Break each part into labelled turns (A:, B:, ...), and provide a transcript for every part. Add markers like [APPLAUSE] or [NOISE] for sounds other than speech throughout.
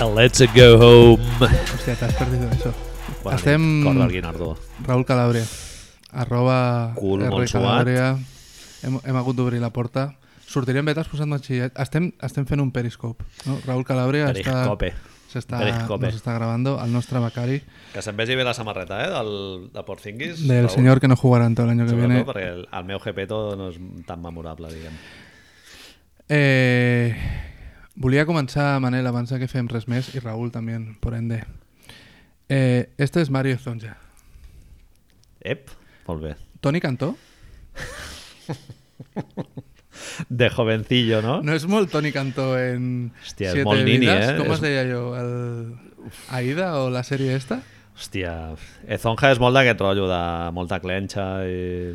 A: Let's go home.
B: Hostia, te has perdido eso.
A: Bona
B: Estem-
A: nit, Cor del Guinardó.
B: Raúl Calabria, arroba
A: Cul
B: R
A: Montsuat.
B: Calabria. Hem, hem hagut d'obrir la porta. Sortiríem betes posant batxillerat. Estem, estem fent un periscope. No? Raúl Calabria està,
A: Periscope.
B: s'està,
A: periscope.
B: nos està gravando, el nostre becari,
A: Que se'n vegi bé la samarreta, eh, del, de Porzingis.
B: del
A: Raül.
B: senyor que no jugarà en tot l'any que
A: Sobretot
B: viene.
A: perquè el, el meu Gepetto no és tan memorable, diguem.
B: Eh, volia començar, Manel, abans de que fem res més, i Raúl també, por ende. Eh, este és Mario Zonja.
A: Ep, molt bé.
B: Toni Cantó?
A: De jovencillo, no?
B: No és molt Toni Cantó en
A: Hòstia, és
B: Siete
A: molt nini,
B: vidas?
A: eh?
B: Com
A: És-
B: es deia allò? El... Aida o la sèrie esta?
A: Hòstia, Ezonja és molt d'aquest rotllo, de molta clenxa i...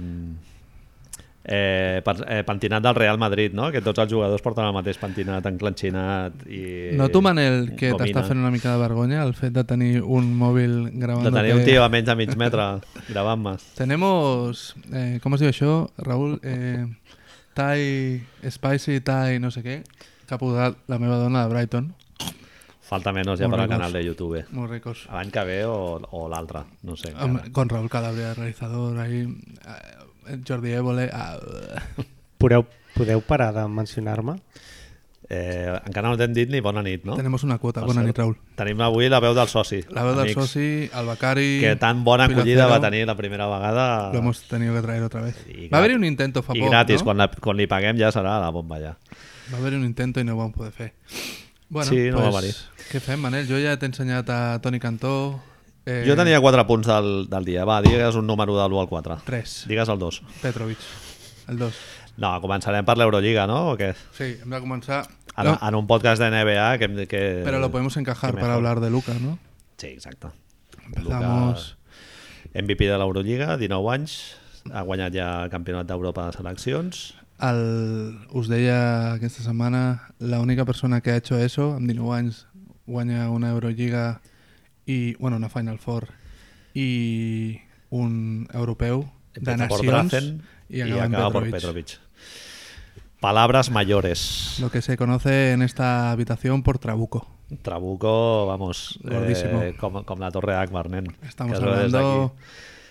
A: Eh, per, eh, pentinat del Real Madrid, no? Que tots els jugadors porten el mateix pentinat enclenxinat i...
B: Noto, Manel, que
A: gomina.
B: t'està fent una mica de vergonya el fet de tenir un mòbil
A: De
B: gravant.
A: tenir un tio a menys de mig metre gravant-me.
B: Tenemos, eh, com es diu això, Raúl? Eh, Thai, spicy Thai, no sé què, que ha posat la meva dona de Brighton.
A: Falta menys ja
B: Molt
A: per al
B: ricos.
A: canal de YouTube.
B: Molt ricos.
A: L'any que ve o, o l'altre, no sé.
B: Amb-
A: encara.
B: Con Raúl Calabria, realizador, ahí, eh, Jordi Évole... ah,
C: Podeu, podeu parar de mencionar-me?
A: Eh, encara no t'hem dit ni bona nit, no? Tenim,
B: Tenemos una quota.
A: Per
B: Bona
A: cert.
B: nit, Raúl.
A: Tenim avui la veu del soci.
B: La veu del
A: amics,
B: soci, el becari...
A: Que tan bona acollida
B: Pilacero,
A: va tenir la primera vegada.
B: Lo hemos tenido que traer otra vez.
A: Y
B: Va a haber
A: gratis.
B: un intento, fa
A: I
B: poc,
A: gratis,
B: no?
A: quan, la, quan li paguem ja serà la bomba ja.
B: Va haver un intento i no ho vam poder fer. Bueno,
A: Sí, no va
B: pues,
A: venir.
B: Què fem, Manel? Jo ja t'he ensenyat a Toni Cantó... Eh,
A: Jo tenia 4 punts del, del dia. Va, digues un número de l'1 al 4.
B: 3.
A: Digues el 2.
B: Petrovic. El 2.
A: No, començarem per l'Eurolliga, no? O què?
B: Sí, hem de començar...
A: En,
B: No,
A: en un podcast de NBA que... que...
B: pero lo podemos encajar
A: eh, que
B: para
A: mejor.
B: hablar de Luca, ¿no?
A: Sí, exacte.
B: Empezamos...
A: Luka, MVP de l'Eurolliga, 19 anys, ha guanyat ja el Campionat d'Europa de seleccions.
B: El, us deia aquesta setmana, la única persona que ha hecho eso, amb 19 anys, guanya una Eurolliga i, bueno, una Final Four i un europeu de
A: Empieza por
B: nacions
A: Drazen
B: i acaba, en
A: por
B: Petrovic.
A: Petrovic. Palabras mayores.
B: Lo que se conoce en esta habitación por Trabuco.
A: Trabuco, vamos, eh,
B: Gordísimo.
A: com, com la Torre d'Akbar, nen.
B: Estamos
A: Que es veu des
B: hablando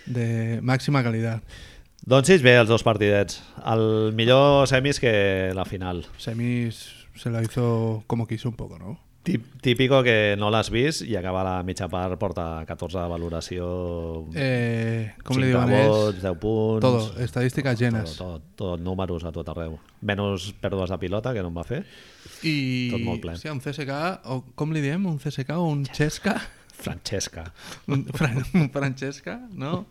B: de máxima calidad.
A: d'aquí. Doncs sí, bé, els dos partidets. El millor semis que la final.
B: Semis se la hizo como quiso un poco, ¿no?
A: Tí- Típico que no l'has vist i acaba la mitja part, porta 14 de valoració,
B: Eh, com
A: 5
B: li diuen
A: vots,
B: ells?
A: 10 punts...
B: Todo, estadísticas llenas.
A: Tot, tot, tot, números a tot arreu. Menys pèrdues de pilota, que no em va fer.
B: I,
A: Tot molt ple.
B: Hòstia, un CSK, o com li diem? Un CSK o un
A: [LAUGHS]
B: Xesca?
A: Francesca.
B: Un, Fran un Francesca, no?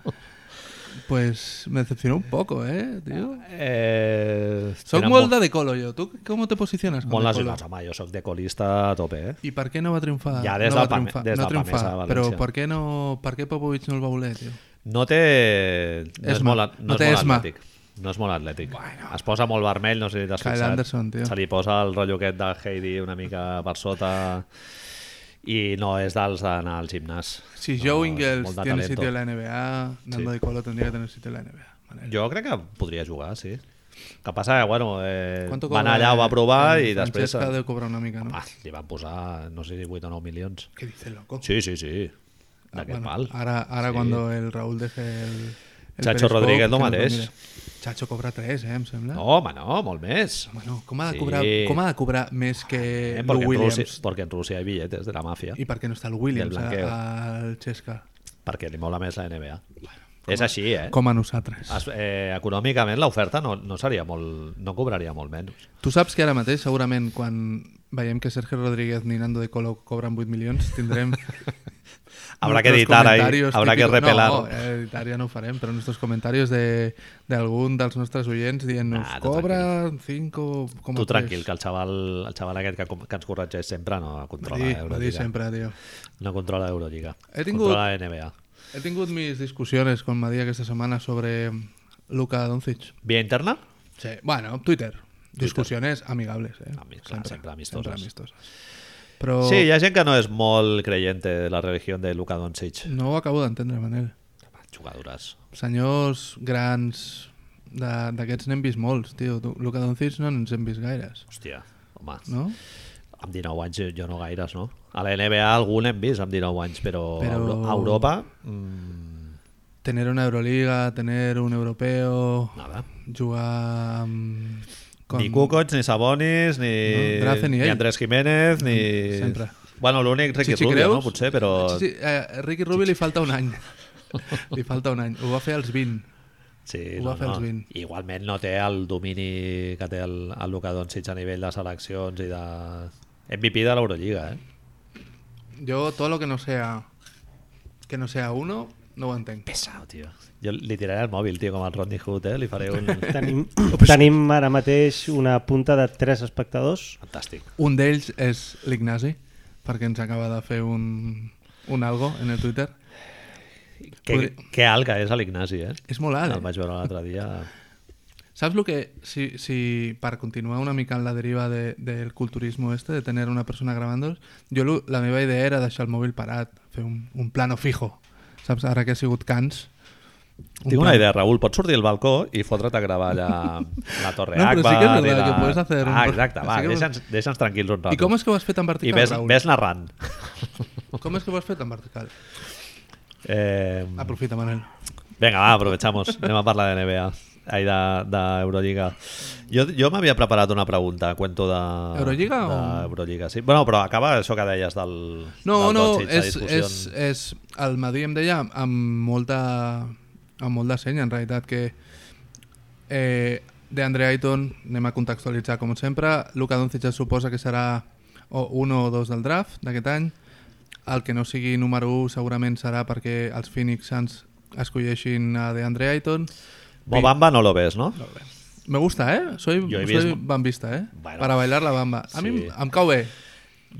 B: Pues me decepcionó un poco, ¿eh, tío?
A: Eh,
B: Soc
A: tenen
B: molt
A: molt,
B: de Decolo, jo. Tu com te posiciones?
A: molt
B: con Decolo?
A: lesionats. Home, jo soc de colista a tope, eh?
B: I per què no va triomfar?
A: Ja des
B: no va
A: del Pame-
B: triomfar,
A: des
B: no
A: del Pamesa de
B: triomfar, però
A: València.
B: per què, no, per què Popovic no el va voler, tio?
A: No té... No és
B: Esma.
A: molt, a- no
B: No
A: és
B: té
A: molt
B: esma.
A: atlètic. No és molt atlètic. Bueno. Es posa molt vermell, no sé si t'has
B: Kyle
A: fixat.
B: Anderson, tio.
A: Se li posa el rotllo aquest de Heidi una mica per sota i no és dels d'anar al gimnàs.
B: Si
A: no,
B: Joe
A: és
B: Ingles
A: molt de
B: tiene
A: talento.
B: sitio en la NBA, Nando
A: Sí.
B: Decolo tendría que tener sitio en la NBA. Manel.
A: Jo crec que podria jugar, sí. El que passa que, bueno, eh,
B: ¿Cuánto
A: va anar
B: cobra
A: allà, ho va provar
B: el
A: i després...
B: Francesca deu cobrar una mica, no?
A: Ah, li van posar, no sé si 8 o 9 milions.
B: ¿Qué dices, loco?
A: Sí, sí, sí. D'aquest
B: Ah, Bueno,
A: mal.
B: Ahora, ahora cuando el Raúl deje el. el
A: Chacho
B: Periscope,
A: Rodríguez lo
B: que nos
A: mateix.
B: mire. Chacho cobra 3, ¿eh? Em sembla.
A: No, home, no, molt més.
B: Bueno, com ha de
A: Sí.
B: cobrar, com ha de cobrar més que
A: Eh,
B: el
A: perquè, en
B: Williams?
A: Rússia, perquè en Rússia hi ha billetes de la màfia,
B: I per què no està el
A: I el
B: Williams
A: blanqueo.
B: a- al Xesca?
A: perquè li mola més la NBA. és així, eh?
B: Com a nosaltres.
A: Es, eh econòmicament l'oferta no, no seria molt, no cobraria molt menys.
B: Tu saps que ara mateix, segurament, quan veiem que Sergio Rodríguez ni Nando de Colo cobren 8 milions, tindrem...
A: [LAUGHS] Habrá que
B: nuestros
A: editar ahí,
B: comentarios
A: habrá que
B: típicos-
A: repelar.
B: No, eh, editar ja no ho farem, però nostres comentaris de- d'algun de, dels nostres oients dient-nos
A: Ah, tu
B: cobra 5,3.
A: Tu tranquil, que el xaval, el xaval aquest que, com- que ens corregeix sempre no
B: Ho
A: controla eh,
B: dic, ho dic
A: Euroliga.
B: sempre, tio.
A: No controla Euroliga.
B: He tingut-
A: Controla la NBA.
B: He tingut mis discussions con Madia aquesta setmana sobre Luka Doncic.
A: Via interna?
B: Sí, bueno, Twitter. Discusiones amigables, eh?
A: Ami- clar, sempre amistoses.
B: Sempre amistoses. Però
A: Sí, hi ha gent que no és molt creyente de la religió de Luka Doncic.
B: no ho acabo d'entendre, Manel.
A: Jugadores.
B: Senyors grans de- d'aquests n'hem vist molts, tio. Tu- Luka Doncic no ens hem vist gaires,
A: Hòstia, home.
B: no?
A: amb 19 anys eh, jo- jo no gaires, no? A la NBA algun hem vist amb 19 anys, però,
B: Però-
A: a Euro- a Europa mm,
B: Tener una Euroliga, tener un europeo,
A: nada.
B: jugar amb...
A: Com... Ni Kukoc, ni Sabonis, ni,
B: No, Drazen i
A: ni
B: ell.
A: Andrés Jiménez, ni...
B: Sempre.
A: Bueno, l'únic Ricky
B: Chichi
A: Rubio,
B: Creus?
A: no? Potser, però...
B: Sí, sí, eh, Ricky Rubio li falta un any. li falta un any. Ho va fer als 20.
A: Sí,
B: Ho
A: no,
B: va fer als
A: no.
B: 20.
A: Igualment no té el domini que té el, el Luka Doncic a nivell de seleccions i de MVP de l'Eurolliga, eh?
B: Yo todo lo que no sea que no sea uno, no ho entenc.
A: Pesao, tio. Jo li tiraré el mòbil, tio, com el Rodney Hood, eh? Li faré [LAUGHS] un... [COUGHS]
C: Tenim, tenim ara mateix una punta de 3 espectadors.
A: Fantàstic.
B: Un d'ells és l'Ignasi, perquè ens acaba de fer un, un algo en el Twitter.
A: Que,
B: Podri- Ah,
A: que alt que és l'Ignasi, eh?
B: És molt alt.
A: El vaig veure l'altre dia.
B: ¿Sabes lo que, si, si para continuar una mica en la deriva de- del culturismo este, de tener una persona grabándolos, jo lo- la meva idea era deixar el mòbil parat, fer un, un plano fijo. Saps? Ara que ha sigut cans. un
A: Tinc una
B: plan-
A: idea, Raül, pots sortir al balcó i fotre't a gravar
B: [LAUGHS]
A: allà la Torre
B: No, però sí
A: Agbar
B: que és verdad
A: i la...
B: que puedes hacer un-
A: Ah, exacte, va,
B: sí que-
A: deixa'ns deixa'ns tranquils un rato.
B: I com és que ho has fet en vertical,
A: I ves,
B: Raül?
A: ves narrant.
B: Com és que ho has fet en vertical?
A: Eh,
B: Aprofita, Manel.
A: Venga, va, aprovechamos. Anem a parlar de NBA. Ahí de, de Euroliga. Jo, jo m'havia preparat una pregunta, cuento de...
B: Euroliga
A: de
B: o-
A: Euroliga, sí. Bueno, però acaba això que deies del...
B: No,
A: del
B: no,
A: Doncic, la
B: és,
A: discussió
B: és,
A: en-
B: és, el Madí em deia amb molta, amb molt de seny, en realitat, que eh, de Andre Ayton anem a contextualitzar com sempre. Luka Doncic es suposa que serà o un o dos del draft d'aquest any. El que no sigui número 1 segurament serà perquè els Phoenix Suns escolleixin a DeAndre Ayton.
A: Mobamba no lo ves, no?
B: Me gusta, eh? Soy,
A: Jo he
B: soy
A: vist-
B: bambista, eh?
A: Bueno.
B: Para bailar la bamba. A mi
A: Sí.
B: em- em cau bé.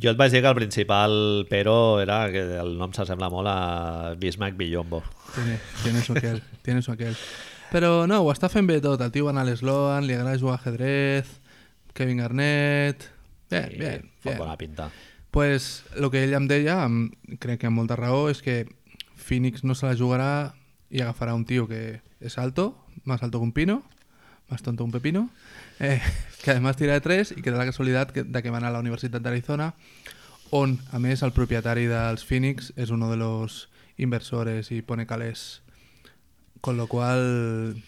A: Jo et vaig dir que el principal però era que el nom s'assembla molt a Bismack Villombo.
B: Tiene, tiene su aquel, tiene su aquel. Però no, ho està fent bé tot. El tio va anar a l'Sloan, li agrada jugar a ajedrez, Kevin Garnett... Bé,
A: I
B: bé,
A: Fot
B: bé.
A: bona pinta.
B: Pues el que ell em deia, amb, crec que amb molta raó, és que Phoenix no se la jugarà i agafarà un tio que és alto, más alto que un pino, más tonto que un pepino, eh, [LAUGHS] que además tira de tres i que té la casualitat que, de que va anar a la Universitat d'Arizona, on, a més, el propietari dels Phoenix és uno de los inversores i pone calés. Con lo cual,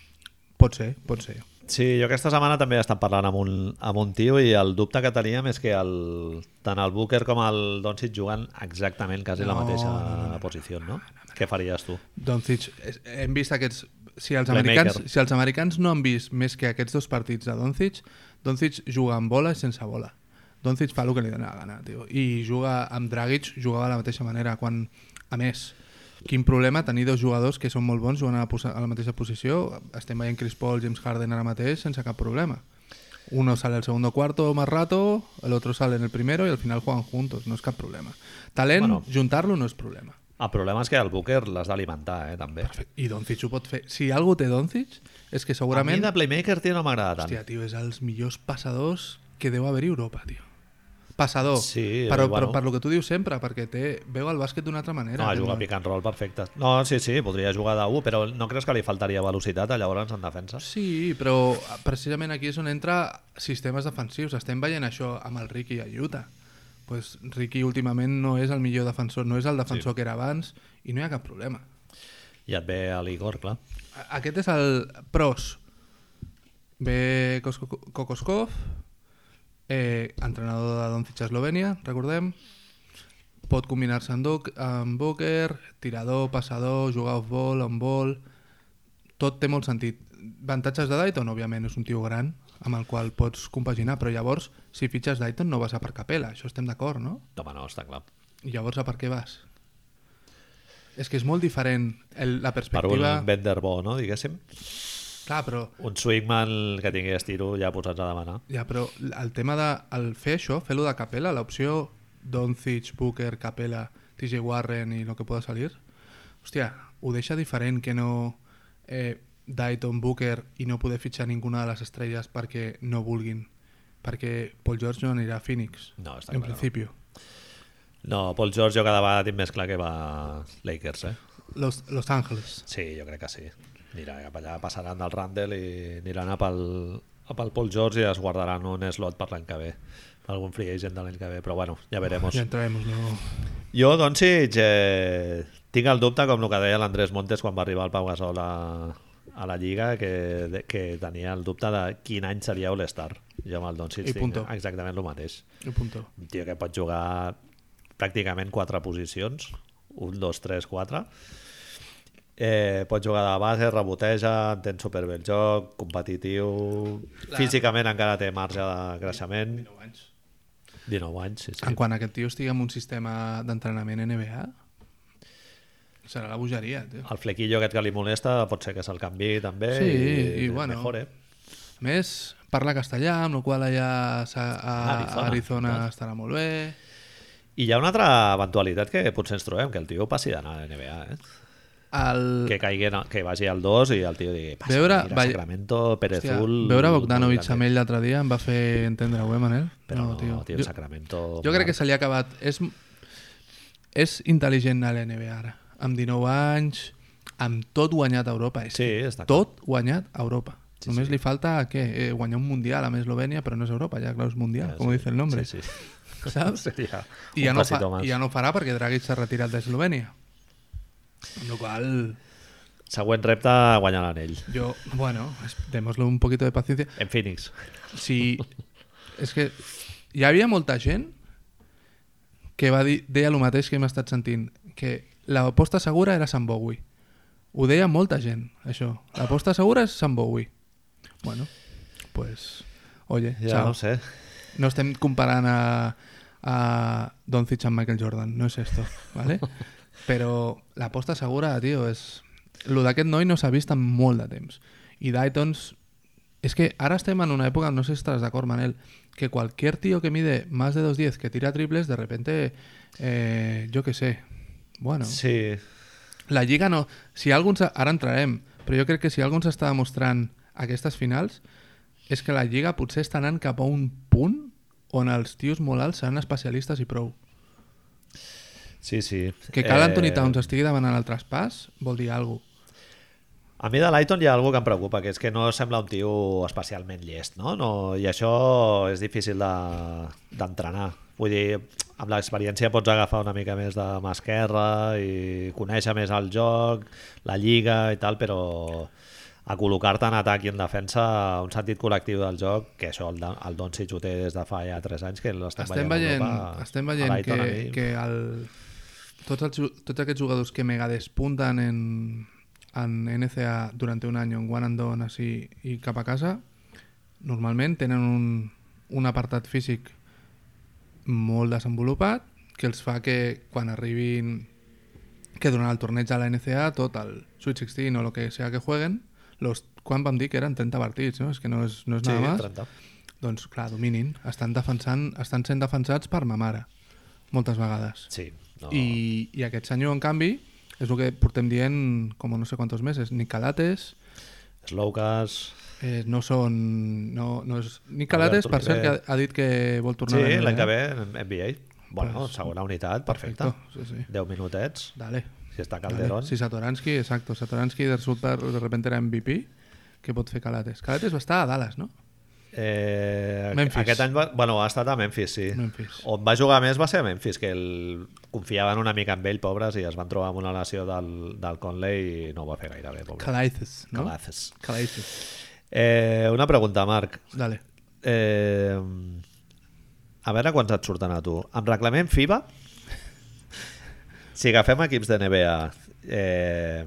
B: pot ser, pot ser.
A: Sí, jo aquesta setmana també he estat parlant amb un, amb un tio i el dubte que teníem és que el, tant el Booker com el Doncic juguen exactament quasi no, la
B: No,
A: mateixa
B: no, no, no,
A: posició, no? Què faries tu?
B: Doncic, és- Eh, hem vist aquests... Si els,
A: Playmaker.
B: americans, si els americans no han vist més que aquests dos partits de Doncic, Doncic juga amb bola i sense bola. Doncic fa el que li dona la gana, tio. I juga amb Dragic, jugava de la mateixa manera. Quan, a més, quin problema tenir dos jugadors que són molt bons jugant a la, posa- a la mateixa posició. Estem veient Chris Paul, James Harden ara mateix, sense cap problema. Uno sale al segundo cuarto más rato, el otro sale en el primero y al final juegan juntos, no es cap problema. Talent,
A: Bueno.
B: juntar-lo no és problema.
A: El problema és que el Booker l'has d'alimentar, eh, també.
B: Perfecte. I Doncic ho pot fer. Si algú té Doncic, és que
A: A mi
B: segurament...
A: de Playmaker, tio, no m'agrada tant.
B: Hòstia, tio, és els millors passadors que deu haver-hi a Europa, tio. Passador.
A: Sí,
B: però,
A: eh, bueno.
B: però per lo que tu dius sempre, perquè té, veu el bàsquet d'una altra
A: no,
B: manera. aquest
A: juga
B: noi.
A: pick and roll perfecte. No, sí, sí, podria jugar de 1, però no creus que li faltaria velocitat llavors en defensa?
B: Sí, però precisament aquí és on entra sistemes defensius. Estem veient això amb el Ricky a Utah. Pues Ricky últimament no és el millor defensor, no és el defensor sí. que era abans i no hi ha cap problema.
A: I et ve a l'Igor, clar.
B: A- Aquest és el pros. Ve Kosko- Kokoskov, eh, entrenador de Doncic a Eslovènia, recordem. Pot combinar-se amb, Doc, amb Booker, tirador, passador, jugar off-ball, on-ball... Tot té molt sentit. Avantatges de Dayton, òbviament, és un tio gran amb el qual pots compaginar, però llavors, si fitxes Dayton, no vas a per Capela, això estem d'acord, no?
A: No, home, no, està clar.
B: I llavors a per què vas? És que és molt diferent el, la
A: Per un
B: perspectiva...
A: vender bo, no, diguéssim?
B: Clar, però
A: Un swingman que tingués tiro ja posats a demanar.
B: Ja, però el tema de el fer això, fer-lo de capella, l'opció Doncic, Booker, Capella, TJ Warren i el que pueda salir, hòstia, ho deixa diferent que no eh, Dayton, Booker i no poder fitxar ninguna de les estrelles perquè no vulguin. Perquè Paul George no anirà a Phoenix,
A: No, està
B: en
A: clar, no.
B: principi.
A: No, Paul George jo cada vegada tinc més clar que va Lakers, eh?
B: Los, Los Angeles.
A: Sí, jo crec que sí. Anirà cap allà, passaran del Randall i aniran a pel, pel Paul George i es guardaran un slot per l'any que ve per algun free agent de l'any que ve, però bueno, ja veremos.
B: Ya entraremos luego.
A: Jo, doncs, sí, eh, tinc el dubte, com el que deia l'Andrés Montes quan va arribar el Pau Gasol a, a la Lliga, que, de- que tenia el dubte de quin any seria All-Star. Jo amb el Doncic
B: I
A: tinc
B: punto.
A: exactament el mateix.
B: Y punto.
A: Un tio que pot jugar pràcticament quatre posicions, un, dos, tres, quatre, Eh, pot jugar de base, reboteja, entén superbé el joc, competitiu,
B: La-
A: físicament encara té marge de creixement,
B: anys.
A: 19 anys, sí, sí.
B: En Ah, quan aquest tio estigui en un sistema d'entrenament NBA, serà la bogeria, tio.
A: El flequillo aquest que li molesta pot ser que se'l canvi també
B: Sí,
A: i,
B: i bueno.
A: mejore.
B: A més, parla castellà, amb la qual cosa allà s'ha- a, a
A: Arizona,
B: Arizona
A: clar.
B: estarà molt bé.
A: I hi ha una altra eventualitat que potser ens trobem, que el tio passi d'anar a la NBA, eh?
B: El...
A: Que, caigui, en- que vagi al 2 i el tio digui passa,
B: Veure-
A: mira,
B: vai-
A: Sacramento,
B: Hòstia,
A: Perezul...
B: veure Bogdanovic amb ell l'altre dia em va fer entendre, ho eh, Manel?
A: Però no, tio,
B: jo,
A: Sacramento...
B: jo crec que se li ha acabat. És, és intel·ligent a l'NBA ara. Amb 19 anys, amb tot guanyat a Europa. És
A: Sí, està clar.
B: tot guanyat a Europa.
A: Sí,
B: Només
A: sí.
B: li falta què? Eh, guanyar un Mundial a Eslovènia, però no és Europa, ja clar, és Mundial,
A: Ja,
B: com
A: sí,
B: dice el nombre.
A: Sí, sí.
B: [LAUGHS] Saps?
A: Seria
B: I ja,
A: un
B: no fa,
A: pasito más.
B: I ja no ho farà perquè Dragic s'ha retirat d'Eslovènia. Amb la qual
A: Següent repte, guanyar l'anell.
B: jo, bueno, es- démoslo un poquito de paciencia.
A: En Phoenix.
B: [LAUGHS] Si, és que hi havia molta gent que va dir, deia el mateix que hem estat sentint, que l'aposta segura era Sant Bowie. Ho deia molta gent, això. L'aposta segura és Sant Bowie. Bueno, pues... Oye,
A: Ja
B: chao.
A: no ho sé.
B: No estem comparant a, a Doncic amb Michael Jordan, no és esto, ¿vale? Però l'aposta segura, tio, és... Lo d'aquest noi no s'ha vist en molt de temps. I Daytons... És que ara estem en una època, no sé si estàs d'acord, Manel, que qualquer tio que mide más de 2'10 que tira triples, de repente, eh, jo que sé, bueno...
A: Sí,
B: La Lliga no... Si algú ens... Ara entrarem, però jo crec que si algú ens està demostrant aquestes finals és que la Lliga potser està anant cap a un punt on els tios molt alts seran especialistes i prou.
A: sí, sí.
B: Que cal
A: Eh.
B: Anthony Towns estigui demanant el traspàs vol dir alguna cosa.
A: A mi de Lighton hi ha alguna que em preocupa, que és que no sembla un tio especialment llest, no? no I això és difícil de- d'entrenar. De, Vull dir, amb l'experiència pots agafar una mica més de mà esquerra i conèixer més el joc, la lliga i tal, però a col·locar-te en atac i en defensa un sentit col·lectiu del joc, que això el, Don- el Doncic ho té des de fa ja 3 anys, que l'estem veient,
B: Estem veient,
A: a Europa,
B: estem
A: a
B: veient
A: Lighton,
B: que,
A: a mi.
B: que el, tots, els, ju- tots aquests jugadors que mega despunten en, en NCA durant un any, en one and done, així, i cap a casa, normalment tenen un, un apartat físic molt desenvolupat que els fa que quan arribin que durant el torneig de la NCA tot el Sweet 16 o el que sea que jueguen los, quan vam dir que eren 30 partits no? és que no és, no és
A: Sí,
B: nada más
A: 30.
B: doncs clar, dominin estan, defensant, estan sent defensats per ma mare moltes vegades
A: Sí, no.
B: i, i aquest senyor en canvi és el que portem dient com no sé quantos mesos ni calates
A: Slowcast...
B: eh, no són no, no és, ni calates
A: Alberto
B: per cert que
A: Oliver.
B: ha, ha dit que vol tornar a
A: Sí,
B: la
A: l'any
B: NBA.
A: que ve, en NBA. Bueno, pues, segona unitat, perfecte.
B: Perfecto,
A: perfecte.
B: sí, sí.
A: 10 minutets.
B: Dale.
A: Si està Calderón.
B: Sí, Satoransky, exacto. Satoransky de resulta de repente era MVP. Què pot fer Calates? Calates va estar a Dallas, no?
A: Eh,
B: Memphis.
A: Aquest any va, bueno, ha estat a Memphis, sí.
B: Memphis.
A: On va jugar més va ser a Memphis, que el... confiaven una mica en ell, pobres, i es van trobar amb una lesió del, del Conley i no ho va fer gaire bé, pobre.
B: Calates, no?
A: Calates.
B: Calates.
A: Eh, una pregunta, Marc.
B: Dale.
A: Eh, a veure quants et surten a tu. Em reclamem FIBA? Si agafem equips de NBA eh,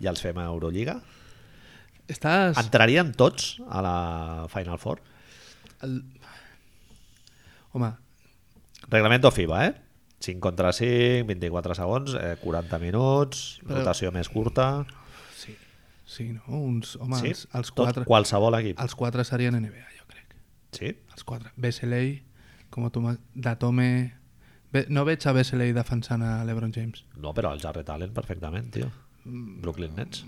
A: i els fem a Euroliga,
B: Estàs...
A: entrarien tots a la Final Four?
B: El... Home,
A: Reglamento FIBA, eh? 5 contra 5, 24 segons, eh, 40 minuts,
B: Però-
A: rotació més curta...
B: sí. Sí, no? Uns... Home,
A: sí?
B: els, els,
A: Tot,
B: quatre,
A: qualsevol equip.
B: els quatre serien NBA, jo crec.
A: Sí?
B: Els quatre. Beseley, com tu... Datome... Be... No veig a Beseley defensant a LeBron James.
A: No, però el Jarret Allen perfectament, tio.
B: Mm,
A: Brooklyn Nets.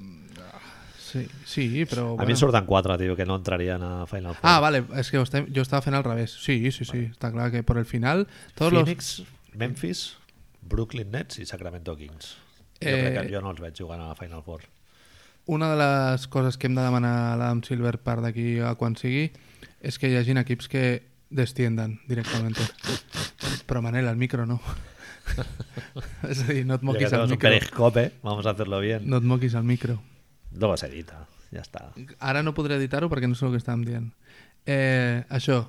B: Sí, sí però...
A: A mi em surten 4, tio, que no entrarien a Final Four.
B: Ah, vale, es que usted- yo estaba fent al revés. Sí, sí, sí, está claro que por el final todos
A: Phoenix, Memphis, Brooklyn Nets i Sacramento Kings. Jo
B: Eh,
A: crec que jo no els veig jugant a la Final Four.
B: Una de les coses que hem de demanar a l'Adam Silver per d'aquí a quan sigui és que hi hagin equips que destienden directament. Però Manel, el micro no. és a dir, no
A: Ya
B: et
A: que
B: moquis al
A: tenemos un
B: micro.
A: periscope, vamos a hacerlo bien.
B: No et moquis al micro.
A: Luego se edita, ya está.
B: Ara no podré editar-ho perquè no sé el que estàvem dient. Eh, això,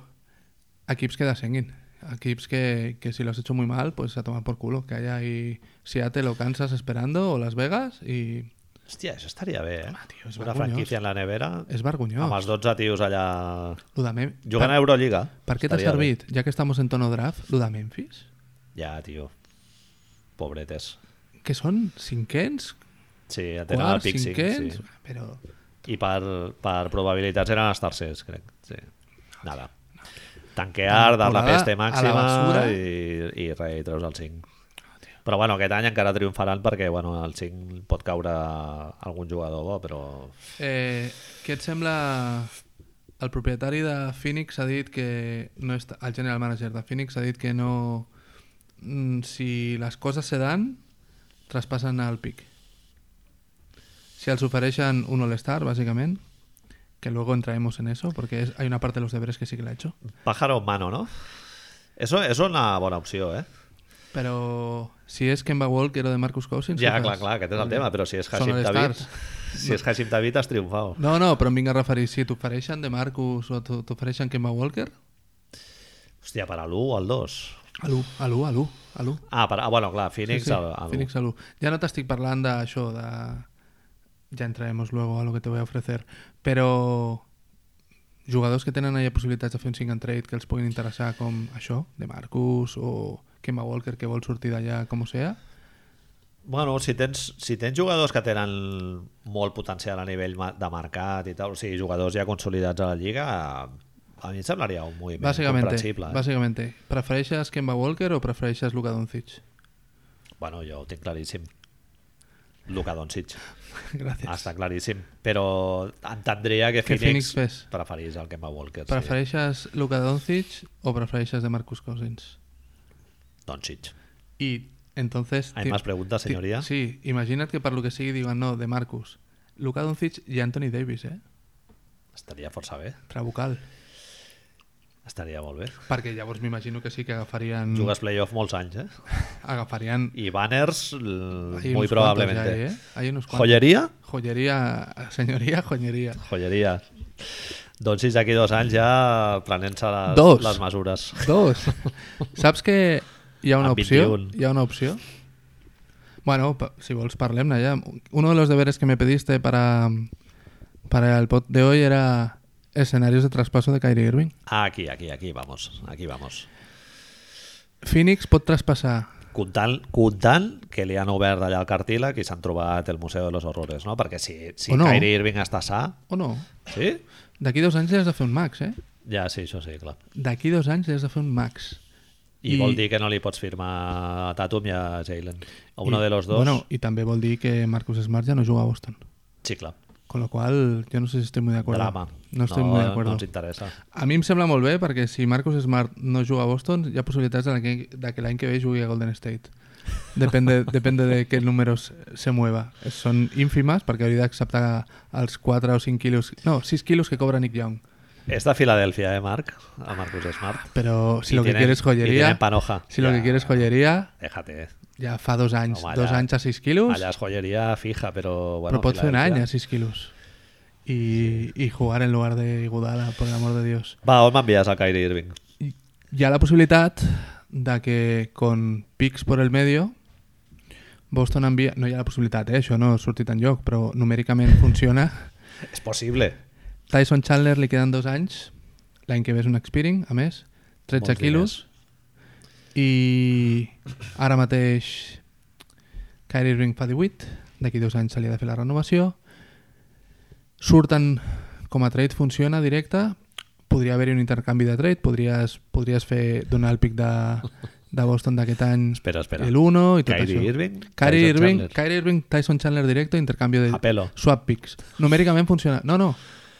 B: equips que descenguin. Equips que, que si lo has hecho muy mal, pues a tomar por culo. Que haya ahí Seattle o Kansas esperando o Las Vegas y...
A: Hostia, eso estaría bien. eh?
B: tío, es
A: Una
B: vergonyós.
A: franquicia en la nevera.
B: És
A: Amb
B: vergonyós.
A: els 12 tios allà
B: Lo de Mem...
A: jugant a Euroliga.
B: Per què t'ha
A: Estaria bé.
B: servit, ja que estamos en tono draft, lo de Memphis?
A: Ja, tio. Pobretes.
B: Que són cinquens,
A: Sí, ja tenen el
B: quarts,
A: pick cinc,
B: cinquens...
A: sí.
B: Però...
A: I per, per probabilitats eren els tercers, crec. Sí. Nada. Tanquear, dar la
B: Temporada
A: peste
B: a la
A: màxima
B: basura.
A: i, i res, i treus el 5. Però bueno, aquest any encara triomfaran perquè bueno, el 5 pot caure algun jugador bo, però
B: Eh, què et sembla... El propietari de Phoenix ha dit que... No està... El general manager de Phoenix ha dit que no... mm, Si les coses se dan, traspassen el pic. Si els ofereixen un All-Star, bàsicament, que luego entraremos en eso, porque es, hay una parte de los deberes que sí que la he hecho.
A: pájaro en mano, ¿no? Eso és una bona opció, eh?
B: Pero si es Kemba Walker o de Marcus Cousins...
A: Ja,
B: què
A: clar,
B: fas?
A: clar, aquest és el tema, però si és
B: Són
A: Hashim David,
B: All-Stars.
A: si és Hashim David has triomfat.
B: No, no, però em vinc a referir. Si t'ofereixen de Marcus o t'o- t'ofereixen Kemba Walker,
A: Hòstia, per a l'1 o al 2?
B: a l'1, a l'1, a l'1, a l'1.
A: Ah, per, ah, bueno, clar, Phoenix
B: sí, sí.
A: al, al
B: Phoenix a l'1. Ja no t'estic parlant d'això, de... Ja entraremos luego a lo que te voy a ofrecer. Però jugadors que tenen allà possibilitats de fer un sing and trade que els puguin interessar com això, de Marcus o Kemba Walker que vol sortir d'allà com ho sea,
A: Bueno, si tens, si tens jugadors que tenen molt potencial a nivell ma- de mercat i tal, o sigui, jugadors ja consolidats a la Lliga, a mi em semblaria un moviment
B: bàsicamente,
A: comprensible. Eh?
B: bàsicamente, prefereixes Kemba Walker o prefereixes Luka Doncic? [LAUGHS]
A: Bueno, jo ho tinc claríssim. Luka Doncic,
B: Gràcies.
A: està claríssim. Però entendria que
B: Que
A: Phoenix,
B: Phoenix fes.
A: preferís el Kemba Walker. Prefereix...
B: Prefereixes Luka Doncic o prefereixes de Marcus Cousins?
A: Sí. Doncic.
B: Y entonces...
A: Hay
B: ti-
A: más preguntas,
B: ti-
A: señoría?
B: Sí, imagina't que per lo que sigui digan no, de Marcus. Luka Doncic i Anthony Davis, eh?
A: Estaria força bé.
B: Trabucal.
A: Estaria molt bé.
B: Perquè llavors m'imagino que sí que agafarien...
A: Jugues playoff molts anys, eh?
B: Agafarien...
A: I banners, l-
B: Hay
A: muy
B: unos cuantos
A: probablemente.
B: ya ahí, eh? Hay unos cuantos.
A: Joyeria?
B: Joyería, señoría, joyería.
A: Joyeria. Doncs sí, d'aquí dos anys ja prenent-se les,
B: Dos.
A: les mesures.
B: Dos. Saps que hi ha una
A: Amb
B: opció?
A: 21.
B: Hi ha una opció? Bueno, pa- si vols parlem-ne ja. Uno de los deberes que me pediste para, para el pod de hoy era escenarios de traspaso de Kyrie Irving.
A: Ah, aquí, aquí, aquí, vamos. Aquí, vamos.
B: Phoenix pot traspassar...
A: Comptant, comptant que li han obert allà el cartílag i s'han trobat el Museu de los Horrores, no? Perquè si, si
B: O no.
A: no. Kyrie Irving està sa...
B: O no?
A: Sí?
B: D'aquí dos anys li has de fer un max, eh?
A: Ja, sí, això sí, clar.
B: D'aquí dos anys li has de fer un max.
A: I,
B: I-
A: I, vol dir que no li pots firmar a Tatum i a Jalen. O uno
B: I-
A: de los dos.
B: Bueno, i també vol dir que Marcus Smart ja no juga a Boston.
A: sí, clar.
B: Con lo cual, yo no sé si estoy muy de acuerdo.
A: Drama.
B: No estoy muy de acuerdo.
A: No ens interessa.
B: A mi em sembla molt bé perquè si Marcus Smart no juga a Boston hi ha possibilitats de que, de que l'any que ve jugui a Golden State. Depende, depende de què números se mueva. Són ínfimes perquè hauria d'acceptar els 4 o 5 quilos... No, 6 quilos que cobra Nick Young.
A: És de Filadèlfia, eh, Marc? A Marcus Smart.
B: Però
A: I
B: si lo que
A: tienen- I
B: quieres joyería...
A: tienen panoja.
B: Si lo que quieres joyería,
A: Déjate. eh.
B: ja fa dos anys.
A: Home,
B: dos
A: allà-
B: anys a 6 quilos,
A: Allà és joieria fija, però... Bueno,
B: però pots fer un any
A: Filadèlfia.
B: a 6 quilos. I, i jugar en lugar de Iguodala, por el amor de Dios.
A: Va, on m'envies el Kyrie Irving?
B: Y- Hi ha la possibilitat de que con pics por el medio Boston envia... No hi ha la possibilitat, eh? això no ha sortit enlloc, però numèricament funciona.
A: És possible.
B: Tyson Chandler li queden dos anys, l'any que ve és un expiring, a més, 13
A: Molts
B: quilos, i ara mateix Kyrie Irving fa 18, d'aquí dos anys se li ha de fer la renovació, surten com a trade, funciona directe, podria haver-hi un intercanvi de trade, podries, podries fer donar el pic de, de Boston d'aquest any
A: Espera, espera.
B: el 1 i tot
A: Kyrie
B: això.
A: Irving,
B: Kyrie
A: Tyson
B: Irving,
A: Chandler. Ah,
B: Kyrie Irving, Tyson Chandler directe, intercanvi de
A: A pelo.
B: swap picks. Numèricament funciona. No, no,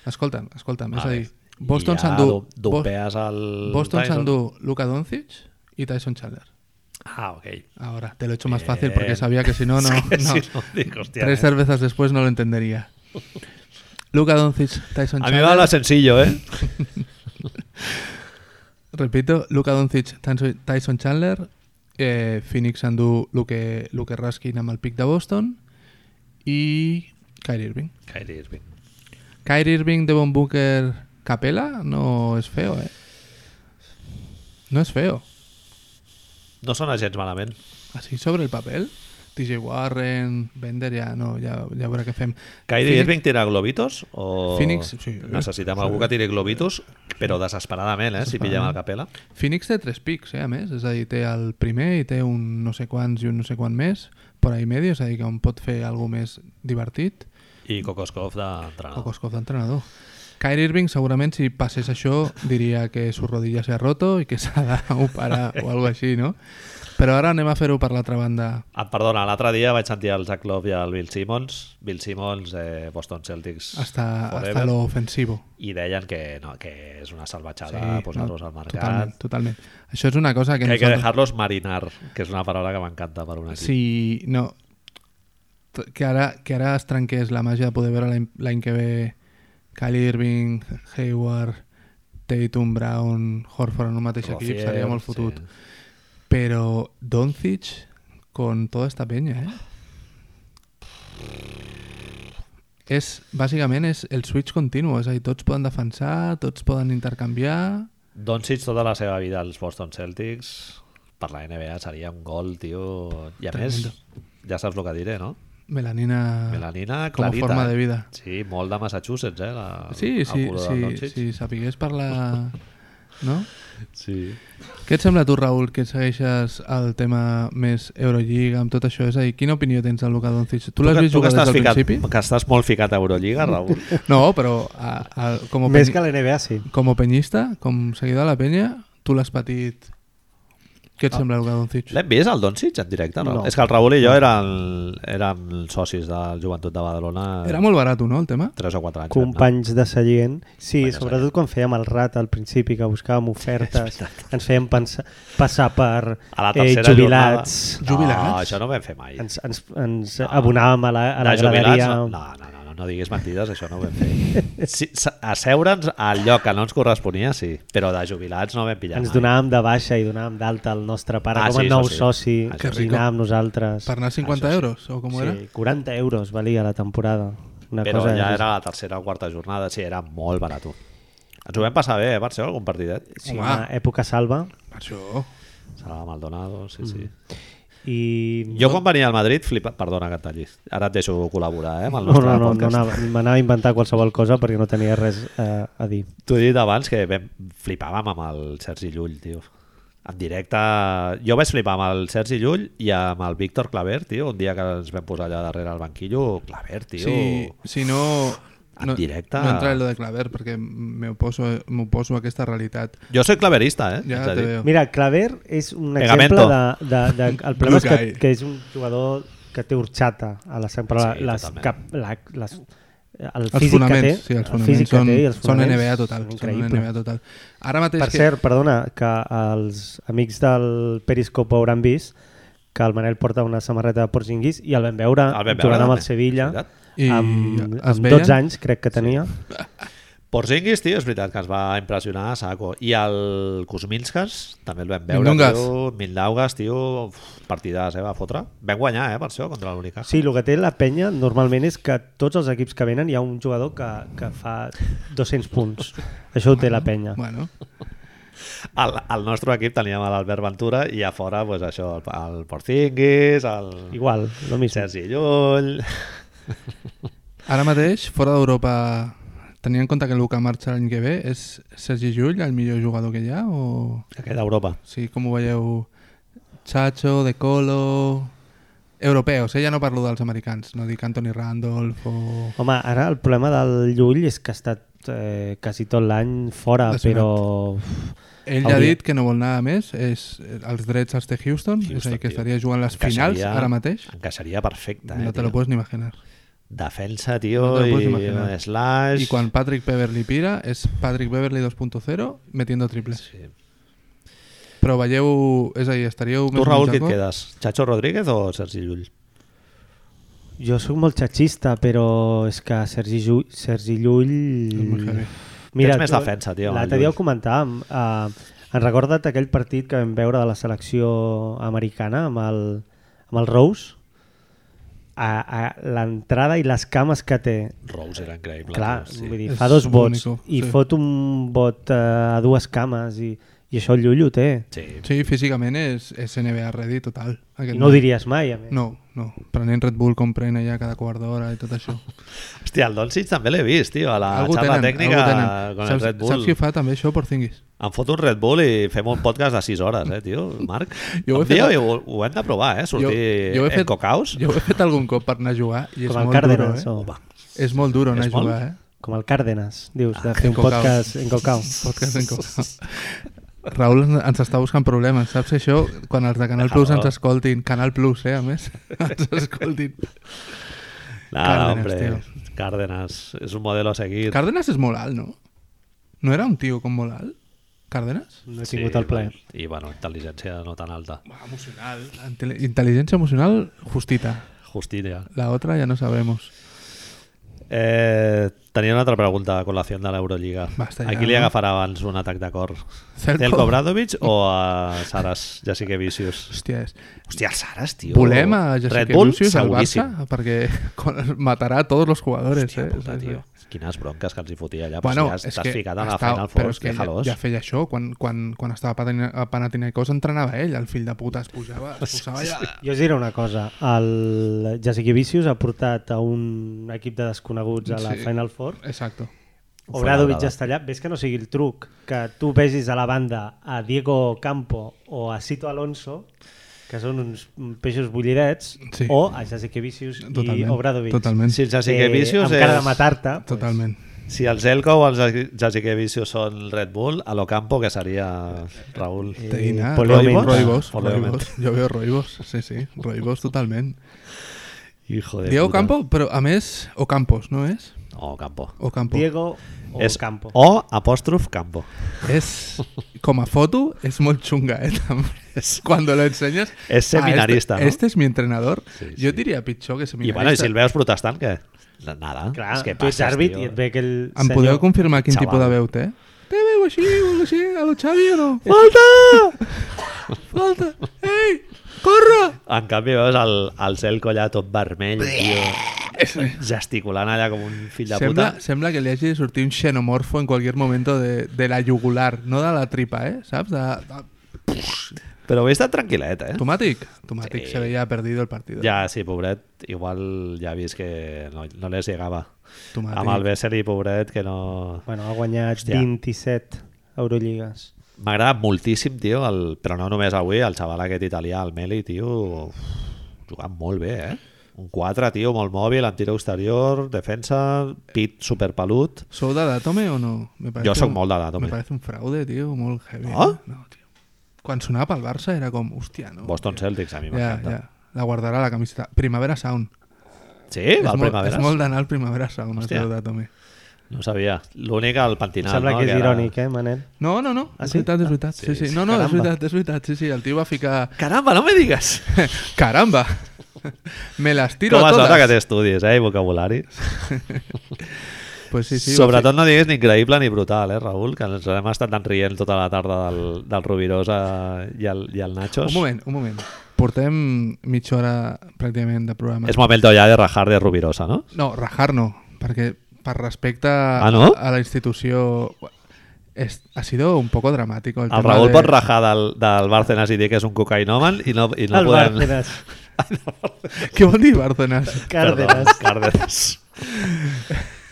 B: escolta'm, escolta'm, és a dir, Boston
A: I ja
B: s'endú
A: du- Dupees el...
B: Bo- Boston
A: Tyson.
B: s'endú Luka Doncic i Tyson Chandler.
A: Ah, ok.
B: Ahora, te lo he hecho más
A: Bien. [LAUGHS]
B: fácil porque sabía que si no, no.
A: Es que
B: no.
A: si no, dic, hòstia,
B: Tres
A: eh?
B: cervezas después no lo entendería. Luca Doncic, Tyson
A: A
B: Chandler.
A: mí me va la sencillo, ¿eh?
B: Repito, Luka Doncic, Tyson- Tyson Chandler, eh, Phoenix s'endú el que, el que rasquin amb el pic de Boston i Kyrie Irving.
A: Kyrie Irving.
B: Kyrie Irving, Devon Booker, Capela no és feo, eh? No és feo.
A: No sona gens malament.
B: Així sobre el paper, TJ Warren, Bender, ja, no, ja, ja veurà què fem.
A: Kyrie
B: Phoenix-
A: Irving tira globitos o...
B: Phoenix, sí.
A: Necessitem algú que tiri globitos, però desesperadament, eh? Si pillem el Capela.
B: Phoenix té tres pics, eh, a més. És a dir, té el primer i té un no sé quants i un no sé quant més per ahí medio, és a dir, que on pot fer alguna més divertit
A: I Kokoskov
B: o
A: d'entrenador.
B: Koskov d'entrenador. Kyrie Irving segurament si passés això diria que su rodilla se ha roto i que s'ha [LAUGHS] d'operar o alguna així, no? Però ara anem a fer-ho per l'altra banda.
A: Et Ah, perdona, l'altre dia vaig sentir el Zach Love i el Bill Simmons. Bill Simmons, eh, Boston Celtics
B: Hasta,
A: forever.
B: hasta lo ofensivo.
A: I deien que, no, que és una salvatjada sí, posar-los doncs, al mercat.
B: Totalment, totalment. Això és una cosa que...
A: Que hay que
B: nosaltres-
A: dejarlos marinar, que és una paraula que m'encanta per un equip.
B: Sí, no. T- Que ara, que ara es trenqués la màgia de poder veure l'any- l'any que ve Kylie Irving, Hayward, Tatum, Brown, Horford en un mateix
A: Rozier,
B: equip, seria molt fotut.
A: sí.
B: Però Doncic con toda esta peña, eh? És, bàsicament és el switch continu, és a dir, tots poden defensar, tots poden intercanviar...
A: Doncic tota la seva vida als Boston Celtics per la NBA seria un gol, tio. I a
B: Tremendo.
A: més, ja saps el que diré, no?
B: Melanina,
A: Melanina
B: com a
A: clarita.
B: forma
A: eh?
B: de vida.
A: Sí, molt de Massachusetts, eh? La,
B: Sí,
A: el
B: sí,
A: culo del
B: sí,
A: Doncic.
B: sí, sapigués
A: [LAUGHS]
B: parlar... No?
A: sí.
B: Què et sembla a tu, Raül, que segueixes el tema més Eurolliga amb tot això? És a dir, quina opinió tens del Luka Doncic? Tu l'has
A: que-
B: vist
A: que
B: jugar des
A: estàs
B: del
A: ficat,
B: principi? Mm.
A: Que estàs molt ficat a Eurolliga, Raül.
B: No, però a, a, com, a
C: Més
B: peny-
C: que la NBA, sí.
B: com a penyista, com seguidor de la penya, tu l'has patit. Què et
A: Ah.
B: sembla el Luka Doncic?
A: L'hem vist, el Doncic, en directe? No?
C: No.
A: És que el Raül i jo érem, érem socis del Joventut de Badalona
B: Era molt barat, no, el tema?
A: 3 o 4 anys. eh? vam anar.
C: Companys de Sallent. Sí,
A: Companys de
C: sobretot quan fèiem el rat al principi, que
A: [LAUGHS]
C: buscàvem ofertes, ens fèiem pensar, passar per
A: A la
C: eh,
A: tercera
C: jubilats,
A: jornada.
B: Jubilats?
A: No, això no ho vam fer mai.
C: ens, ens, ens abonàvem a la, a la
A: De
C: graderia.
A: jubilats, No, no, no, no, no diguis mentides, això no ho vam fer. Sí, s- Asseure'ns al lloc que no ens corresponia, sí, però de jubilats no vam pillar
C: Ens
A: mai.
C: donàvem de baixa i donàvem d'alta al nostre pare
A: Ah,
C: com
A: sí,
C: a
A: això
C: nou
A: sí. Ah,
C: soci,
A: Això
C: que
B: sí.
C: dinàvem nosaltres.
B: Per anar a 50 euros, o com
C: sí,
B: era?
C: 40 euros valia la temporada. Una
A: Però
C: cosa
A: ja
C: així.
A: era la tercera o quarta jornada, sí, era molt barat. Ens ho vam passar bé, eh, Barça, algun partidet?
C: Sí,
B: Home.
C: una època salva.
B: Per això...
A: Sala Maldonado, sí,
B: Mm.
A: sí.
C: I...
A: Jo quan venia al Madrid, flipa... Perdona que et tallis. Ara et deixo col·laborar, eh, amb el
C: No,
A: nostre
C: no, no, no
A: podcast.
C: anava- m'anava a inventar qualsevol cosa perquè no tenia res eh, a dir.
A: T'ho he dit abans que vam, flipàvem amb el Sergi Llull, tio. En directe... Jo vaig flipar amb el Sergi Llull i amb el Víctor Claver, tio, un dia que ens vam posar allà darrere al banquillo. Claver, tio...
B: Si, si no...
A: En
B: no,
A: directe.
B: No entra en lo de Claver, perquè m'oposo m'oposo a aquesta realitat.
A: Jo soy claverista, eh?
B: Ja
A: T'haig de
B: te
A: dir.
B: veo.
C: Mira, Claver és un
A: Pegamento.
C: exemple de, de, de, el problema és
B: Blue
C: que,
B: guy.
C: que és un jugador que té horxata a la sempre
A: Sí,
C: les,
A: totalment.
C: cap, la, les, el
B: Els
C: físic que té,
B: fonaments, sí, els
C: el
B: fonaments
C: físic que
B: són,
C: té i els
B: són
C: fonaments
B: NBA total.
C: són
B: Són
C: increïbles.
B: NBA total. Ara mateix...
C: Per cert, perdona, que els amics del Periscope hauran vist que el Manel porta una samarreta de Porzingis i el vam veure,
A: El vam veure,
C: jugant amb
A: també,
C: el Sevilla
A: és veritat.
B: I
C: amb,
B: es
C: amb
B: veien?
C: 12 anys, crec que tenia. Sí.
A: Porzingis, tio, és veritat que ens va impressionar a saco. I el Kuzminskas, també el vam veure,
B: Mindaugas.
A: tio. Mindaugas, tio, uf, partidàs, eh, va fotre. Vam guanyar, eh, per això, contra l'Unicaja.
C: sí, el que té la penya normalment és que tots els equips que venen hi ha un jugador que, que fa 200 punts. Això ho té la penya.
B: Bueno,
A: Al, al nostre equip teníem a l'Albert Ventura i a fora, pues, això, el, el Porzingis, el...
C: Igual, el
A: I
C: mismo.
A: Sergi Llull...
B: ara mateix, fora d'Europa, tenint en compte que Luca marxa l'any que ve, és Sergi Llull el millor jugador que hi ha? O...
A: Aquest d'Europa.
B: Sí, com ho veieu? Chacho, De Colo... Europeus, eh? Ja no parlo dels americans, no dic Anthony Randolph o...
C: Home, ara el problema del Llull és que ha estat eh, quasi tot l'any fora,
B: Lesionat.
C: però...
B: Ell ja ha
C: Hauria-
B: dit que no vol nada més, és eh, els drets als de Houston, Houston és a
A: Houston,
B: dir, que
A: tio.
B: estaria jugant les finals
A: Encaixaria-
B: ara mateix.
A: Encaixaria perfecte, eh,
B: No te
A: tio.
B: lo puedes ni imaginar.
A: Defensa, tio,
B: No te lo
A: i
B: puedes imaginar.
A: un slash...
B: Y cuando Patrick Beverly pira, es Patrick Beverly 2.0 metiendo triples.
A: Sí.
B: Però veieu, és a dir, estaríeu...
A: Tu,
B: més
A: Raül,
B: menys
A: qui et
B: d'acord?
A: quedes? Chacho Rodríguez o Sergi Llull?
C: Jo sóc molt xatxista, però és que Sergi, Ju Sergi Llull...
B: És molt heavy.
A: Tens més
C: tu-
A: defensa, tio, el
C: L'altre dia
A: Llull.
C: ho comentàvem. Eh, en recorda't aquell partit que vam veure de la selecció americana amb el, amb el Rose? A, a l'entrada i les cames que té
A: Rose era increïble.
C: Clar,
A: tio, sí.
C: vull dir,
B: És
C: fa dos vots
B: l'único,
C: i
B: sí.
C: fot un vot eh, a dues cames i, i això el Llull ho té.
A: Sí.
B: Sí, físicament és, és NBA ready total. Aquest
C: I no ho diries mai, a més.
B: No, no. Prenent Red Bull com pren allà cada quart d'hora i tot això.
A: Hòstia, el Doncic també l'he vist, tio, a Ah, la xarra tècnica amb el
B: saps,
A: Red Bull.
B: saps qui fa també això, Porzingis?
A: Em foto un Red Bull i fem un podcast de 6 hores, eh, tio, Marc?
B: Jo ho he
A: Un dia
B: fet-
A: ho, ho hem de provar, eh? Sortir jo, jo en fet... cocaus. Jo...
B: jo ho he fet algun cop per anar a jugar i és
C: Com el
B: molt
C: Cárdenas,
B: duro, eh?
C: o...
B: És molt duro anar
A: És
B: a jugar,
A: molt?
B: eh?
C: Com el Cárdenas, dius, de fer
B: en
C: un
B: Cocao.
C: podcast en Cocao.
B: Ah, Podcast en Coca. [LAUGHS] Raül ens- ens està buscant problemes, saps això? Quan els de Canal Plus ens escoltin, Canal Plus, eh, a més, [LAUGHS] ens escoltin.
A: No,
B: Cárdenas,
A: Cárdenas, hombre,
B: tio.
A: Cárdenas. És un modelo a seguir.
B: Cárdenas és molt alt, no? No era un tio com molt alt? Cárdenas?
C: No he tingut el plaer.
A: I, bueno, intel·ligència no tan alta.
B: Emocional. Intel·ligència emocional justita.
A: Justícia.
B: La otra ya no sabemos.
A: Eh, tenia una altra pregunta a col·lació de l'Eurolliga.
B: Basta ja,
A: A qui li
B: no?
A: agafarà abans un atac de cor?
B: Zelko.
A: Zelko Bradovic o a Saras, ja sí que vicius?
B: Hòstia, és...
A: Hòstia, el Saras, tio.
B: Volem a Jessica
A: Red Bull,
B: Lucius al
A: seguríssim.
B: Barça perquè [LAUGHS] matarà a tots los jugadores.
A: Hòstia
B: eh?
A: puta,
B: Sí, sí.
A: tio. Quines bronques que els hi fotia allà. Bueno,
B: Bueno,
A: si has-
B: és
A: T'has
B: que
A: ficat a la
B: estava-
A: Final
B: però
A: Four,
B: és
A: que
B: que ja,
A: jalós.
B: ja feia això, quan, quan, quan estava a Patani- a Panathinaikos entrenava ell, el fill de puta, es pujava, es posava allà.
C: Jo us diré una cosa, el Jessica Vicius ha portat a un equip de desconeguts a la
B: Sí.
C: sí. Final Four.
B: Exacto.
C: Obradovic
A: Foradada.
C: ja està allà, ves que no sigui el truc, que tu vegis a la banda a Diego Campo o a Cito Alonso, que són uns peixos bullidets,
B: Sí.
C: sí. o a Jessica Vicius i
B: Totalment.
C: Obradovic.
B: Totalment.
A: Si el Jasikevicius
C: amb
A: és...
C: cara de matar-te.
B: Totalment.
A: Si el Zelko o el Jasikevicius són Red Bull, a l'Ocampo, que seria Raül. eh,
B: Teina,
C: Poleo
B: Roibos,
A: Menta. Poleo
B: Roibos. Jo veo Roibos, sí, sí, Roibos totalment.
A: Hijo de
B: Diego
A: puta.
B: Campo, però a més, o Campos, no és?
A: No, Campo.
B: O Campo.
C: Diego o
A: és
C: Campo.
A: O apòstrof Campo.
B: És, com a foto, és molt xunga, eh, també. Cuando lo enseñas...
A: És seminarista,
B: ah,
A: no?
B: este, Este es mi entrenador.
A: Sí,
B: Jo diria pitjor que
A: I,
B: seminarista.
A: bueno, i si el veus protestant, què? Nada.
C: Clar,
A: és que
C: tu ets
A: passes,
C: àrbit
A: tio.
C: i et ve aquell
B: Em podeu confirmar quin
A: Xaval.
B: tipus de veu té? Té veu així, veu així, a lo Xavi o no?
A: Falta!
B: Falta! Ei, corre!
A: En canvi veus el, el Zelko allà tot vermell, tio, gesticulant allà com un fill de
B: Sembla,
A: puta.
B: sembla que li hagi de sortir un xenomorfo en cualquier momento de, de la yugular, no de la tripa, eh? Saps? De, de...
A: Però ho he estat tranquil·let, eh?
B: Tomatic. Tomatic
A: Sí.
B: se veia perdido el partido.
A: Ja, sí, pobret, igual ja he vist que no, no les llegava.
B: Tomatic.
A: Amb el Besseri, pobret, que no...
C: Bueno, ha guanyat
A: Hòstia.
C: Hòstia. 27 Eurolligas.
A: M'ha agradat moltíssim, tio, el... però no només avui, el xaval aquest italià, el Meli, tio, uf, jugant molt bé, eh? Un 4, tio, molt mòbil, amb tiro exterior, defensa, pit superpelut.
B: Sou de Datome o no? Me parece
A: Jo sóc
B: un-
A: molt de Ah? Datome.
B: Me parece un fraude, tio, molt heavy.
A: No?
B: No, tio. Quan sonava pel Barça era com, hòstia, no?
A: Boston Celtics, a mi
B: Ja,
A: m'encanta.
B: ja. La guardarà la camiseta. Primavera Sound.
A: Sí, va
B: és,
A: al
B: molt,
A: Primaveras?
B: és molt d'anar al Primavera Sound,
A: Hòstia.
B: Hòstia. el de Datome.
A: No ho sabia. L'únic al
C: No,
A: pentinat.
C: Sembla
A: no?
C: que és
A: era-
C: irònic, eh, Manel?
B: No, no, no,
C: Ah,
B: és
C: sí?
B: veritat, és veritat. Sí,
A: sí,
B: sí.
A: sí.
B: No, no, és
C: Caramba.
B: veritat, és veritat. Sí, sí, el tio va ficar... [LAUGHS]
A: Caramba, no me digues!
B: Caramba! [LAUGHS] Me las tiro
A: Com es nota
B: totes.
A: que t'estudis, eh, i vocabulari.
B: Pues sí, sí, va
A: Sobretot no diguis ni increïble ni brutal, eh, Raül, que ens hem estat tan rient tota la tarda del, del Rovirosa i el, i el
B: ficar-
A: Nachos.
B: Un moment, un moment. Portem mitja hora pràcticament de programa.
A: És momento ja de rajar de Rovirosa, no?
B: No, rajar no, perquè per respecte
A: Ah, no?
B: a, a la institució... Es, ha sido un poco dramático. El,
A: El
B: tema
A: Raül
B: de...
A: pot rajar del, del Bárcenas i dir que és un cocainòman i no, i no
C: el
A: podem... [LAUGHS]
C: Bárcenas.
B: [LAUGHS] Què vol dir Bárcenas?
C: Cárdenas.
A: Cárdenas.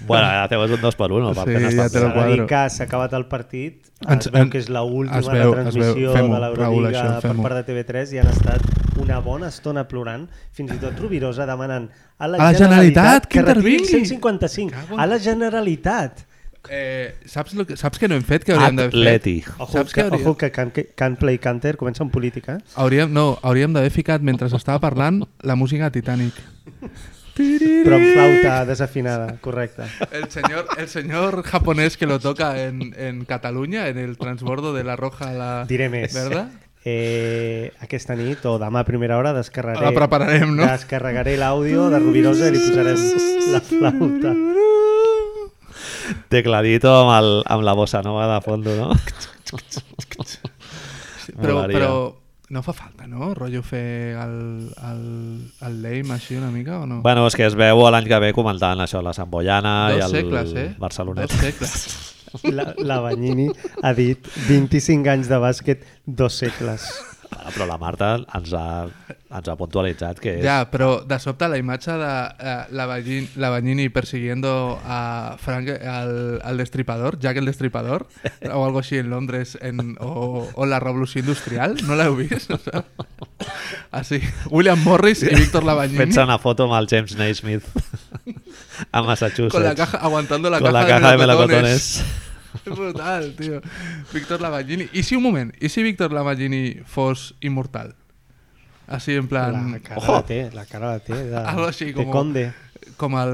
A: bueno, ara teu és un dos per un, el
B: Sí,
A: Bárcenas
B: ja te
A: també.
B: lo
C: S'ha de dir
B: quadro.
C: que s'ha acabat el partit,
B: Ens-
C: es veu
B: en-
C: que és
B: es
C: l'última
B: veu- es
C: retransmissió
B: veu. Fem-ho,
C: de
B: Raül,
C: l'Eurolliga
B: això,
C: per
B: fem-ho.
C: part de TV3 i han estat una bona estona plorant, fins i tot Rovirosa demanant a la,
B: A la Generalitat, que
C: que retiri
B: intervingui.
C: el 155,
B: Cago en-
C: a la Generalitat.
B: Eh, saps, lo que, saps que no hem fet que hauríem de fer?
A: Atleti.
C: Ojo,
B: Saps
C: que,
B: què hauria-
C: ojo que can, can Play Canter comença en política. eh?
B: Hauríem, no, hauríem d'haver ficat, mentre estava parlant, la música de Titanic.
C: Però amb flauta desafinada, correcte.
B: El señor, el señor japonés que lo toca en, en Cataluña, en el transbordo de la Roja a la...
C: Diré més.
B: ¿Verdad?
C: eh, aquesta nit o demà a primera hora descarregaré...
B: La prepararem, no?
C: Descarregaré l'àudio de Rubirosa i li posarem la flauta.
A: Tecladito amb, el, amb la bossa nova de fondo,
B: [LAUGHS]
A: no?
B: Però,
A: Molaria.
B: però no fa falta, no? Rotllo fer el, el, el lame així una mica o no?
A: Bueno, és que es veu l'any que ve comentant això, la Samboyana i
B: Dos
A: el
B: segles, eh?
A: Barcelonet.
B: Dos segles.
C: La, la Banyini ha dit 25 anys de bàsquet, dos segles.
A: Bueno, però la Marta ens ha, ens ha puntualitzat que és...
B: Ja, però de sobte la imatge de eh, la, Bagin, la Bagnini persiguiendo a Frank, al, al destripador, Jack el destripador, o algo així en Londres, en, o, o la revolució industrial, no l'heu vist? O sea, així, William Morris i Víctor Lavagnini
A: Fets una foto amb el James Naismith [LAUGHS] a Massachusetts.
B: con la caja, aguantando la
A: Con
B: caja,
A: la caja de
B: melocotones. [LAUGHS]
A: melocotones.
B: És brutal, tio. Víctor Lavagnini. I si un moment, i si Víctor Lavagnini fos immortal? Així, en
C: La
B: plan,
C: cara la té, la cara la té. De,
B: Algo així,
C: de
B: como-
C: Conde.
B: com el...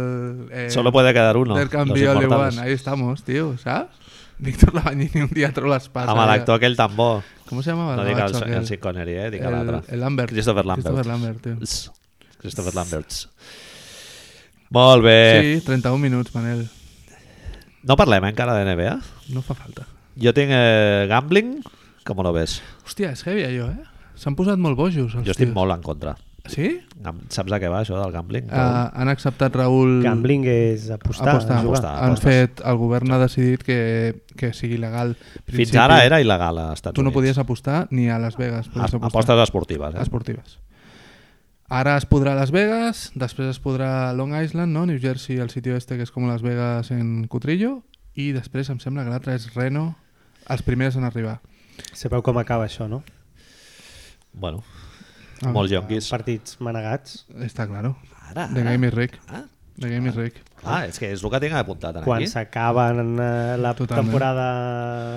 B: Eh,
A: Solo puede quedar uno.
B: Del
A: los
B: cambio de
A: inmortales.
B: Lewan. Ahí estamos, tío, ¿sabes? Víctor Lavagnini un día troll las pasas.
A: Amb l'actor aquell tan bo.
B: ¿Cómo se llamaba?
A: No
B: el
A: dic el,
B: gabacho
A: el
B: aquel?
A: Sean Connery, eh? Dic
B: El-
A: l'altre.
B: el Lambert.
A: Christopher Lambert.
B: Christopher Lambert, tío.
A: Christopher Lambert. Molt bé.
B: Sí, 31 minutos, Manel.
A: Sí. No parlem eh, encara de NBA?
B: No fa falta.
A: Jo tinc eh, gambling, com lo ves?
B: Hostia, es heavy allò, eh? S'han posat molt bojos, els
A: Jo estic
B: tios.
A: molt en contra.
B: Sí?
A: Gam- Saps a què va això del gambling?
B: Ah, han acceptat Raül...
C: Gambling és apostar.
B: Mm. apostar.
C: jugar.
A: Apostar.
B: Han fet, el govern ha decidit que, que sigui legal.
A: Fins ara era il·legal a Estats
B: Tu no
A: Units.
B: podies apostar ni a Las Vegas.
A: A-
B: podies apostar.
A: Apostes esportives, eh?
B: esportives. Ara es podrà a Las Vegas, després es podrà a Long Island, no? New Jersey, el sitio este que és com Las Vegas en Cutrillo, i després em sembla que l'altre és Reno, els primers en arribar.
C: Sabeu com acaba això, no?
A: Bueno,
B: Ah,
A: molts jonquis.
C: Partits manegats.
B: Està claro.
A: Ara,
B: The Game is Rick.
A: Ah.
B: The Game is Rick.
A: Ah, és que és el que tinc apuntat en
C: Quan
A: aquí.
C: s'acaba eh, la
B: Totalment.
C: temporada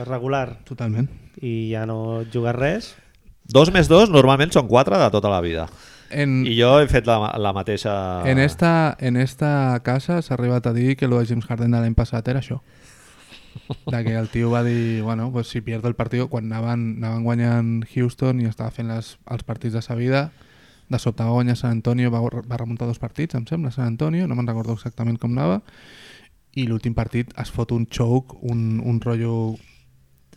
C: regular
B: Totalment.
C: i ja no et jugues res,
A: Dos més dos normalment són quatre de tota la vida.
B: En,
A: I jo he fet la, la mateixa...
B: Mm. en,
A: Ah.
B: esta, en esta casa s'ha arribat a dir que lo de James Harden de l'any passat
A: [LAUGHS]
B: era això. De que el tio va dir, bueno, pues si pierdo el partit, quan anaven, anaven guanyant Houston i estava fent les, els partits de sa vida, de sobte va guanyar San Antonio, va, va remuntar dos partits, em sembla, San Antonio, no me'n recordo exactament com anava, i l'últim partit es fot un choke, un, un rotllo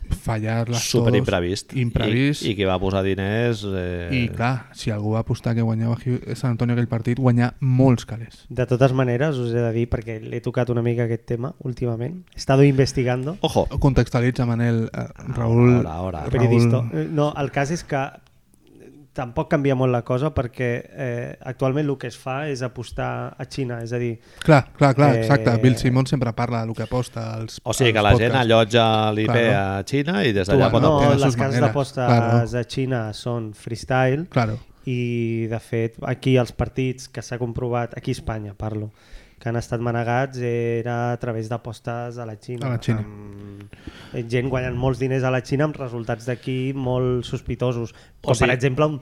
B: fallar les
A: super imprevist.
B: imprevist
A: I, I qui va posar diners... Eh...
B: I clar, si algú va apostar que guanyava Hiu- Sant Antonio aquell partit, guanyar molts calés.
C: De totes maneres, us he de dir, perquè l'he tocat una mica aquest tema últimament, he estado investigando.
A: Ojo,
B: Contextualitza, Manel, eh, Raül...
A: Ara, ara, ara.
C: Periodista. Eh, No, el cas és que eh, tampoc canvia molt la cosa perquè eh, actualment el que es fa és apostar a Xina, és a dir,
B: Clar, clar, clar,
C: Eh,
B: exacte. Bill Simon sempre parla del que aposta als
A: o sigui que
B: als
A: la gent
B: podcasts.
A: allotja l'IP
B: Clar, no?
A: a Xina i des
B: Tu,
A: d'allà
B: bueno,
A: pot
C: no,
B: tenen
C: les
B: sus
C: cases
B: maneres,
C: d'apostes
B: claro.
C: a Xina són freestyle
B: Claro,
C: i de fet aquí els partits que s'ha comprovat, aquí a Espanya parlo, que han estat manegats era a través d'apostes a la Xina.
B: A la Xina.
C: Amb... eh, Gent guanyant molts diners a la Xina amb resultats d'aquí molt sospitosos. Com,
A: O sigui-
C: Per exemple, un,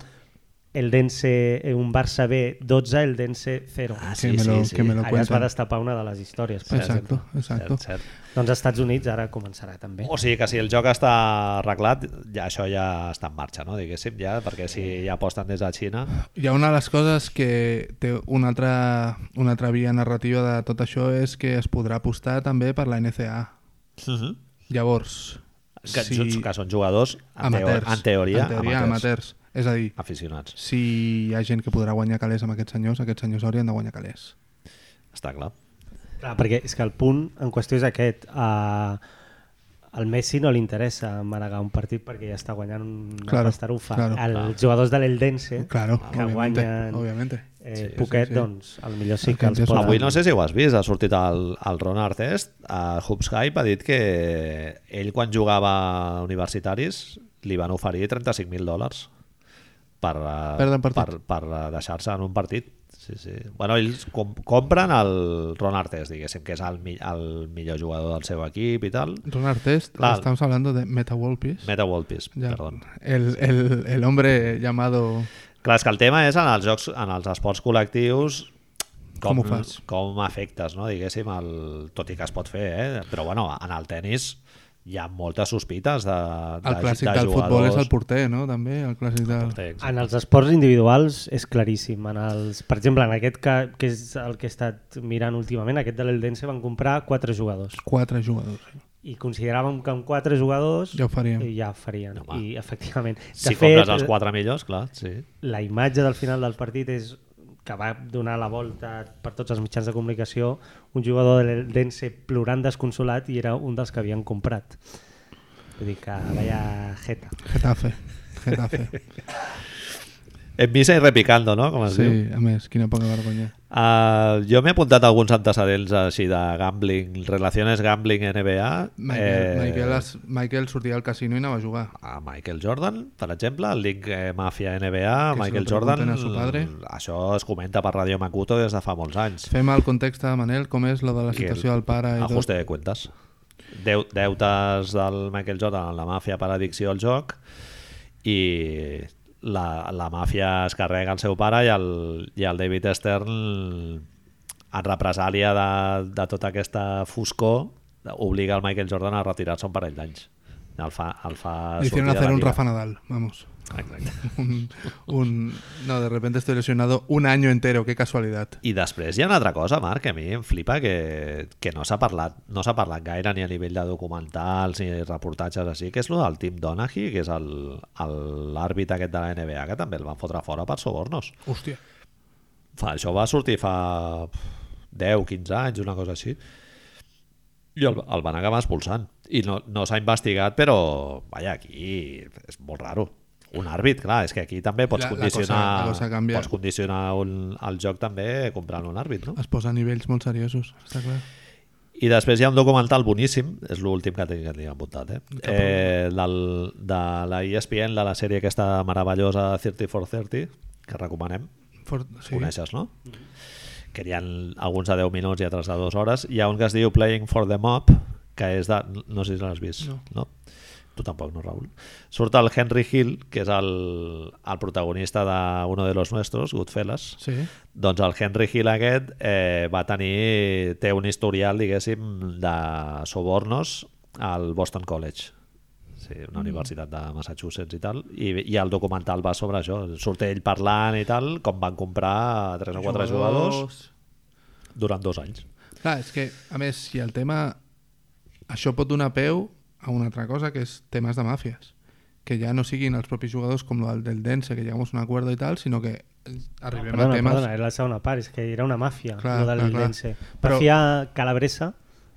C: el Dense, eh, un Barça B 12, el Dense 0.
A: Ah,
B: que me lo, que me lo
C: Allà es va
B: cuentan.
C: destapar una de les històries. Per exemple.
B: Exacto, exacto.
A: Cert, cert.
C: Doncs als Estats Units ara començarà també.
A: O sigui que si el joc està arreglat, ja això ja està en marxa, no? diguéssim, ja, perquè si ja aposten des de Xina...
B: Hi ha una de les coses que té una altra, una altra via narrativa de tot això és que es podrà apostar també per la NCA.
A: Uh -huh.
B: Llavors,
A: que, sí. que són jugadors, en, teo
B: amateurs,
A: en teoria,
B: en teoria amateurs. És a dir,
A: aficionats.
B: si hi ha gent que podrà guanyar calés amb aquests senyors, aquests senyors haurien de guanyar calés.
A: Està clar.
C: Clar, perquè és que el punt en qüestió és aquest. Uh, al Messi no li interessa manegar un partit perquè ja està guanyant una
B: Claro,
C: claro, pastarufa.
B: claro.
C: Els jugadors de l'Eldense,
B: Claro,
C: que
B: obviamente,
C: guanyen
B: obviamente.
C: eh, sí, poquet,
B: sí, sí.
C: sí, doncs, al millor sí
B: El
C: que els
B: Eldense
C: poden...
A: Avui no sé si ho has vist, ha sortit el, el Ron Artest, a Hoops Hype ha dit que ell quan jugava a universitaris li van oferir 35.000 dòlars per, eh,
B: Perdre un partit.
A: per, per eh, deixar-se en un partit. Sí, sí. Bueno, ells com, compren el Ron Artest, diguéssim, que és el, mi- el millor jugador del seu equip i tal.
B: Ronald Test,
A: Claro.
B: estamos hablando de Meta Wolpis.
A: Meta World Peace,
B: Ya,
A: perdó.
B: el, el, el hombre llamado...
A: Clar, és que el tema és en els, jocs, en els esports col·lectius com,
B: Com ho fas?
A: com afectes, no? diguéssim, el, tot i que es pot fer, eh? però bueno, en el tennis hi ha moltes sospites de, de,
B: El clàssic
A: de
B: del futbol
A: jugadors.
B: és el porter, no? També, el clàssic del...
A: Porter, exacte.
C: En els esports individuals és claríssim. En els, per exemple, en aquest que, que és el que he estat mirant últimament, aquest de l'Eldense van comprar quatre jugadors
B: Quatre jugadors.
C: i consideràvem que amb quatre jugadors
B: Ja ho faríem.
C: ja ho farien.
A: Home.
C: I efectivament. De eh,
A: Si compres els quatre millors, clar, sí.
C: la imatge del final del partit és que va donar la volta per tots els mitjans de comunicació un jugador de l'Eldense plorant desconsolat i era un dels que havien comprat vull dir que vaya jeta
B: Getafe.
A: [LAUGHS]
B: Getafe.
A: En misa i repicando, no? Com es
B: Sí,
A: diu.
B: a més, quina poca vergonya.
A: Uh, jo m'he apuntat alguns antecedents així de gambling, relaciones gambling NBA. Eh,
B: Michael, Michael, es, Michael sortia al casino i anava a jugar.
A: a Michael Jordan, per exemple, el link eh, Mafia NBA,
B: Que se
A: Michael
B: lo
A: Jordan,
B: pregunten a su padre.
A: això es comenta per Radio Makuto des de fa molts anys.
B: Fem el context de Manel, com és la de la
A: I el
B: situació del pare i tot.
A: Ajuste de cuentas. Deu, deutes del Michael Jordan a la màfia per addicció al joc i la, la màfia es carrega el seu pare i el, i el David Stern en represàlia de, de tota aquesta foscor obliga el Michael Jordan a retirar-se un parell d'anys. El fa, el fa
B: Le
A: sortir de
B: hicieron
A: la
B: hacer un
A: lliga.
B: Rafa Nadal, vamos. [LAUGHS]
A: Exacte.
B: Un, un- no, de repente estoy lesionado un año entero, qué casualidad.
A: I després hi ha una altra cosa, Marc, que a mi em flipa que, que no s'ha parlat, no s'ha parlat gaire ni a nivell de documentals ni reportatges així, que és lo del Tim Donaghy, que és el- el- l'àrbit aquest de la NBA, que també el van fotre fora per sobornos.
B: Hostia.
A: Fa, això va sortir fa pf, 10, 15 anys, una cosa així. I el, el van acabar expulsant. I no, no s'ha investigat, però, vaja, aquí és molt raro. Un àrbit, clar, és que aquí també pots
B: La- la cosa-
A: condicionar,
B: la cosa canvia.
A: pots condicionar un, el joc també comprant un àrbit, no?
B: Es posa a nivells molt seriosos, està clar.
A: I després hi ha un documental boníssim, és l'últim que tinc, que tinc apuntat, eh? eh del, de la E ESPN, de la sèrie aquesta meravellosa 30 for 30, que recomanem,
B: For, sí.
A: sí. coneixes, no? Que hi ha alguns de 10 minuts i altres de 2 hores. Hi ha un que es diu Playing for the Mob, que és de... No sé si l'has vist,
B: No.
A: no. no? Tu tampoc, no, Raül? Surt el Henry Hill, que és el, el protagonista de Uno de los Nuestros, Goodfellas,
B: Sí.
A: doncs el Henry Hill aquest eh, va tenir, té un historial, diguéssim, de sobornos al Boston College, sí, una universitat de Massachusetts i tal, i, i el documental va sobre això. Surt ell parlant i tal, com van comprar tres o quatre jugadors durant dos anys.
B: Clar, és que, a més, si el tema... Això pot donar peu a una altra cosa, que és temes de màfies. Que ja no siguin els propis jugadors com el del Dense, que llegamos un acuerdo i tal, sinó que arribem
C: perdona,
B: a temes...
C: perdona, eh. era la segona part, és que era una màfia
B: Clar,
C: clar, lo de
B: clar, clar.
C: l'Eldense
B: Però-
C: màfia calabresa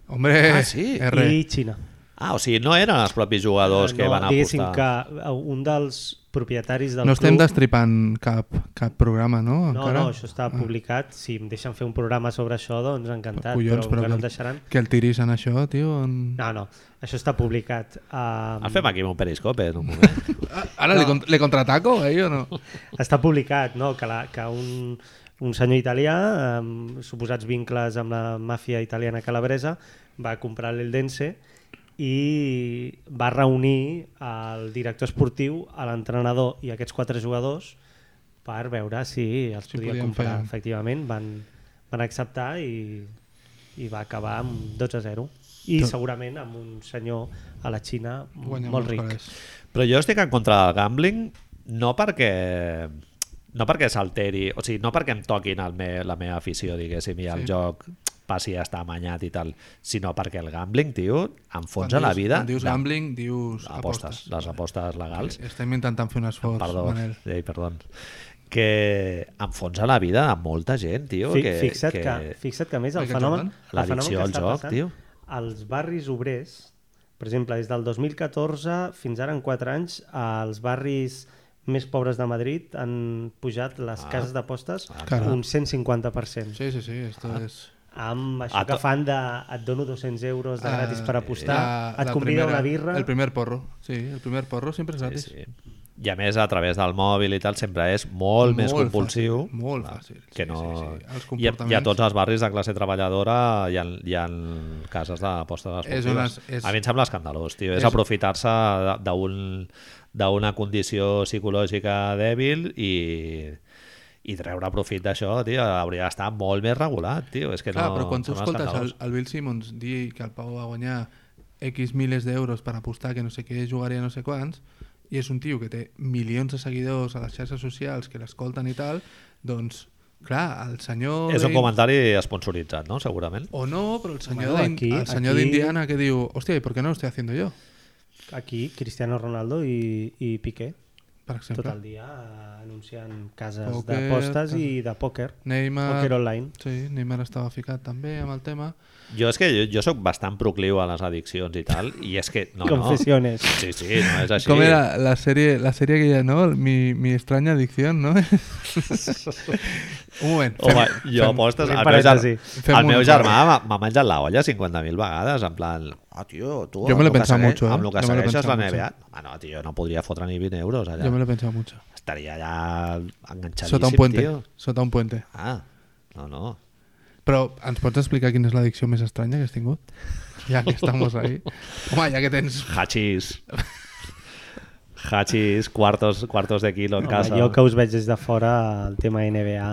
B: Hombre,
A: Ah, sí?
B: R.
C: i Xina
A: Ah, o sigui, no eren els propis jugadors Eh, que van
C: diguéssim
A: apostar.
C: que eh, un dels propietaris del
B: No estem
C: club
B: destripant cap, cap programa, no?
C: No,
B: Encara? Ah.
C: no, això està publicat. Si em deixen fer un programa sobre això, doncs encantat.
B: Collons,
C: però,
B: però
C: com que no em
B: que-
C: deixaran...
B: Que el tiris en això, tio... En...
C: No, no, això està publicat. Um,
A: El Ah, fem aquí amb un periscope en un moment.
B: Ah, Ara le, con- le contraataco, eh, o no?
C: Està publicat no? que, la, que un, un senyor italià amb suposats vincles amb la màfia italiana calabresa va comprar l'Eldense i va reunir el director esportiu, a l'entrenador i aquests quatre jugadors per veure si els
B: Si
C: podia
B: podien
C: comprar.
B: fer.
C: Efectivament, van, van acceptar i, i va acabar amb 12-0 i segurament amb un senyor a la Xina
B: Guanyem
C: molt
B: els
C: ric.
B: calés.
A: Però jo estic en contra del gambling no perquè no perquè s'alteri, o sigui, no perquè em toquin el me, la meva afició, diguéssim, i el
B: Sí.
A: joc passi a estar amanyat i tal, sinó perquè el gambling, tio, enfonsa
B: Quan
A: la
B: dius-
A: vida
B: Quan dius
A: de-
B: gambling, dius
A: apostes,
B: apostes.
A: les apostes legals
B: Estem intentant fer un esforç,
A: perdó,
B: Manel.
A: Ei, perdó que enfonsa la vida de molta gent, tio.
C: Fi,
A: que,
C: fixa't, que... Que, fixa't que a més el
B: Michael Jordan?
C: fenomen, el fenomen
A: L'addicció
C: que
A: al
C: està
A: joc,
C: passant
A: tio.
C: als barris obrers, per exemple, des del 2014 fins ara en 4 anys, als barris més pobres de Madrid han pujat les cases d'apostes
B: Caram.
C: un 150%. Sí.
B: Sí, sí, sí, esto
C: Ah,
B: es...
C: Amb
A: A
C: això que
A: to-
C: fan de et dono 200 euros de gratis per apostar,
B: Ah, eh, la-
C: et
B: la primera-
C: convida una birra...
B: El primer porro, sí, el primer porro sempre és gratis.
A: Sí. I a més, a través del mòbil i tal, sempre és molt, més
B: Molt
A: compulsiu.
B: fàcil, molt fàcil.
A: Que
B: Sí,
A: no...
B: sí, sí. Els
A: I, a, I a
B: comportaments-
A: tots els barris de classe treballadora hi ha, hi ha cases d'apostes
B: És on
A: esportives.
B: es- és-
A: A mi em sembla escandalós, tio. És,
B: és-
A: és aprofitar-se de- d'un d'una condició psicològica dèbil i, i treure profit d'això, tio, hauria d'estar molt més regulat, tio. És que
B: Clar,
A: no,
B: però quan tu
A: em sembla
B: escoltes el,
A: escandalós.
B: el Bill Simmons dir que el Pau va guanyar X miles d'euros per apostar que no sé què jugaria no sé quants, i és un tio que té milions de seguidors a les xarxes socials que l'escolten i tal, doncs, clar, el senyor...
A: És un
B: d'In-
A: comentari esponsoritzat, no? Segurament.
B: O no, però el senyor
C: Bueno,
B: d'In-
C: aquí-
B: el senyor
C: aquí-
B: d'Indiana que diu, hòstia, ¿y por qué no lo estoy haciendo yo?
C: Aquí, Cristiano Ronaldo i, i Piqué,
B: Per exemple.
C: tot el dia eh, anunciant cases
B: Pòquer,
C: d'apostes
B: tal.
C: i de pòquer.
B: Neymar...
C: Pòquer online.
B: Sí, Neymar estava ficat també amb el tema.
A: Jo és que jo, jo sóc bastant procliu a les addiccions i tal, i és que... No, no.
C: Confessiones.
A: Sí, sí, no és així.
B: Com era la sèrie, la sèrie aquella, no? Mi, mi estranya addicció,
A: [LAUGHS]
B: no? Un moment.
A: Home, jo apostes...
C: fem
A: El meu, ger...
C: parèntesi.
B: Fem
A: el meu
B: un-
A: germà m'ha- m'ha menjat la olla 50.000 vegades, en plan... Ah, tio, tu...
B: Yo me
A: amb
B: lo he
A: que
B: pensado
A: segueix-
B: mucho, eh?
A: Amb el que
B: Yo me lo he
A: segueixes la
B: pensado mucho.
A: NBA... Home, no, tio, no podria fotre ni 20 euros allà.
B: Yo me lo he pensado mucho.
A: Estaria allà enganxadíssim,
B: Sota un puente.
A: tio.
B: Sota un puente.
A: Ah, no, no.
B: Però ens pots explicar quina és l'addicció més estranya que has [LAUGHS] tingut? Ja que estamos ahí. Home, ja que tens...
A: Hachís. Hachís, cuartos, cuartos de kilo en
C: Home,
A: casa.
C: jo que us veig des de fora, el tema NBA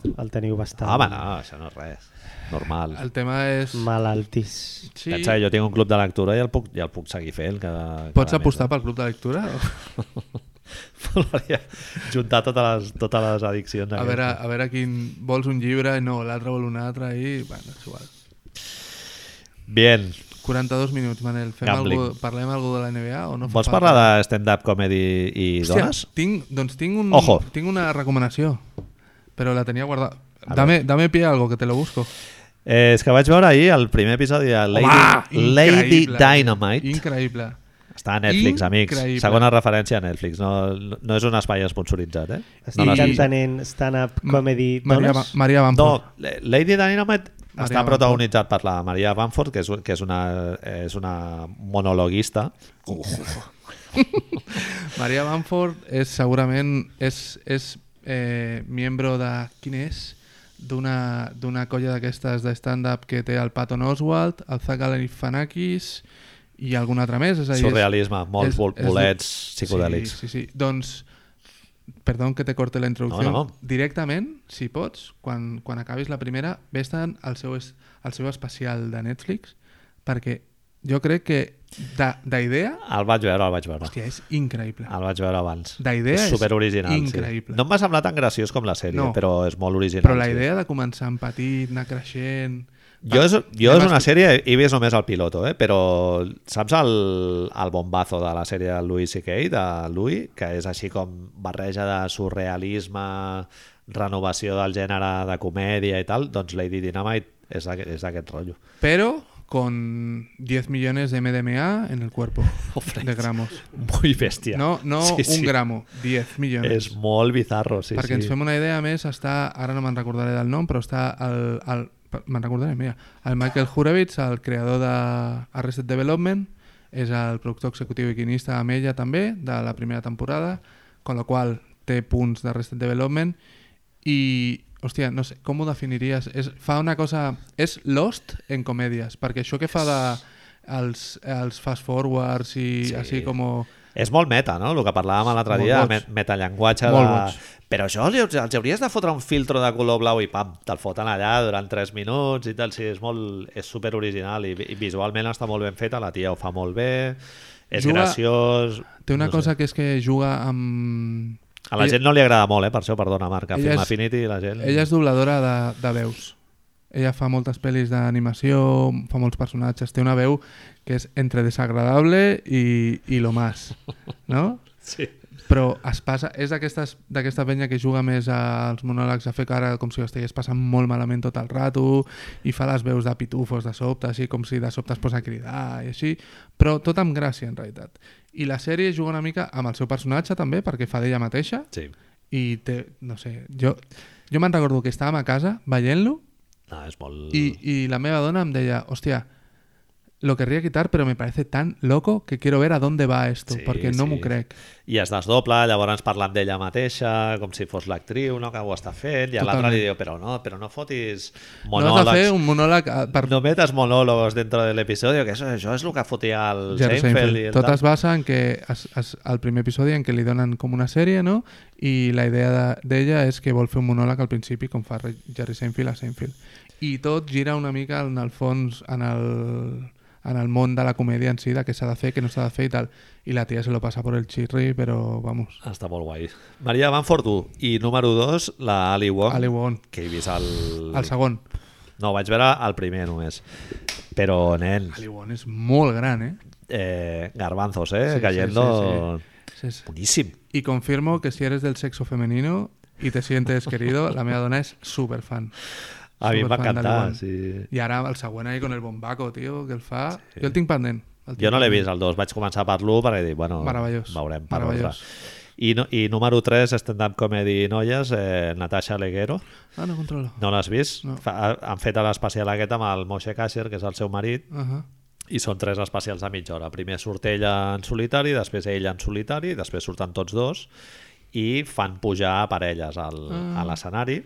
C: el teniu bastant
A: Home, no, això no és res. Normal.
B: El tema és...
C: malaltís.
B: Sí,
A: Sí. Pensa que jo tinc un club de lectura i el puc, i el puc seguir fent cada,
B: pots
A: cada
B: apostar pel club de lectura? O-
A: [LAUGHS] M'agradaria juntar totes les, totes les addiccions.
B: A veure, a veure quin... Vols un llibre? No, l'altre vol un altre i... Bueno, és igual.
A: Bien.
B: 42 minuts, Manel. Fem
A: Gambling.
B: algú, parlem algú de la NBA o no? fa
A: Vols
B: falta?
A: parlar de stand-up comedy i
B: Hòstia,
A: dones?
B: Tinc, doncs tinc, un,
A: Ojo.
B: tinc una recomanació, però la tenia guardada. Dame, dame pie a algo, que te lo busco.
A: Eh, és que vaig veure ahir el primer episodi de Lady,
B: Home,
A: Lady
B: increïble. eh?
A: Dynamite.
B: Increïble.
A: Està a Netflix, amics.
B: Increïble.
A: Segona referència a Netflix. No, no és un espai esponsoritzat, eh?
C: Estic
A: no
C: no
A: l'has vist.
C: entenent stand-up comedy
B: Maria,
C: dones?
B: Ba- Maria Bamford.
A: No, la- Lady Dynamite
B: Maria
A: està
B: Bamford.
A: protagonitzat per la Maria Bamford, que és, que és, una, és una monologuista.
B: Maria Bamford és segurament és, és eh, miembro de... Quin és? D'una d'una colla d'aquestes de stand-up que té el Patton Oswalt, el Zach Galifianakis i algun altre més. És a dir, és,
A: Surrealisme, molts
B: és-
A: bol-
B: és-
A: bolets psicodèlics.
B: Sí, sí, sí. Doncs, perdó que te corte la introducció.
A: No, no.
B: Directament, si pots, quan, quan acabis la primera, vés-te'n al, seu, es- al seu especial de Netflix, perquè jo crec que de- d'idea...
A: El vaig veure, el vaig veure.
B: Hòstia, és increïble.
A: El vaig veure abans.
B: La idea és
A: super original.
B: increïble.
A: Ah, Sí. No em va semblar tan graciós com la sèrie,
B: No.
A: no. però és molt original.
B: Però la
A: sí.
B: idea de començar en petit, anar creixent...
A: Jo és, jo
B: Anem
A: és
B: a
A: una
B: escoltar.
A: sèrie, he vist només el piloto, eh? però saps el, el bombazo de la sèrie de Louis C.K., de Louis, que és així com barreja de surrealisme, renovació del gènere de comèdia i tal, doncs Lady Dynamite és d'aquest és d'aquest rotllo.
B: Pero con 10 millones de MDMA en el
A: [LAUGHS]
B: cuerpo
A: Ofrens.
B: de gramos.
A: Muy bèstia.
B: No, no
A: sí,
B: un
A: sí.
B: gramo, 10 millones.
A: És molt bizarro, sí,
B: perquè
A: sí.
B: ens fem una idea, a més, està, ara no me'n recordaré del nom, però està el, el me'n recordaré, mira, el Michael Hurwitz, el creador de Arrested Development, és el productor executiu i guionista amb ella també, de la primera temporada, con la qual té punts d'Arrested Development i, hòstia, no sé, com ho definiries? És, fa una cosa... És Lost en comèdies, perquè això que fa de els, els fast-forwards i
A: Sí.
B: sí. així com...
A: És molt meta, no? El que parlàvem l'altre
B: Molt
A: dia,
B: boig.
A: me- metallenguatge
B: Molt
A: de...
B: boig.
A: Però això li- els hauries de fotre un filtro de color blau i pam, te'l foten allà durant 3 minuts i tal. Sí, és, molt, és super original i, i visualment està molt ben feta, la tia ho fa molt bé, és
B: Juga-
A: graciós...
B: Té una
A: no
B: no
A: sé.
B: cosa que és que juga amb...
A: A la gent no li agrada molt, eh? per això, perdona, Marc, a
B: Ella
A: Film
B: és-
A: Affinity la gent...
B: Ella és dobladora de, de veus. Ella fa moltes pel·lis d'animació, fa molts personatges, té una veu que és entre desagradable i, i lo más, no?
A: Sí.
B: Però es passa, és d'aquestes- d'aquesta penya que juga més als monòlegs a fer cara com si ho estigués passant molt malament tot el rato i fa les veus de pitufos de sobte, així com si de sobte es posa a cridar i així, però tot amb gràcia en realitat. I la sèrie juga una mica amb el seu personatge també, perquè fa d'ella mateixa,
A: sí.
B: i té, no sé, jo, jo me'n recordo que estàvem a casa veient-lo
A: No, és molt...
B: i, i la meva dona em deia, hòstia, lo querría quitar, pero me parece tan loco que quiero ver a dónde va esto,
A: Sí,
B: porque no
A: sí.
B: m'ho crec.
A: i es desdobla, llavors parlen d'ella mateixa com si fos l'actriu, no, que ho està fent i a l'altre
B: Totalment.
A: li diu, però no, però no fotis
B: Monòlegs. No has de
A: monòlegs
B: fer un monòleg eh, per
A: No metas monólogos dentro del episodio, que eso, això és el que fotia el
B: Jerry
A: Seinfeld.
B: Seinfeld.
A: i el
B: Tot
A: tal.
B: es basa en que es, es, el primer episodi en què li donen com una sèrie, no? I la idea de- d'ella de, és que vol fer un monòleg al principi com fa Re- Jerry Seinfeld a Seinfeld. I tot gira una mica en el fons, en el, en el món de la comèdia en si, de què s'ha de fer, què no s'ha de fer i tal. I la tia se lo passa por el chirri, però vamos,
A: Està molt guai. Maria Manfort 1 i número 2, la Ali Wong,
B: Ali Wong,
A: que he vist el...
B: el segon.
A: No, vaig veure el primer només. Però, nen,
B: Ali Wong és molt gran, eh?
A: eh, garbanzos, eh? cayendo...
B: Sí, sí.
A: Boníssim.
B: Y confirmo que si eres del sexo femenino y
A: [LAUGHS]
B: te sientes querido, la meva dona és superfan.
A: A mi em va
B: Superfan de Lee
A: encantar.
B: Won.
A: Sí.
B: I ara el següent ahí con el bombaco, tio, que el fa... Jo el tinc pendent. El tinc
A: Jo no l'he
B: pendent.
A: vist, el 2. Vaig començar per l'1 perquè dic, bueno,
B: Meravellós.
A: veurem per l'altre.
B: Meravellós.
A: I, no, I número 3, stand-up comedy noies, eh, Natasha Leguero.
B: Ah, no controlo.
A: No l'has vist?
B: No.
A: Fa, han fet l'especial aquest amb el Moshe Kasher, que és el seu marit,
B: Ahà.
A: i són tres especials de mitja hora. Primer surt ella en solitari, després ell en solitari, després surten tots dos i fan pujar parelles al,
B: Mm.
A: ah. a l'escenari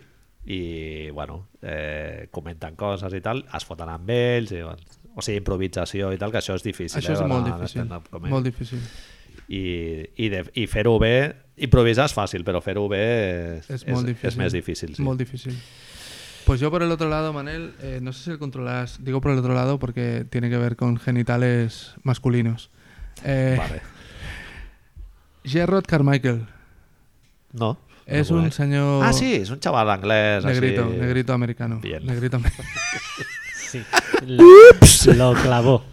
A: i, bueno, eh, comenten coses i tal, es foten amb ells, i, bueno, o sigui, improvisació i tal, que això és difícil.
B: Això
A: eh,
B: és
A: de
B: molt
A: la- de
B: difícil.
A: stand-up comedy.
B: Molt difícil.
A: I, i, de- i fer-ho bé, improvisar és fàcil, però fer-ho bé és,
B: És, molt difícil.
A: és més difícil. Sí.
B: Molt difícil. Pues yo por el otro lado, Manel, eh, no sé si lo controlas. Digo por el otro lado porque tiene que ver con genitales masculinos. Eh,
A: Vale.
B: Gerard Carmichael.
A: No.
B: Es
A: no
B: un
A: conec.
B: señor
A: Ah, sí, és un xaval anglès.
B: negrito,
A: així.
B: negrito americano.
A: Bien.
B: Negrito amer-
C: Sí. Lo, lo clavó.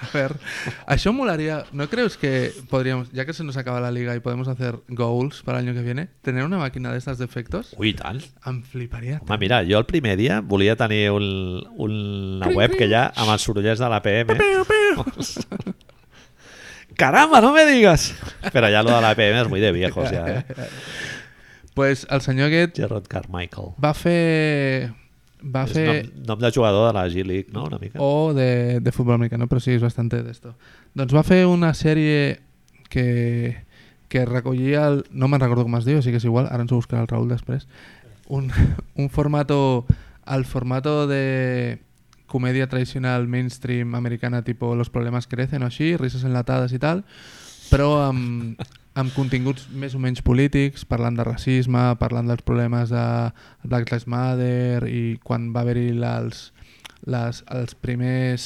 B: A ver, això molaría. ¿No crees que podríamos, ya que se nos acaba la liga y podemos hacer goals para el año que viene, tener una máquina de estas de efectos?
A: Ui, i tant.
B: Em fliparía.
A: Home, mira, jo el primer dia volia tenir un, una web que ja amb els sorollers de l'APM... [LAUGHS] Caramba, no me digas! Però ja lo de l'APM és muy de viejos, ja, eh?
B: Pues el senyor aquest
A: Gerard Carmichael.
B: va fer... Va
A: És
B: fer... Oh,
A: nom, nom de jugador de la G-League, no? Una mica.
B: o de, de fútbol americano, pero sí, es bastante de esto. Doncs va fer una sèrie que, que recollia... El, no me'n recordo com es diu, sí que és igual, ara ens ho buscarà el Raül després. Un, [LAUGHS] un formato... El formato de comèdia tradicional mainstream americana, tipo Los problemas crecen o així, rises enlatades i tal, però amb, amb continguts més o menys polítics, parlant de racisme, parlant dels problemes de Black Lives Matter i quan va haver-hi la- els, les, els primers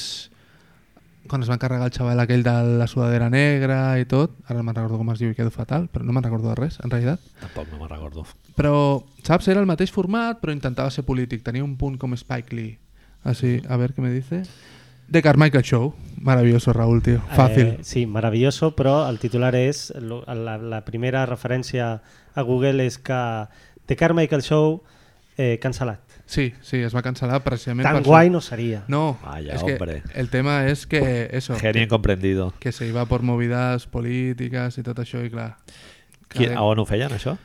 B: quan es va encarregar el xaval aquell de la sudadera negra i tot, ara no me'n recordo com es diu i quedo fatal, però no me'n recordo de res, en realitat.
A: Tampoc no me'n recordo.
B: Però, saps, era el mateix format, però intentava ser polític, tenia un punt com Spike Lee. Així, a veure què me dice. The Carmichael Show. Maravilloso, Raúl, tío. Fàcil.
C: Eh, sí, maravilloso, però el titular és... lo- La, la primera referència a Google és que The Carmichael Show eh, cancel·lat.
B: Sí, sí, es va cancel·lar precisament
C: Tan
B: per...
C: guai no seria.
B: No,
A: Vaya,
B: es que
A: hombre.
B: el tema és que eso,
A: Genio incomprendido.
B: que se iba por movides polítiques i tot això, i clar...
A: Qui,
B: cadena-
A: a on ho feien, això?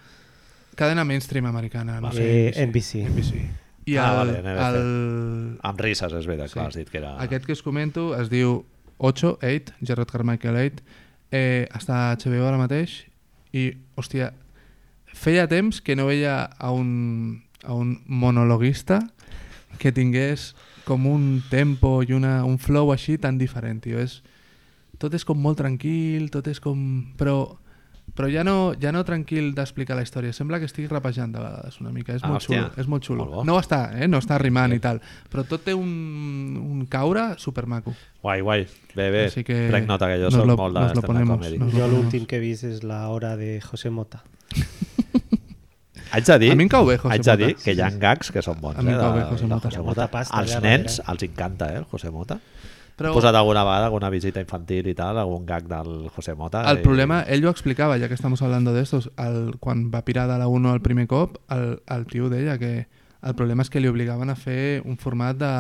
B: Cadena mainstream americana, no
A: Vale.
B: sé.
C: Eh, NBC.
B: I el,
A: Ah, vale, NBC.
B: el,
A: Amb rises, és veritat, clar,
B: Sí.
A: has dit que era...
B: Aquest que us comento es diu 8, 8, Gerard Carmichael 8, eh, està a HBO ara mateix i, hòstia, feia temps que no veia a un, a un monologuista que tingués com un tempo i una, un flow així tan diferent, tio. És, tot és com molt tranquil, tot és com... Però, però ja, no, ja no tranquil d'explicar la història. Sembla que estigui rapejant de vegades una mica. És
A: Ah,
B: molt
A: hòstia.
B: xulo. És molt xulo.
A: Molt bo.
B: no està, eh? No està rimant i tal. Però tot té un, un caure supermaco.
A: Guai, guai. Bé, bé.
B: Així que
A: Prenc nota que jo
B: nos
A: soc
B: lo-
A: molt de
B: nos lo
A: stand-up
B: ponemos,
A: comedy.
B: nos
C: Jo l'últim que he vist és la hora de José Mota.
A: Haig de dir,
B: A mi em cau bé, José
A: haig de dir
B: Mota.
A: que hi ha gags que són bons.
B: A mi em
A: eh,
B: cau
A: de-
B: bé, José
A: de
B: Mota.
A: José
C: Molta pasta
A: Als
C: allà
A: nens
C: darrere.
A: els encanta, eh, el José Mota. Però...
B: Però
A: posat alguna vegada alguna visita infantil i tal, algun gag del José Mota.
B: el
A: i-
B: problema, ell ho explicava, ja que estamos hablando de estos, el, quan va pirar de la 1 el primer cop, el, el tio deia que el problema és que li obligaven a fer un format de...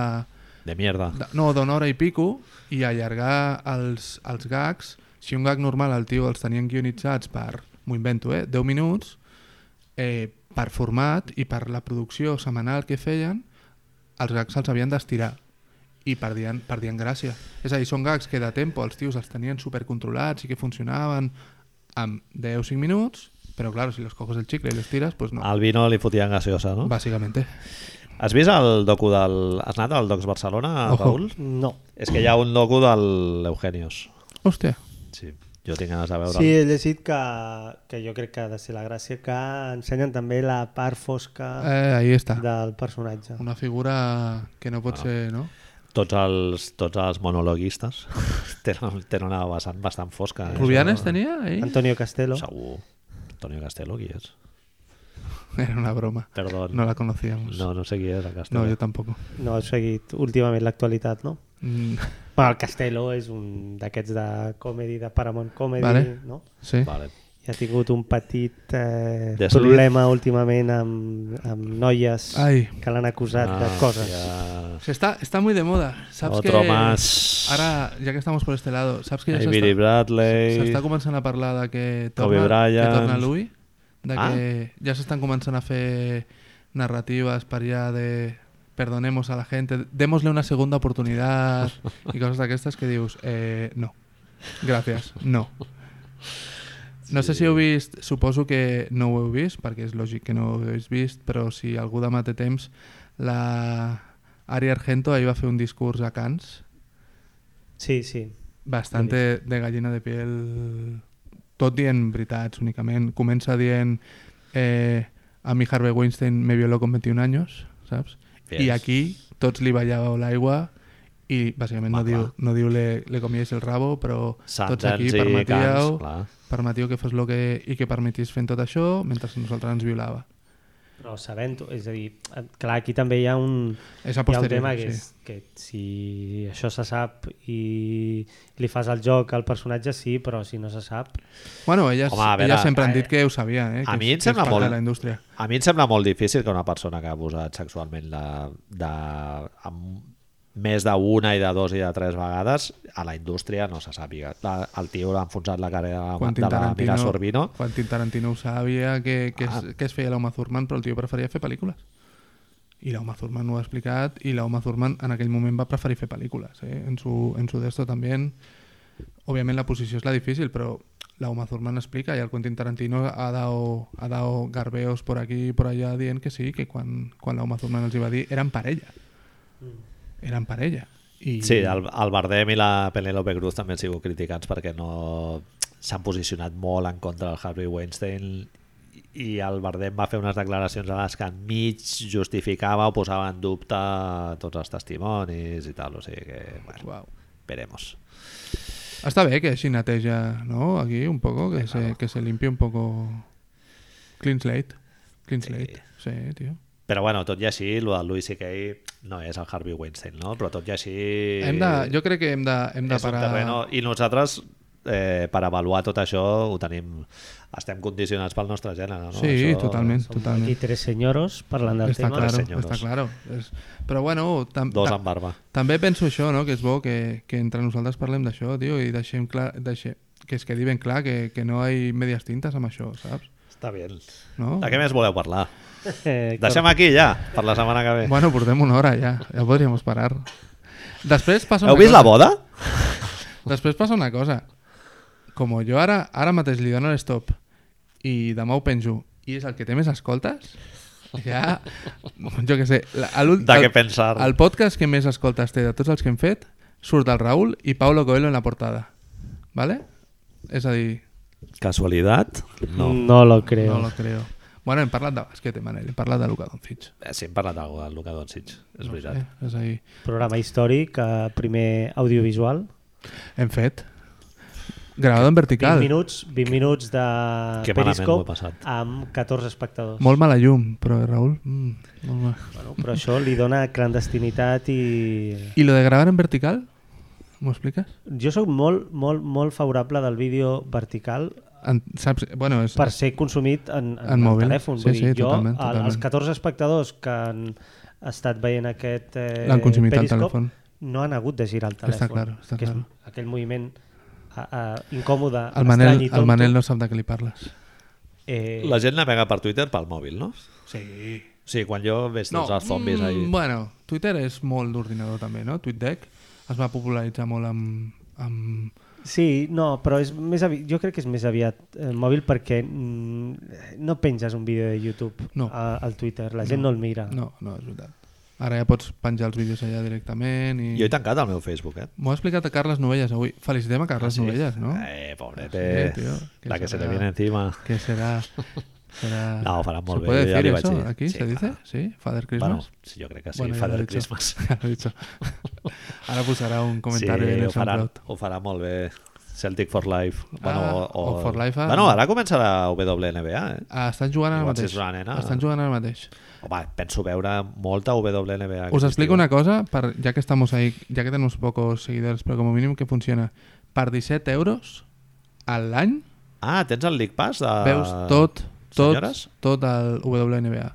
A: De mierda.
B: de- No, d'una hora i pico i allargar els, els gags. Si un gag normal el tio els tenien guionitzats per, m'ho invento, eh, 10 minuts, eh, per format i per la producció setmanal que feien, els gags se'ls havien d'estirar i perdien, perdien gràcia. És a dir, són gags que de tempo els tios els tenien supercontrolats i que funcionaven amb 10 o 5 minuts, però claro, si los coges el chicle i los tiras, pues no.
A: Al vino li fotien gaseosa, Ah, no? Va.
B: Básicamente.
A: Has vist el docu del... Has anat al Docs Barcelona,
B: Ojo.
A: Raül?
C: No.
A: És que hi ha un docu del Eugenios.
B: Hòstia.
A: Sí. Jo tinc ganes de veure'l.
C: Sí, he llegit que, que jo crec que ha de ser la gràcia que ensenyen també la part fosca
B: Eh, ahí està.
C: del personatge.
B: Una figura que no pot ser, no?
A: Tots els, tots els monologuistes [LAUGHS] tenen, tenen una vessant bastant fosca. eh?
B: Rubianes
A: Això-
B: tenia ell?
C: Antonio Castelo.
A: Segur. Antonio Castelo, qui és?
B: [LAUGHS] Era una broma.
A: Perdó.
B: No la conocíamos.
A: no, no sé qui és eh? el
B: No,
A: Castelo.
B: yo tampoco.
C: No has seguit últimament l'actualitat, no?
B: Mm, [LAUGHS]
C: Bueno, el Castelo és un d'aquests de comedy, de Paramount Comedy,
B: Vale.
C: no?
B: sí.
A: Vale.
C: I ha tingut un petit eh,
A: Deslliz.
C: problema últimament amb, amb noies
B: Ai.
C: que l'han acusat de
A: Ah,
C: coses.
A: ja.
B: Se está, está muy de moda. ¿Sabes
A: Otro
B: que...
A: más.
B: Ahora, ya que estamos por este lado, ¿sabes que ya se
A: Avery
B: está,
A: Bradley.
B: se está comenzando a hablar de que
A: Kobe
B: torna, que
A: Bryant.
B: torna Louis? De
A: Ah.
B: que ya se están comenzando a hacer narrativas para allá de perdonemos a la gente, démosle una segunda
A: [LAUGHS]
B: oportunidad y cosas de estas que dius, eh, no, gracias, no. No sé si heu vist, suposo que no ho heu vist, perquè és lògic que no ho hagués vist, però si algú demà té temps, la Ari Argento ahir va fer un discurs a Cannes,
C: Sí, sí.
B: bastante de gallina de piel, tot dient veritats únicament. Comença dient eh, a mi Harvey Weinstein me violó con 21 años, saps?
A: Yes.
B: I aquí tots li ballàveu l'aigua i bàsicament no
A: Home,
B: diu, no diu le, le comies el rabo, però tots
A: Sundance
B: aquí
A: i
B: permetíeu
A: Cannes, clar.
B: permetiu que fos lo que, i que permetís fent tot això mentre nosaltres ens violava.
C: Però sabent-ho, és a dir, eh, clar, aquí també hi ha un,
B: És a
C: hi ha un
B: posteriori,
C: tema que,
B: sí.
C: és, que si això se sap i li fas el joc al personatge, sí, però si no se sap...
B: Bueno, elles,
A: Home, a
B: Home,
A: veure,
B: elles sempre han
A: a-
B: dit que ho sabien, eh?
A: a
B: que
A: mi em
B: és- que és
A: sembla
B: part
A: molt-
B: de la indústria.
A: A mi em sembla molt difícil que una persona que ha abusat sexualment de, de, amb més d'una i de dos i de tres vegades a la indústria no se sàpiga. La- El tio l'ha enfonsat la carrera de la, de la Mira Sorbino.
B: Quentin Tarantino ho sabia que, que,
A: Ah.
B: es, que es feia l'Home Thurman, però el tio preferia fer pel·lícules. I l'Home Thurman ho ha explicat, i l'Home Thurman en aquell moment va preferir fer pel·lícules. Eh? En, su, en su d'esto també, òbviament la posició és la difícil, però l'Home Thurman explica, i el Quentin Tarantino ha dado, ha dado garbeos por aquí i por allà dient que sí, que quan, quan l'Home Thurman els hi va dir eren parella. Eren parella. I...
A: Sí, el, el Bardem i la Penélope Cruz també han sigut criticats perquè no s'han posicionat molt en contra del Harvey Weinstein i el Bardem va fer unes declaracions a les que enmig justificava o posava en dubte tots els testimonis i tal, o sigui que, bueno,
B: Uau.
A: veremos.
B: Está bien que així neteja, no? Aquí un poco, que, se, que se limpie un poco... Clean slate. Clean slate. Sí, tío.
A: Però bueno, tot i així, el del Louis C.K. no és el Harvey Weinstein, no? Però tot i així...
B: Hem de, jo crec que hem de, hem de
A: Eh, és
B: parar...
A: un terreno... I nosaltres, eh, per avaluar tot això, ho tenim... Estem condicionats pel nostre gènere, no?
B: Sí,
A: això...
B: totalment,
C: Som
B: totalment.
C: aquí tres senyoros parlant del
B: Està
C: tema.
B: claro,
A: senyores.
B: està claro. És... Però bueno, tam,
A: Dos
B: ta-
A: amb barba.
B: també penso això, no? Que és bo que, que entre nosaltres parlem d'això, tio, i deixem clar... Deixem, que es quedi ben clar que, que no hi ha medias tintes amb això, saps?
A: Està bé.
B: No?
A: De què més voleu parlar?
C: Eh,
A: Deixem aquí ja, per la setmana que ve.
B: Bueno, portem una hora ja, ja podríem parar. Després passa una
A: Heu vist
B: cosa.
A: la boda?
B: Després passa una cosa. Com jo ara, ara mateix li dono l'stop i demà ho penjo i és el que té més escoltes, ja, jo què sé, la- a l'últim-
A: De què
B: el-
A: pensar?
B: el podcast que més escoltes té de tots els que hem fet surt el Raül i Paulo Coelho en la portada. ¿Vale? És a dir,
A: Casualitat? No.
C: No. no lo creo.
B: no lo creo. Bueno, hem parlat de bàsquet, Manel, hem parlat de Luka Doncic.
A: Eh, Sí, hem parlat d'algú del Luka Doncic, és
B: No
A: veritat.
B: sé, és a dir,
C: Programa històric, eh, primer audiovisual.
B: hem fet gravado en
C: 20
B: vertical.
C: minuts, 20 minuts de
A: Que malament m'ho he
C: Periscope
A: passat.
C: amb 14 espectadors.
B: Molt mala llum, però eh, Raül... Mm, molt mal.
C: Bueno, però això li dona clandestinitat i...
B: ¿Y lo de grabar en vertical? ¿Me explicas?
C: Jo sóc molt, molt, molt favorable del vídeo vertical
B: En- saps- bueno, és,
C: per ser consumit en, en,
B: En
C: en
B: mòbil.
C: el telèfon.
B: Sí,
C: Vull dir,
B: sí,
C: jo,
B: totalment,
C: el-
B: totalment.
C: els 14 espectadors que han estat veient aquest eh,
B: l'han consumit al
C: Periscope
B: telèfon.
C: no han hagut de girar el telèfon.
B: Està claro, està
C: que és
B: claro.
C: aquell moviment a, a, incòmode,
B: El Manel,
C: estrany i
B: el
C: tonto.
B: Manel no sap de què li parles.
C: Eh,
A: La gent navega per Twitter pel mòbil, no?
B: Sí.
A: Sí, quan jo veig tots els zombis ahí.
B: mm, bueno, Twitter és molt d'ordinador també, no? TweetDeck es va popularitzar molt amb... amb...
C: Sí, no, però és més avi... jo crec que és més aviat eh, mòbil perquè mm, no penges un vídeo de YouTube
B: No.
C: a, al Twitter, la gent no, el mira.
B: No, no, és veritat. Ara ja pots penjar els vídeos allà directament i...
A: Jo he tancat el meu Facebook, eh? Ah,
B: M'ho ha explicat a Carles Novelles avui. Felicitem a Carles Novelles, Ah, no? Ah,
A: Eh, pobrete.
B: Sí, tio, que
A: la que se
B: serà-
A: le viene encima.
B: Que serà... serà...
A: No, ho farà molt bé,
B: ¿Se puede
A: jo ja li
B: decir
A: vaig
B: eso
A: dir.
B: aquí?
A: Sí,
B: ¿Se dice?
A: clar.
B: Sí, Father Christmas.
A: Bueno, sí, jo crec que sí,
B: Bueno, [LAUGHS] ya lo
A: Father
B: he dicho.
A: Christmas.
B: Ya lo he dicho. Ara posarà un comentari de
A: ho
B: Nelson
A: farà,
B: Prout.
A: ho farà molt bé. Celtic for Life.
B: Ah, o for life, ah.
A: Bueno, ara comença la WNBA, eh?
B: Ah, estan jugant ara
A: Igual si
B: mateix.
A: és una nena.
B: Estan jugant ara mateix.
A: Home, penso veure molta WNBA.
B: Us
A: aquest estiu.
B: explico una cosa, per, ya que estamos ahí, ya que tenemos pocos seguidores, pero como mínimo que funciona. Per 17 euros al any
A: Ah, tens el League Pass? De...
B: veus tot, tot,
A: Ah, senyores?
B: tot el WNBA.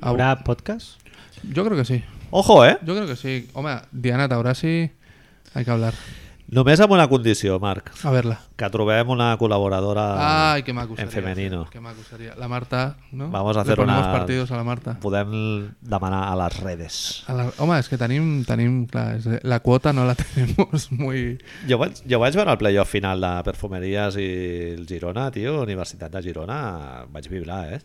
C: Hi
B: [LAUGHS]
C: haurà podcast?
B: Yo creo que sí.
A: Ojo, eh?
B: Yo creo que sí. Home, Diana Taurasi, hay que hablar.
A: Només amb una condició, Marc,
B: A verla.
A: que trobem una col·laboradora
B: Ay, qué maco
A: Ah, en
B: sería,
A: femenino.
B: Qué maco sería. La Marta, ¿no?
A: Vamos a
B: Le
A: hacer una-
B: ponemos partidos a la Marta.
A: Podem demanar a les redes.
B: A la... Home, es que tenim, tenim, clar, és- la cuota no la [LAUGHS] tenemos muy...
A: Jo vaig, jo vaig veure el playoff final de Perfumeries i el Girona, tio, Universitat de Girona, vaig vibrar, eh?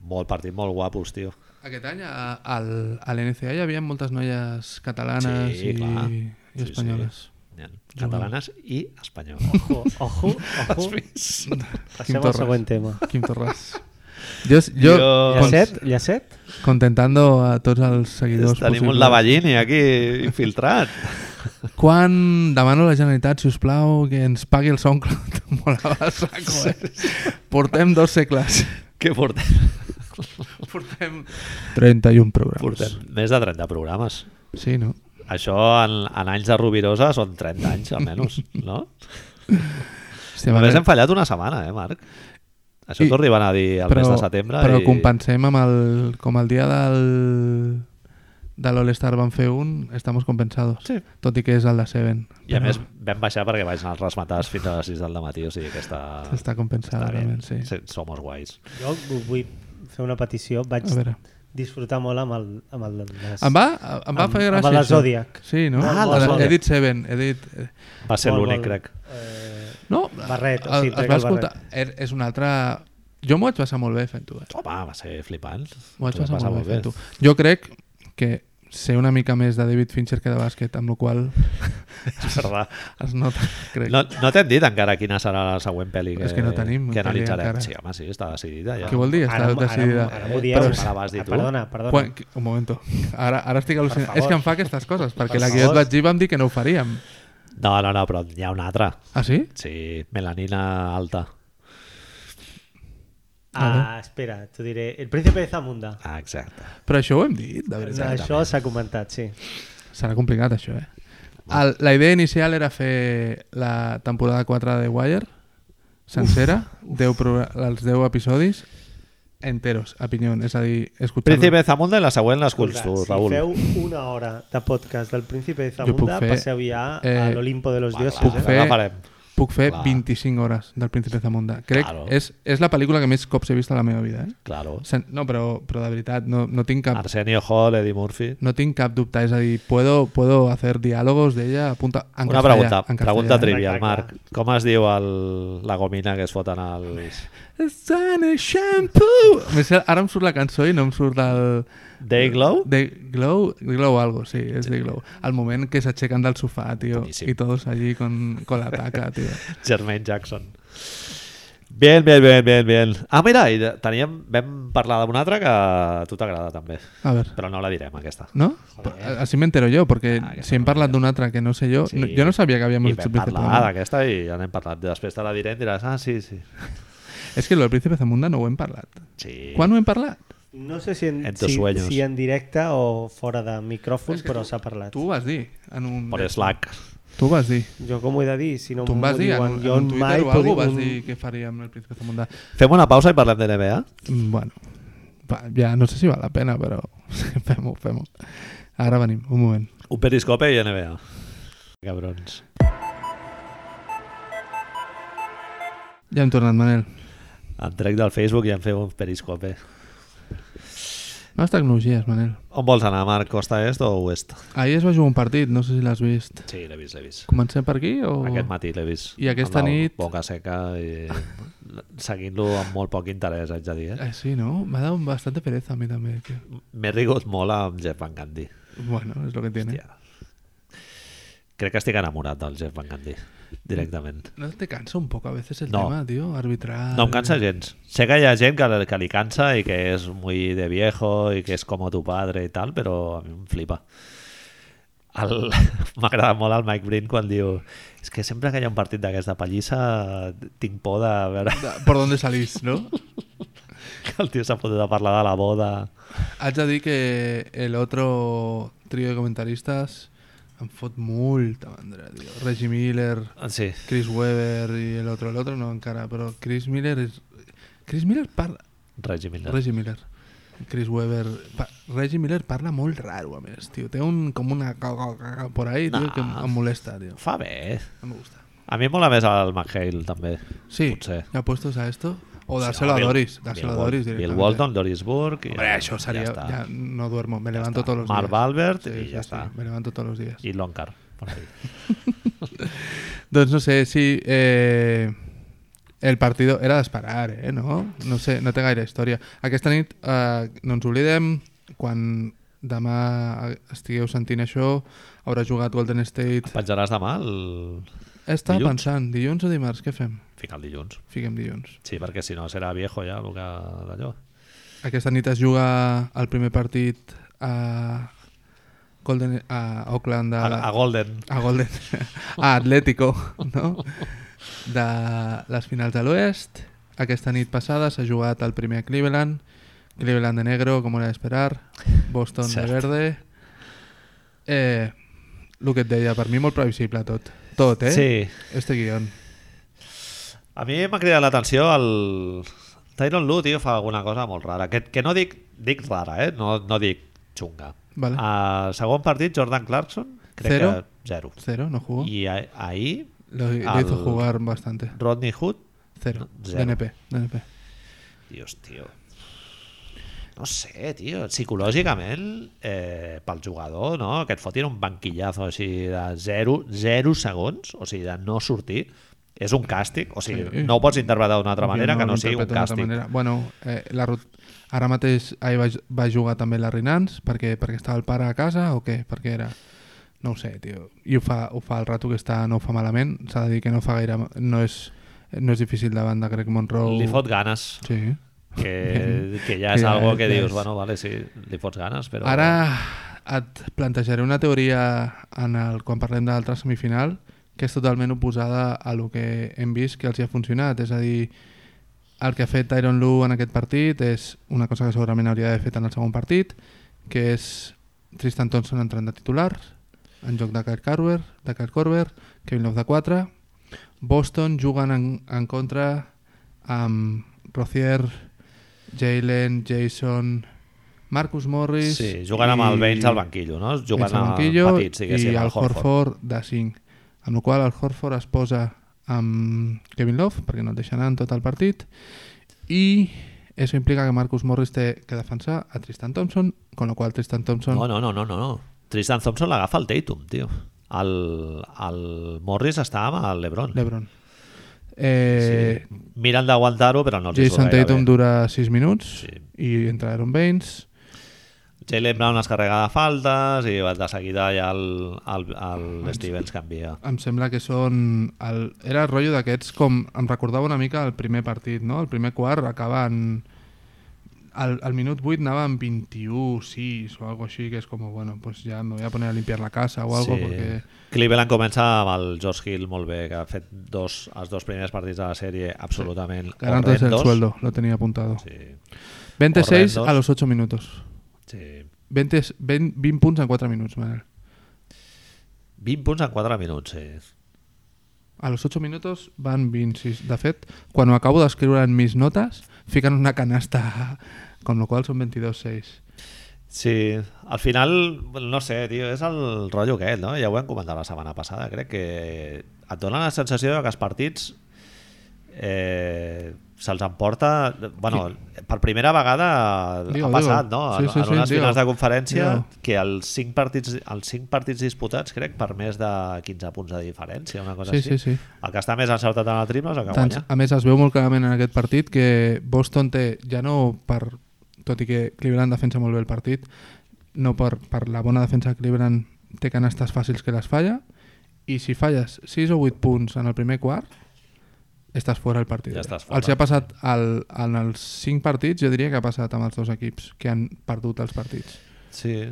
A: Molt partit, molt guapos, tio.
B: Aquest any a, al, a l'NCA hi havia moltes noies catalanes
A: Sí,
B: i,
A: clar.
B: i
A: Sí,
B: espanyoles.
A: N'hi ha Catalanes i espanyoles.
C: Ojo, ojo, ojo. Passem al
B: Torres.
C: següent tema.
B: Quim Torres. Jo, jo,
A: Jo-
B: cons-
C: Llacet? Llacet?
B: contentando a tots els seguidors
A: Tenim un
B: possibles.
A: lavallini aquí infiltrat.
B: Quan demano a la Generalitat, si us plau, que ens pagui el SoundCloud, [LAUGHS] Em molava a saco, eh? Portem dos segles.
A: Què portem?
B: Portem 31 programes.
A: Portem Doncs, més de 30 programes.
B: Sí, no?
A: Això en, en anys de Rovirosa són 30 anys,
B: [LAUGHS]
A: almenys, no?
B: Hòstia,
A: Només
B: Manel,
A: hem fallat una setmana, eh, Marc? Això
B: I-
A: t'ho arriben a dir el mes de setembre.
B: Però
A: i...
B: compensem amb el, com el dia del, de l'All-Star van fer un, estamos compensados.
A: Sí.
B: Tot i que és el de Seven.
A: I a més vam baixar perquè vaig anar als resmatars fins a les 6 del matí, o sigui que està...
B: Està compensada,
A: està bé.
B: realment, sí.
A: sí. Somos guais.
C: Jo vull fer una petició. Vaig
B: A veure.
C: disfrutar molt amb el... Amb el les...
B: Em va, em va
C: Amb-
B: fer
C: amb
B: gràcia.
C: la
B: això.
C: Zodiac.
B: Sí, no?
A: Ah, la
B: Ara,
A: Zodiac.
B: He dit Seven, he dit... eh,
A: Va ser
C: Molt,
A: l'únic,
C: molt,
A: crec.
C: Eh,
B: No,
C: Barret, o
B: el-
C: sigui,
B: es
C: trec
B: va
C: el barret.
B: escoltar. Er, és una altra... Jo m'ho vaig passar molt bé fent-ho, eh?
A: Home, va ser flipant.
B: [LAUGHS] M'ho vaig
A: T'ho vas
B: passar
A: passar
B: molt bé
A: molt
B: fent-ho. Jo crec que ser una mica més de David Fincher que de bàsquet, amb la qual
A: És verdad.
B: es nota, [LAUGHS] crec.
A: No, no t'hem dit encara quina serà la següent pel·li que,
B: És que no tenim
A: que
B: peli
A: analitzarem.
B: encara.
A: Sí, home, sí, està decidida Ah, ja.
B: Què vol dir? Està
C: ara,
B: decidida.
C: ara, ara m'ho
A: Eh,
C: dieu.
A: però si me la vas dir
C: Ah,
A: tu.
C: Perdona, perdona.
B: Quan, qui- un moment. Ara, ara estic al·lucinant.
C: favor.
B: És que em fa aquestes coses, perquè
C: Per
B: la que jo et
C: favor.
B: vaig dir vam dir que no ho faríem.
A: No, no, no, però n'hi ha una altra.
B: Ah, sí?
A: Sí, melanina alta.
C: Ah, espera, t'ho diré. El príncipe de Zamunda.
A: Ah, exacte.
B: Però això ho hem dit, de veritat.
C: Això s'ha comentat, sí.
B: Serà complicat, això, eh? El, la idea inicial era fer la temporada 4 de Wire, sencera, 10 progra- els 10 episodis, enteros, a pinyón, és a dir, escoltar-lo.
A: Príncipe Zamunda i la següent l'esculls tu, Raül.
C: Si feu una hora de podcast del príncipe de
B: Jo puc
C: Zamunda,
B: fer,
C: passeu ja a
B: eh,
C: l'Olimpo de los
A: Va,
C: Dioses.
A: clar,
C: eh?
B: fer-
A: l'agafarem.
B: Puc fer
A: Clar.
B: 25 hores del Príncipe Zamunda. Crec
A: Claro.
B: que és, és la pel·lícula que més cops he vist a la meva vida, eh?
A: Claro.
B: Sen- No, però, però de veritat, no, no tinc cap...
A: Arsenio Hall, Eddie Murphy.
B: No tinc cap dubte, és a dir, puedo, puedo hacer diálogos d'ella a punta... En
A: Una
B: castellà,
A: pregunta,
B: en
A: pregunta
B: castellà.
A: trivial,
C: Clar, clar.
A: Marc. Com es diu el, la gomina que es foten als...
B: It's on a shampoo! Me sé- Ara em surt la cançó i no em surt el...
A: Dayglow?
B: De Glow, de Glow algo, sí, es de Glow. Al moment que s'aixequen del sofà, tio,
A: Boníssim.
B: i tots allí con, con la taca, tio.
A: Jermaine Jackson. Bien, bien, bien, bien, bien. Ah, mira, i teníem, vam parlar d'una altra que a tu t'agrada també,
B: A ver,
A: però no la direm aquesta.
B: ¿no? Así me entero yo, porque
A: Ah, que
B: si hem
A: no,
B: parlat d'una altra que no sé yo,
A: Sí.
B: no- yo no sabía que habíamos
A: I
B: hecho el
A: vam
B: Príncipe
A: parlar
B: Zamunda.
A: d'aquesta i ja n'hem parlat. Després te la diré i diràs, ah, sí, sí.
B: Es que lo del Príncipe Zamunda no ho hem parlat.
A: Sí.
B: Quan ho hem parlat?
C: No sé si en,
A: En tus
C: si,
A: sueños.
C: si en directe o fora de micròfon,
B: És que
C: però
B: tu-
C: s'ha parlat.
B: Tu ho vas dir. En un...
A: Per Slack.
B: Tu ho vas dir.
C: Jo com ho he de dir? Si no
B: tu em
C: m'ho
B: vas dir en,
C: diuen,
B: un-
C: jo
B: en un Twitter
C: mai
B: o algo
C: puc-
B: vas
C: un-
B: dir què faríem el Príncipe Zamunda.
A: Fem una pausa i parlem de NBA?
B: Mm, Bueno, va, ja no sé si val la pena, [LAUGHS] però fem-ho, fem-ho. Ara venim, un moment.
A: Un periscope i NBA. Cabrons.
B: Ja hem tornat, Manel.
A: Em trec del Facebook i em feu un periscope.
B: Noves tecnologies, Manel.
A: On vols anar, Marc? Costa est o oest?
B: Ahir es va jugar un partit, no sé si l'has vist.
A: Sí, l'he vist, l'he vist.
B: Comencem per aquí o...?
A: Aquest matí l'he vist.
B: I aquesta
A: Amb la
B: nit-
A: Boca seca [LAUGHS] i seguint-lo amb molt poc interès, haig de dir. Eh?
B: Eh, sí, no? M'ha donat bastant de pereza a mi també, tio.
A: M'he rigut molt amb Jeff Van Gundy.
B: Bueno, és lo que tiene.
A: Hòstia. Crec que estic enamorat del Jeff Van Gundy, directament.
B: ¿No te cansa un poco a veces el
A: No.
B: tema, tío? Arbitral...
A: No em cansa gens. Sé que hi ha gent que, que li cansa i que és muy de viejo i que és com tu padre i tal, però a mi em flipa. el- [LAUGHS] M'ha agradat molt el Mike Breen quan diu és que sempre que hi ha un partit d'aquesta pallissa tinc por de veure [LAUGHS]
B: De- Por dónde salís, no?
A: que el tio s'ha fotut a parlar de la boda.
B: Haig de dir que el otro trío de comentaristas han fot molta mandra, tio. Reggie Miller,
A: Sí,
B: Chris Webber y el otro, el otro no encara, pero Chris Miller es... Chris Miller parla...
A: Reggie Miller.
B: Reggie Miller. Chris Webber... pa- Reggie Miller parla molt raro, a més, tio. Té un, com una... ca- ca- ca- ca por ahí, tio,
A: No.
B: que em molesta, tio.
A: Fa bé. eh?
B: No me gusta.
A: A mi em mola més el McHale, també.
B: Sí,
A: Potser.
B: ya puestos a esto. O dárselo a Doris. Dárselo a Doris
A: Bill
B: directamente.
A: Walton, Doris Burke... i-
B: Hombre, això seria...
A: Ja
B: Ja,
A: està.
B: no duermo, me levanto todos los
A: Mark
B: días.
A: Valbert
B: Sí,
A: i
B: sí,
A: ja
B: sí,
A: està.
B: Me levanto todos los días.
A: I Loncar. per fi.
B: Entonces, no sé, sí. eh, el partido era de esperar, eh, no? No sé, no té gaire història. Aquesta nit, eh, no ens oblidem, quan demà estigueu sentint això, haurà jugat Golden State.
A: Penjaràs demà? El...
B: Estava
A: dilluns.
B: pensant, dilluns o dimarts, què fem?
A: Fica el dilluns.
B: Fiquem dilluns.
A: Sí, perquè si no serà viejo ja el que d'allò.
B: Aquesta nit es juga el primer partit a, Golden, a Oakland
A: A,
B: a,
A: a Golden.
B: a Golden, [LAUGHS] a Atlético, no? De les finals de l'Oest. Aquesta nit passada s'ha jugat el primer a Cleveland. Cleveland de negro, com era d'esperar. Boston
A: Cert.
B: de verde. Eh, el que et deia, per mi molt previsible tot. Tot, eh?
A: Sí.
B: Este guion.
A: A mi m'ha cridat l'atenció el... Tyron Lu, tio, fa alguna cosa molt rara. Que, que no dic, dic rara, eh? No, no dic xunga.
B: Vale.
A: A segon partit, Jordan Clarkson, crec
B: Zero.
A: que zero.
B: Cero, no jugó.
A: I a, ahir,
B: Lo, lo
A: al-
B: hizo jugar bastante.
A: Rodney Hood,
B: Cero.
A: Cero.
B: DNP. DNP.
A: Dios, tio. No sé, tio. Psicològicament, eh, pel jugador, no? que et fotin un banquillazo així de 0, 0 segons, o sigui, de no sortir, és un càstig. O sigui,
B: Sí.
A: no ho pots interpretar d'una altra manera
B: Jo
A: que no
B: ho
A: sigui un
B: interpreto d'una altra
A: càstig.
B: manera. Bueno, eh, la, rut- ara mateix ahir va, va jugar també la Rinans perquè, perquè estava el pare a casa o què? Perquè era... No ho sé, tio. I ho fa, ho fa el rato que està, no ho fa malament. S'ha de dir que no fa gaire... No és, no és difícil davant de Greg Monroe.
A: Li fot ganes,
B: Sí. [LAUGHS]
A: que, que ja és
B: Ja,
A: algo que
B: ja
A: dius,
B: és.
A: bueno, vale, sí, li fots ganes, però...
B: Ara et plantejaré una teoria en el, quan parlem de l'altra semifinal que és totalment oposada a lo que hem vist que els hi ha funcionat. És a dir, el que ha fet Tyron Lu en aquest partit és una cosa que segurament hauria d'haver fet en el segon partit, que és Tristan Thompson entrant de titular en joc de Kyle Korver, de Kyle Korver Kevin Love de 4, Boston jugant en, en contra amb Rozier, Jalen, Jason, Marcus Morris...
A: Sí, jugant amb el Baines al banquillo, no? Jugant
B: Ells al
A: amb
B: banquillo
A: petits, diguéssim,
B: i
A: al
B: el
A: Horford.
B: Horford de 5 amb la qual cosa el Horford es posa amb Kevin Love perquè no el deixa anar en tot el partit i això implica que Marcus Morris té que defensar a Tristan Thompson con la qual cosa Tristan Thompson
A: No, no, no, no, no, no. Tristan Thompson l'agafa el Tatum, tio. El, el Morris està amb el Lebron.
B: Lebron eh,
A: Sí. Miren d'aguantar-ho, però no els hi
B: Jason
A: surt gaire
B: Tatum
A: bé.
B: dura 6 minuts
A: Sí.
B: i entra Aaron Baines
A: Jalen Brown es carrega de faltes i de seguida ja el, el, el Stevens canvia.
B: em sembla que són... El... Era el rotllo d'aquests com... Em recordava una mica el primer partit, no? El primer quart acaba en... Al, al minut 8 anava en 21, 6 o algo així, que és com, bueno, pues ya me voy a poner a limpiar la casa o algo, sí. porque...
A: Cleveland comença amb el George Hill molt bé, que ha fet dos, els dos primers partits de la sèrie absolutament
B: Ganantes el
A: horrendos.
B: sueldo, lo tenía apuntado.
A: Sí,
B: 26
A: Horrendos.
B: a los 8 minutos.
A: sí.
B: 20, 20, 20 punts en 4 minuts, Manel.
A: 20 punts en 4 minuts, sí.
B: A los 8 minutos van 26. De fet, quan ho acabo d'escriure en mis notes, fiquen una canasta, [LAUGHS] con lo qual són 22-6.
A: Sí, al final, no sé, tio, és el rotllo aquest, no? Ja ho hem comentat la setmana passada, crec que et dona la sensació que els partits eh, se'ls emporta... bueno, per primera vegada
B: Digue-ho,
A: ha passat,
B: digue-ho.
A: no?
B: Sí,
A: En,
B: sí,
A: en
B: sí,
A: unes
B: digue-ho.
A: finals de conferència
B: Digue-ho.
A: que els cinc, partits, els cinc partits disputats, crec, per més de 15 punts de diferència, una cosa
B: Sí,
A: així.
B: sí, sí.
A: El que està més encertat en el triple és el que
B: Tant,
A: guanya.
B: Doncs, a més, es veu molt clarament en aquest partit que Boston té, ja no per... Tot i que Cleveland defensa molt bé el partit, no per, per la bona defensa de Cleveland té canastes fàcils que les falla, i si falles 6 o 8 punts en el primer quart, estàs fora del partit.
A: Ja estàs fora.
B: Els hi ha passat al, en els 5 partits, jo diria que ha passat amb els dos equips que han perdut els partits.
A: Sí.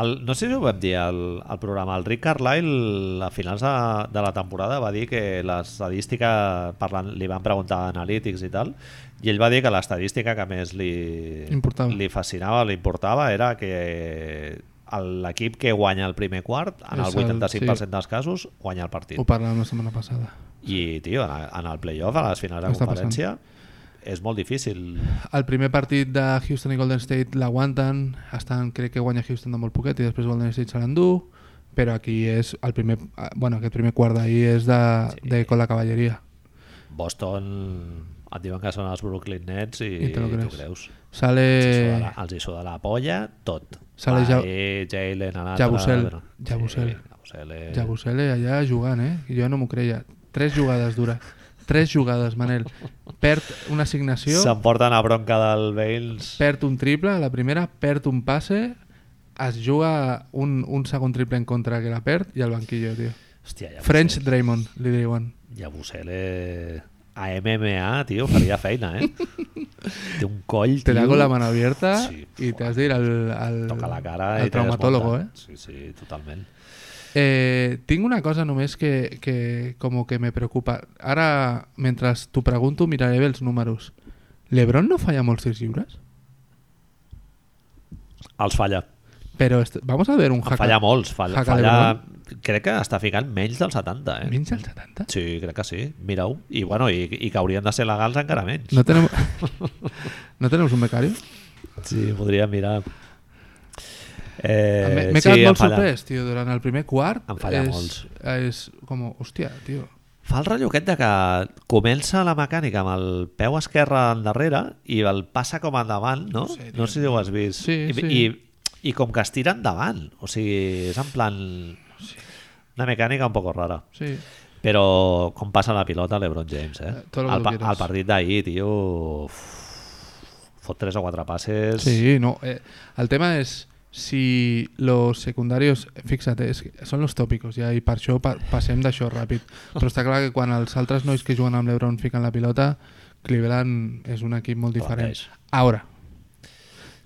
A: El, no sé si ho vam dir al, al programa, el Rick Carlisle a finals de, de la temporada va dir que l'estadística, parlant- li van preguntar a analítics i tal, i ell va dir que l'estadística que més li,
B: Importava.
A: li fascinava, li importava, era que el- l'equip que guanya el primer quart, en el
B: És el-
A: 85%
B: sí.
A: dels casos, guanya el partit.
B: Ho parlàvem la setmana passada.
A: I, tio, en, en el playoff, a les finals de
B: Està
A: conferència, és molt difícil.
B: El primer partit de Houston i Golden State l'aguanten, estan, crec que guanya Houston de molt poquet i després Golden State se l'endú, però aquí és el primer, eh, bueno, aquest primer quart d'ahir és de, sí. de con la cavalleria.
A: Boston et diuen que són els Brooklyn Nets i,
B: I te lo
A: tu
B: creus.
A: creus. Els hi suda
B: Sale,
A: la- els hi suda la polla, tot.
B: Sale Ja-
A: Ahir, Jalen, l'altre...
B: Jabusel.
A: bueno,
B: Jabusel.
A: Sí, Jabusel, eh.
B: Jabusele allà jugant, eh? Jo no m'ho creia. Tres jugades dures. Tres jugades, Manel. Perd una assignació,
A: S'emporten a bronca del Bales.
B: perd un triple a la primera, perd un passe, es juga un, un segon triple en contra que la perd i al banquillo, tio.
A: Hòstia, Jabusel.
B: French Draymond, li diuen.
A: Jabusel, eh. A MMA, tio, faria feina,
B: [LAUGHS]
A: eh? Té un coll,
B: Te
A: tio.
B: hago la mano abierta
A: Sí,
B: i t'has d'ir al, al,
A: Toca la cara i te
B: al traumatólogo, eh?
A: desmunta. Sí, sí, totalment.
B: Eh, tinc una cosa només que, que como que me preocupa. Ara, mentre t'ho pregunto, miraré bé els números. Lebron no falla molts tirs lliures?
A: Els falla.
B: Però est- vamos a ver un
A: En
B: hack.
A: falla molts. Falla,
B: Haka
A: falla, crec que està ficant menys del 70, eh?
B: Menys del 70?
A: Sí, crec que sí. Mira-ho. I, bueno, i, i que haurien de ser legals encara menys.
B: No tenemos, [LAUGHS] no tenemos un becario?
A: Sí, podria mirar. Eh,
B: M'he m'he
A: sí,
B: quedat
A: em
B: molt
A: falla.
B: sorprès, tio, durant el primer quart.
A: Em falla
B: és,
A: molts.
B: És com, hòstia, tio.
A: Fa el rotllo aquest de que comença la mecànica amb el peu esquerre endarrere i el passa com endavant, no?
B: sé, tio.
A: no sé si ho has vist.
B: Sí,
A: I,
B: sí.
A: I, I com que es tira endavant. O sigui, és en plan... Una mecànica un poco rara.
B: Sí.
A: Però com passa la pilota a l'Ebron James, eh?
B: Eh, tot lo que
A: el,
B: tu
A: pa-
B: quieras.
A: el partit d'ahir, tio... uf, Fot tres o quatre passes...
B: Sí, no. eh, el tema és si los secundarios, fixa't, eh, és, que són los tòpicos, ja, i per això pa, passem d'això ràpid. Però està clar que quan els altres nois que juguen amb l'Ebron fiquen la pilota, Cleveland és un equip molt diferent.
A: Holandès.
B: Ara,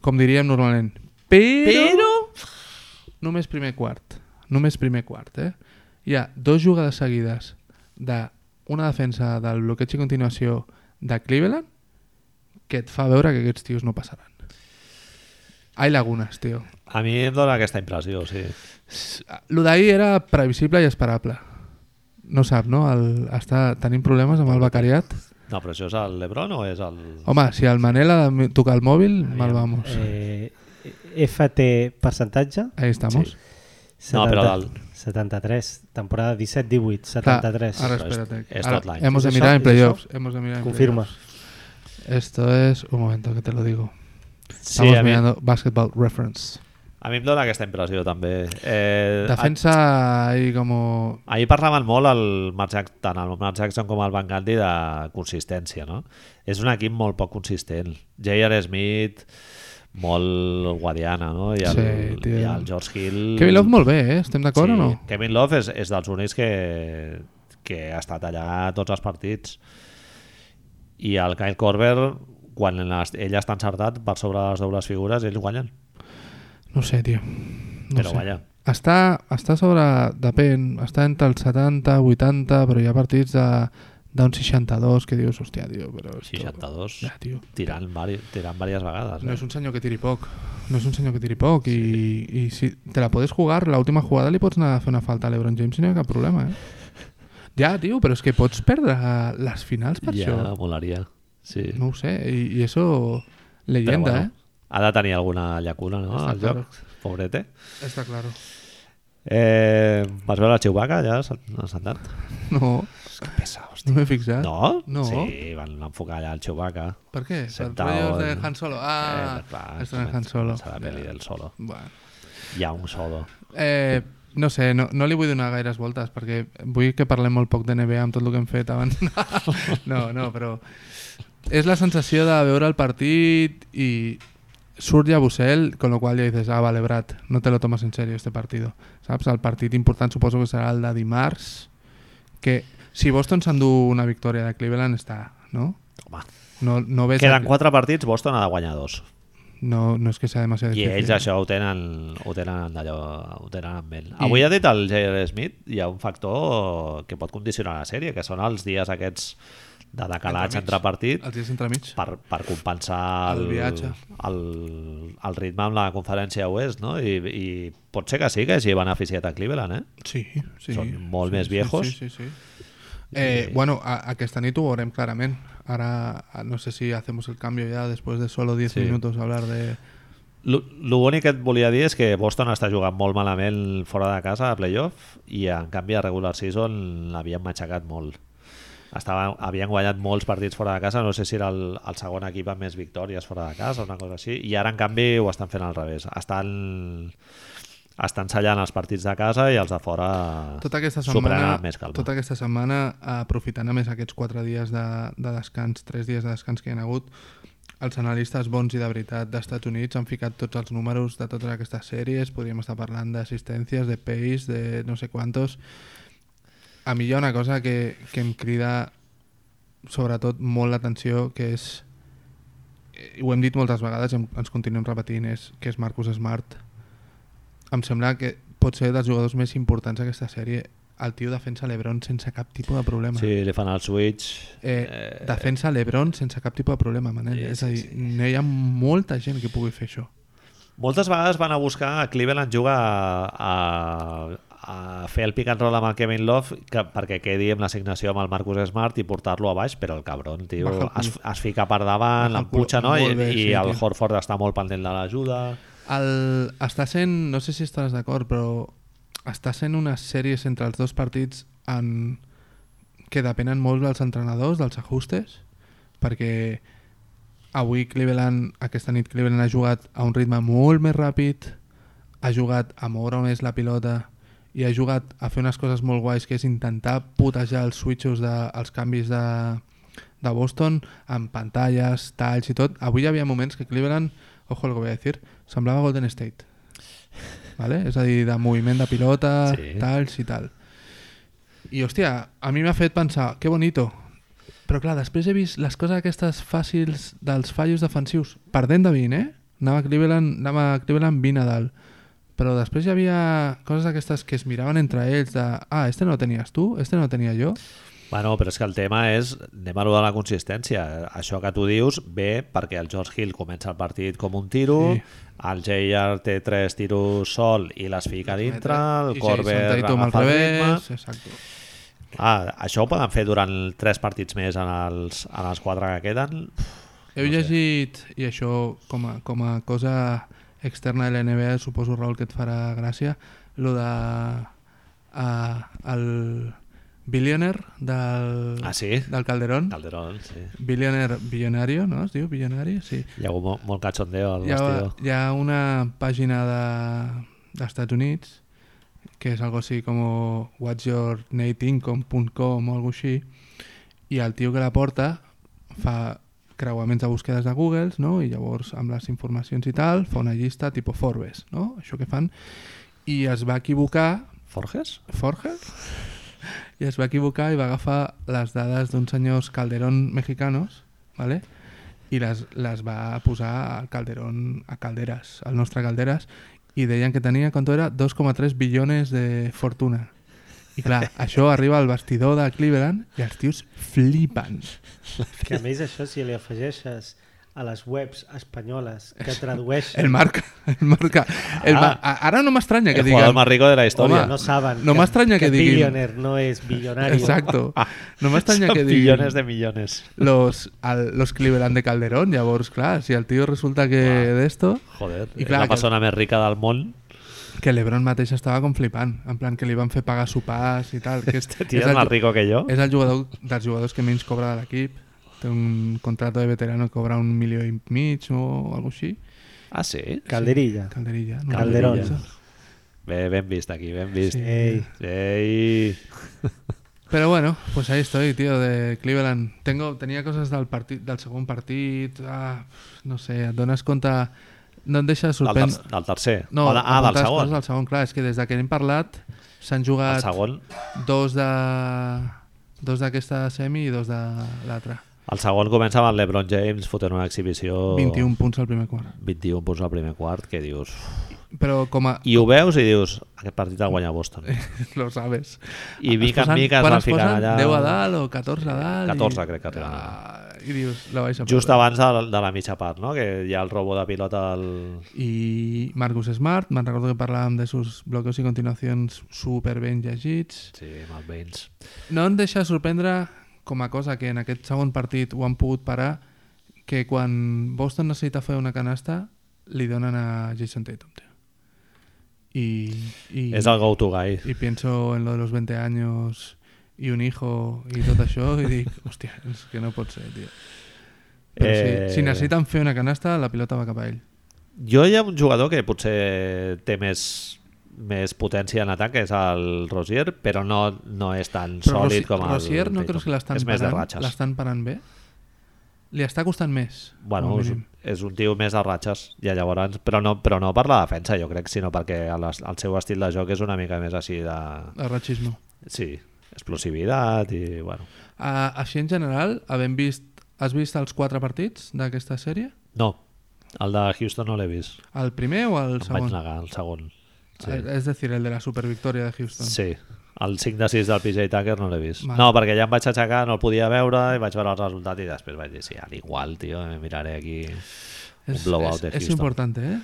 B: com diríem normalment, però... però... Només primer quart. Només primer quart, eh? Hi ha dos jugades seguides de una defensa del bloqueig i continuació de Cleveland que et fa veure que aquests tios no passaran. Hay lagunes, tio.
A: A mi em dóna aquesta impressió, sí.
B: S- Lo d'ahir era previsible i esperable. No sap, no? El, està tenint problemes amb el becariat.
A: No, però això és el Lebron o és el...
B: Home, si el Manel ha de tocar el mòbil, mal vamos.
C: Eh, FT percentatge?
B: Ahí estamos.
A: No, però
C: 70,
A: dalt.
C: 73, temporada 17-18, 73.
B: Ahora
A: Esto es-
B: espérate.
A: es
B: Ahora,
A: Hotline.
B: hemos de
C: ¿Es
B: mirar en
C: eso? ¿Es
B: playoffs. Hemos de mirar en
C: Confirma.
B: playoffs. Esto es. Un momento que te lo digo.
A: Sí,
B: Estamos
A: a mi,
B: mirando Basketball Reference.
A: a mi em dóna aquesta impressió també. Eh, ah.
B: Defensa ahí como.
A: a, ahir parlaven molt el Mark Jackson, tant el Mark Jackson com el Van Gundy de consistència, no? És un equip molt poc consistent. J.R. Smith, molt guadiana, no? I el,
B: Sí, tio.
A: i el George Hill...
B: Kevin Love molt bé, eh? Estem d'acord
A: Mm. sí,
B: o no?
A: Kevin Love és, és dels únics que, que ha estat allà tots els partits. I el Kyle Korver, quan les, ell està encertat per sobre les dobles figures, ells guanyen.
B: No ho sé, tio. No
A: Però
B: ho sé.
A: vaja.
B: Està, està sobre... Depèn. Està entre el 70, 80, però hi ha partits de d'un 62 que dius, hòstia, tio, però... Esto...
A: 62.
B: Ja, tio.
A: Tirant, vari, tirant diverses vegades.
B: No
A: Eh?
B: es un senyor que tiri poc. No es un senyor que tiri poc. I, i si te la puedes jugar, la última jugada li pots anar a fer una falta a l'Ebron James i no hi ha cap problema, eh? Ja, tio, però és que pots perdre les finals per
A: ja,
B: això.
A: molaria. Sí.
B: No ho sé. I, i eh? eso... Leyenda,
A: bueno, Ha de tenir alguna llacuna, no?
B: Està
A: Al
B: claro.
A: joc. Pobrete.
B: eh? Està claro.
A: Eh, vas veure la Chewbacca ja assentat?
B: No,
A: És que pesa, hòstia.
B: no m'he fixat.
A: No?
B: No.
A: Sí, van enfocar allà el Chewbacca. Eh,
B: Per què?
A: Sentado
B: per rotllos de
A: en-
B: Han Solo. Ah,
A: Eh, clar,
B: estan en
A: comença-
B: Han Solo.
A: comença La pel·li del solo.
B: Bueno.
A: Hi ha un solo.
B: Eh, no sé, no, no li vull donar gaires voltes perquè vull que parlem molt poc de NBA amb tot el que hem fet abans. [LAUGHS] no, no, però és la sensació de veure el partit i surt ja Bussell, con lo cual ja dices, ah, vale, Brad, no te lo tomas en serio este partido. Saps? El partit important suposo que serà el de dimarts, que si Boston s'endú una victòria de Cleveland està, no?
A: Home.
B: No, no veig...
A: Queden quatre partits, Boston ha de guanyar dos.
B: No, no és que sigui demasiado
A: I
B: difícil. eh?
A: ells això ho tenen, ho tenen, allò, ho tenen amb ell. Avui ha dit el J.R. Smith, hi ha un factor que pot condicionar la sèrie, que són els dies aquests de decalats
B: Entremig.
A: entre partit
B: Els dies entremig.
A: per, per compensar
B: El viatge.
A: El, el ritme amb la conferència oest, no? I, i pot ser que sí que hagi beneficiat a Cleveland, eh?
B: Sí, sí.
A: Són molt
B: sí,
A: més
B: sí,
A: viejos.
B: Sí, sí, sí. Eh, Bueno, a, aquesta nit ho veurem clarament. Ara a- no sé si hacemos el cambio ya después de solo 10
A: Sí.
B: minutos hablar de...
A: L'únic que et volia dir és que Boston està jugant molt malament fora de casa a playoff i en canvi a regular season l'havien matxacat molt. Estava, havien guanyat molts partits fora de casa, no sé si era el, el segon equip amb més victòries fora de casa o una cosa així, i ara en canvi ho estan fent al revés. Estan, estan sellant els partits de casa i els de fora
B: Tota aquesta
A: superant
B: setmana,
A: amb més calma.
B: tota aquesta setmana aprofitant a més aquests 4 dies de, de descans, 3 dies de descans que hi ha hagut, els analistes bons i de veritat d'Estats Units han ficat tots els números de totes aquestes sèries, podríem estar parlant d'assistències, de pace, de no sé quantos... A mi hi ha una cosa que, que em crida sobretot molt l'atenció, que és i ho hem dit moltes vegades i em- ens continuem repetint, és que és Marcus Smart. Em sembla que pot ser dels jugadors més importants d'aquesta sèrie. El tio defensa l'Ebron sense cap tipus de problema.
A: Sí, li fan el switch.
B: Eh, defensa l'Ebron sense cap tipus de problema, Manel.
A: Sí,
B: Sí, és
A: sí,
B: a dir, sí. no hi ha molta gent que pugui fer això.
A: Moltes vegades van a buscar a Cleveland jugar a, a, a fer el pick and roll amb el Kevin Love que, perquè quedi amb l'assignació amb el Marcus Smart i portar-lo a baix, però el cabron, tio,
B: Baja el cul. [LAUGHS]
A: es, es fica per
B: Baja el
A: davant, l'empuja,
B: cul.
A: no? I,
B: Molt bé,
A: i
B: sí,
A: el
B: tio.
A: Horford està molt pendent de l'ajuda.
B: El, està sent, no sé si estaràs d'acord, però està sent unes sèries entre els dos partits en, que depenen molt dels entrenadors, dels ajustes, perquè avui Cleveland, aquesta nit Cleveland ha jugat a un ritme molt més ràpid, ha jugat a moure més la pilota i ha jugat a fer unes coses molt guais que és intentar putejar els switches de, els canvis de, de Boston amb pantalles, talls i tot. Avui hi havia moments que Cleveland, ojo el que voy a decir, semblava Golden State. ¿Vale? És a dir, de moviment de pilota,
A: Sí.
B: sí. talls i tal. I hòstia, a mi m'ha fet pensar, que bonito. Però clar, després he vist les coses aquestes fàcils dels fallos defensius. Perdent de 20, eh? Anava Cleveland, anava Cleveland 20 a dalt. Però després hi havia coses aquestes que es miraven entre ells de, ah, este no tenies tu, este no tenia jo.
A: Bueno, però és que el tema és, anem a lo de la consistència. Això que tu dius ve perquè el George Hill comença el partit com un tiro,
B: Sí.
A: el JR té tres tiros sol i les fica a dintre, el
B: I Jason
A: Corbett
B: Tatum al
A: agafa el ritme...
B: revés, exacte.
A: Ah, això ho poden fer durant tres partits més en els, en els quatre que queden?
B: Heu
A: No sé.
B: llegit, i això com a, com a cosa externa de la NBA, suposo, Raül, que et farà gràcia, lo de... Uh, el Billionaire del,
A: Ah, sí?
B: del Calderón.
A: Calderón, sí.
B: Billionaire, billonario, no? Es diu bilionari? Sí.
A: Hi ha hagut mo- molt cachondeo al
B: Hi ha,
A: vestidor.
B: hi ha una pàgina de, d'Estats Units que és algo així com whatsyournateincome.com o algo així i el tio que la porta fa creuaments de búsquedes de Google no? i llavors amb les informacions i tal fa una llista tipus Forbes no? això que fan i es va equivocar
A: Forges?
B: Forges i es va equivocar i va agafar les dades d'uns senyors Calderón mexicanos ¿vale? i les, les va posar al Calderón a Calderas, al nostre Calderas i deien que tenia, quant era? 2,3 billones de fortuna i
A: [LAUGHS]
B: clar, això arriba al vestidor de Cleveland i els tios flipen
C: Que a més això, si li afegeixes a les webs espanyoles que tradueixen,
B: el marca, el marca el
A: Ah.
B: ma a- ara no m'estranya que
A: El jugador
B: diguen
A: más rico de la historia.
C: no saben
B: no m'estranya que diguin.
C: billionaire no és bilionari.
B: exacto, no m'estranya
A: Son
B: que diguin
A: millones de millones.
B: los, al- los Cleveland de Calderón. Llavors, clar, si el tio resulta que de esto...
A: Joder,
B: I
A: I
B: clar,
A: clar, la
B: que-
A: persona que... més rica del món.
B: Que l'Ebron mateix estava com flipant, en plan que li van fer pagar sopars i
A: [LAUGHS]
B: tal. Que és,
A: Este tio és, més rico que jo.
B: és el jugador dels jugadors que menys cobra de l'equip. Té un contrato de veterano que cobra un milió i mig o alguna així.
A: Ah, sí?
C: Calderilla.
B: Calderilla. No
C: Calderón.
A: Bé, ben vist aquí, ben vist.
B: Sí.
A: Sí.
C: Ei,
A: Ei.
B: Pero bueno, pues ahí estoy, tío, de Cleveland. Tengo, tenía cosas del, partit, del segon partit, ah, no sé, et dones compte... No em deixa
A: Del,
B: sorprendre...
A: ter del tercer.
B: No,
A: o de, ah, del
B: apuntar les
A: segon.
B: coses Del segon, clar, és que des de que n'hem parlat s'han
A: El
B: jugat
A: segon,
B: dos de dos d'aquesta semi i dos de l'altra.
A: El segon comença amb el LeBron James fotent una exhibició...
B: 21 punts al primer quart.
A: 21 punts al primer quart, que dius...
B: Però com a...
A: I ho veus i dius, aquest partit el guanya Boston.
B: [LAUGHS] Lo sabes.
A: I
B: Eh, Es
A: mica en
B: posen-
A: mica es
B: quan
A: van ficant allà...
B: 10 a dalt o 14 a dalt...
A: 14 crec que arriben.
B: Ah, I dius, la vais a
A: Just
B: perdre.
A: abans de, de la mitja part, no? que hi ha el robo de pilota al...
B: I Marcus Smart, me'n recordo que parlàvem de sus bloqueos i continuacions super ben llegits.
A: Sí, amb els veïns.
B: No em deixa sorprendre com a cosa que en aquest segon partit ho han pogut parar, que quan Boston necessita fer una canasta li donen a Jason Tatum. tio. I, i,
A: És el go-to guy.
B: i pienso en lo de los 20 años y un hijo i tot això i dic, hòstia, és que no pot ser, tio. Però eh...
A: Eh,
B: sí, si necessiten fer una canasta, la pilota va cap a ell.
A: Jo hi ha un jugador que potser té més més potència en atac, que és el Rosier, però no, no és tan
B: Però
A: sòlid
B: Rossi-
A: com el...
B: Rozier no
A: Tatum.
B: creus que l'estan
A: És més de
B: parant?
A: ratxes.
B: L'estan parant bé? Li està costant més.
A: Bueno,
B: com a
A: és,
B: mínim.
A: és un tio més de ratxes, i llavors, però no, però no per la defensa, jo crec, sinó perquè el, el seu estil de joc és una mica més així de...
B: El ratxisme.
A: Sí, explosivitat i, bueno...
B: Uh, així en general, havent vist... Has vist els quatre partits d'aquesta sèrie?
A: No, el de Houston no l'he vist.
B: El primer o el
A: Em vaig
B: segon?
A: negar, el segon. Sí.
B: Eh, És a dir, el de la supervictòria de Houston.
A: Sí, el 5 de 6 del PJ Tucker no l'he vist.
B: Vale.
A: No, perquè ja em vaig aixecar, no el podia veure i vaig veure el resultat i després vaig dir, sí, al igual, tio, em miraré aquí un
B: és,
A: blowout
B: és,
A: de
B: és
A: Houston.
B: important, eh?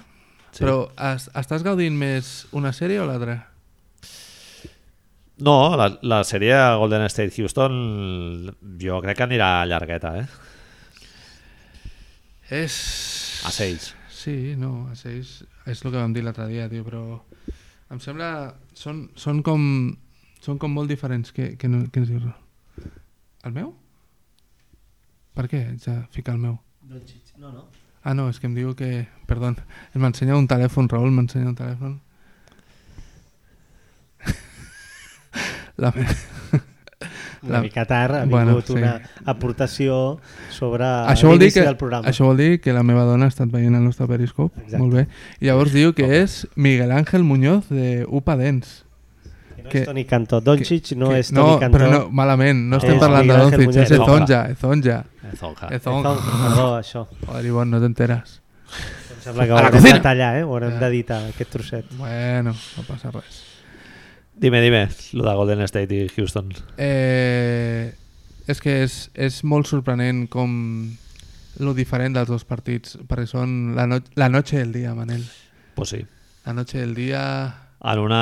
A: Sí.
B: Sí. Però es, estàs gaudint més una sèrie o l'altra?
A: No, la, la sèrie Golden State-Houston jo crec que anirà llargueta, eh?
B: És...
A: A 6.
B: Sí, no, a 6 és el que vam dir l'altre dia, tio, però em sembla... Són, són com... Són com molt diferents. Què, què, no, què ens dius? El meu? Per què haig de ficar el meu?
C: No, no.
B: Ah, no, és que em diu que... Perdó, m'ensenya un telèfon, Raül, m'ensenya un telèfon. [LAUGHS] La me...
C: Una
B: La-
C: mica tard ha
B: Bueno,
C: vingut
B: sí.
C: bueno, sí. una aportació sobre
B: això, vol dir
C: l'inici
B: que,
C: del programa.
B: això vol dir que la meva dona ha estat veient el nostre periscope,
C: Exacte.
B: molt bé. I llavors diu que és Miguel Ángel Muñoz de UPA Dents.
C: Que no
B: que-
C: és Toni Cantó. Doncic no
B: Que-
C: és Toni
B: no,
C: Cantó.
B: però no, malament, no estem
A: És
B: parlant de
C: Miguel Ángel
B: Doncic, és
A: Muñoz.
B: Ezonja, Ezonja,
A: Zonja.
C: Ah,
B: Ezonja.
C: Tonc,
A: [LAUGHS]
C: perdó, això.
B: Joder, Ivonne, no t'enteres.
C: Em sembla que
B: A
C: ho
B: la
C: haurem
B: cocina.
C: de tallar, eh? Ho haurem
A: Ah.
B: Ja.
C: d'editar, aquest trosset.
B: Bueno, no passa res.
A: Dime, dime, lo de Golden State i Houston.
B: Eh, és que és, és molt sorprenent com lo diferent dels dos partits, perquè són la, no la noche del dia, Manel.
A: Pues sí.
B: La noche del dia...
A: En una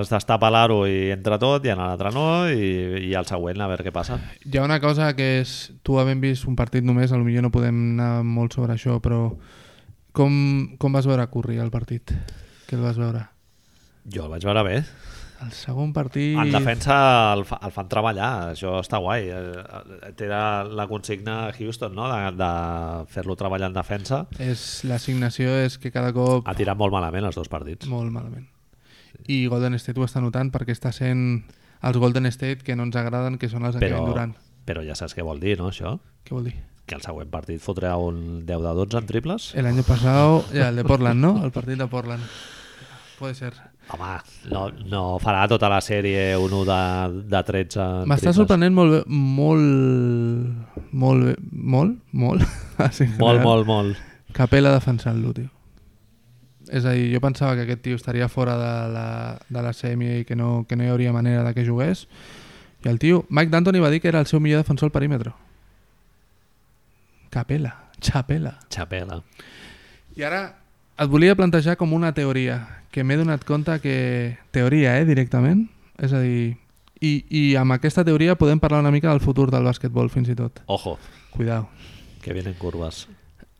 A: es destapa l'aro i entra tot, i en l'altra no, i, i al següent a veure què passa.
B: Hi ha una cosa que és... Tu havent vist un partit només, a lo millor no podem anar molt sobre això, però com, com vas veure Curry al partit? Què el vas veure?
A: Jo el vaig veure bé.
B: El segon partit...
A: En defensa el, fa- el fan treballar, això està guai. Eh, eh, Té la, la consigna a Houston, no?, de, de fer-lo treballar en defensa.
B: És, l'assignació és que cada cop...
A: Ha tirat molt malament els dos partits.
B: Molt malament. I Golden State ho està notant perquè està sent els Golden State que no ens agraden, que són els de
A: Però,
B: Kevin Durant.
A: però ja saps què vol dir, no, això?
B: Què vol dir?
A: Que el següent partit fotrà un 10 de 12 en triples?
B: El año pasado, ja, el de Portland, ¿no? El partit de Portland. Puede ser.
A: Home, no, no farà tota la sèrie un 1 de, de 13 en
B: M'està
A: triples.
B: sorprenent molt, bé- molt, molt, bé- molt, molt, [LAUGHS] Així en
A: Molt,
B: general,
A: molt, molt.
B: Capella defensant-lo, tio. És a dir, jo pensava que aquest tio estaria fora de la, de la sèmia i que no, que no hi hauria manera de que jugués. I el tio, Mike D'Antoni va dir que era el seu millor defensor al perímetre. Capella, xapela.
A: Xapela.
B: I ara et volia plantejar com una teoria, que m'he donat compte que... Teoria, eh, directament? És a dir... I, I amb aquesta teoria podem parlar una mica del futur del basquetbol, fins i tot.
A: Ojo,
B: Cuidao.
A: que vienen curves.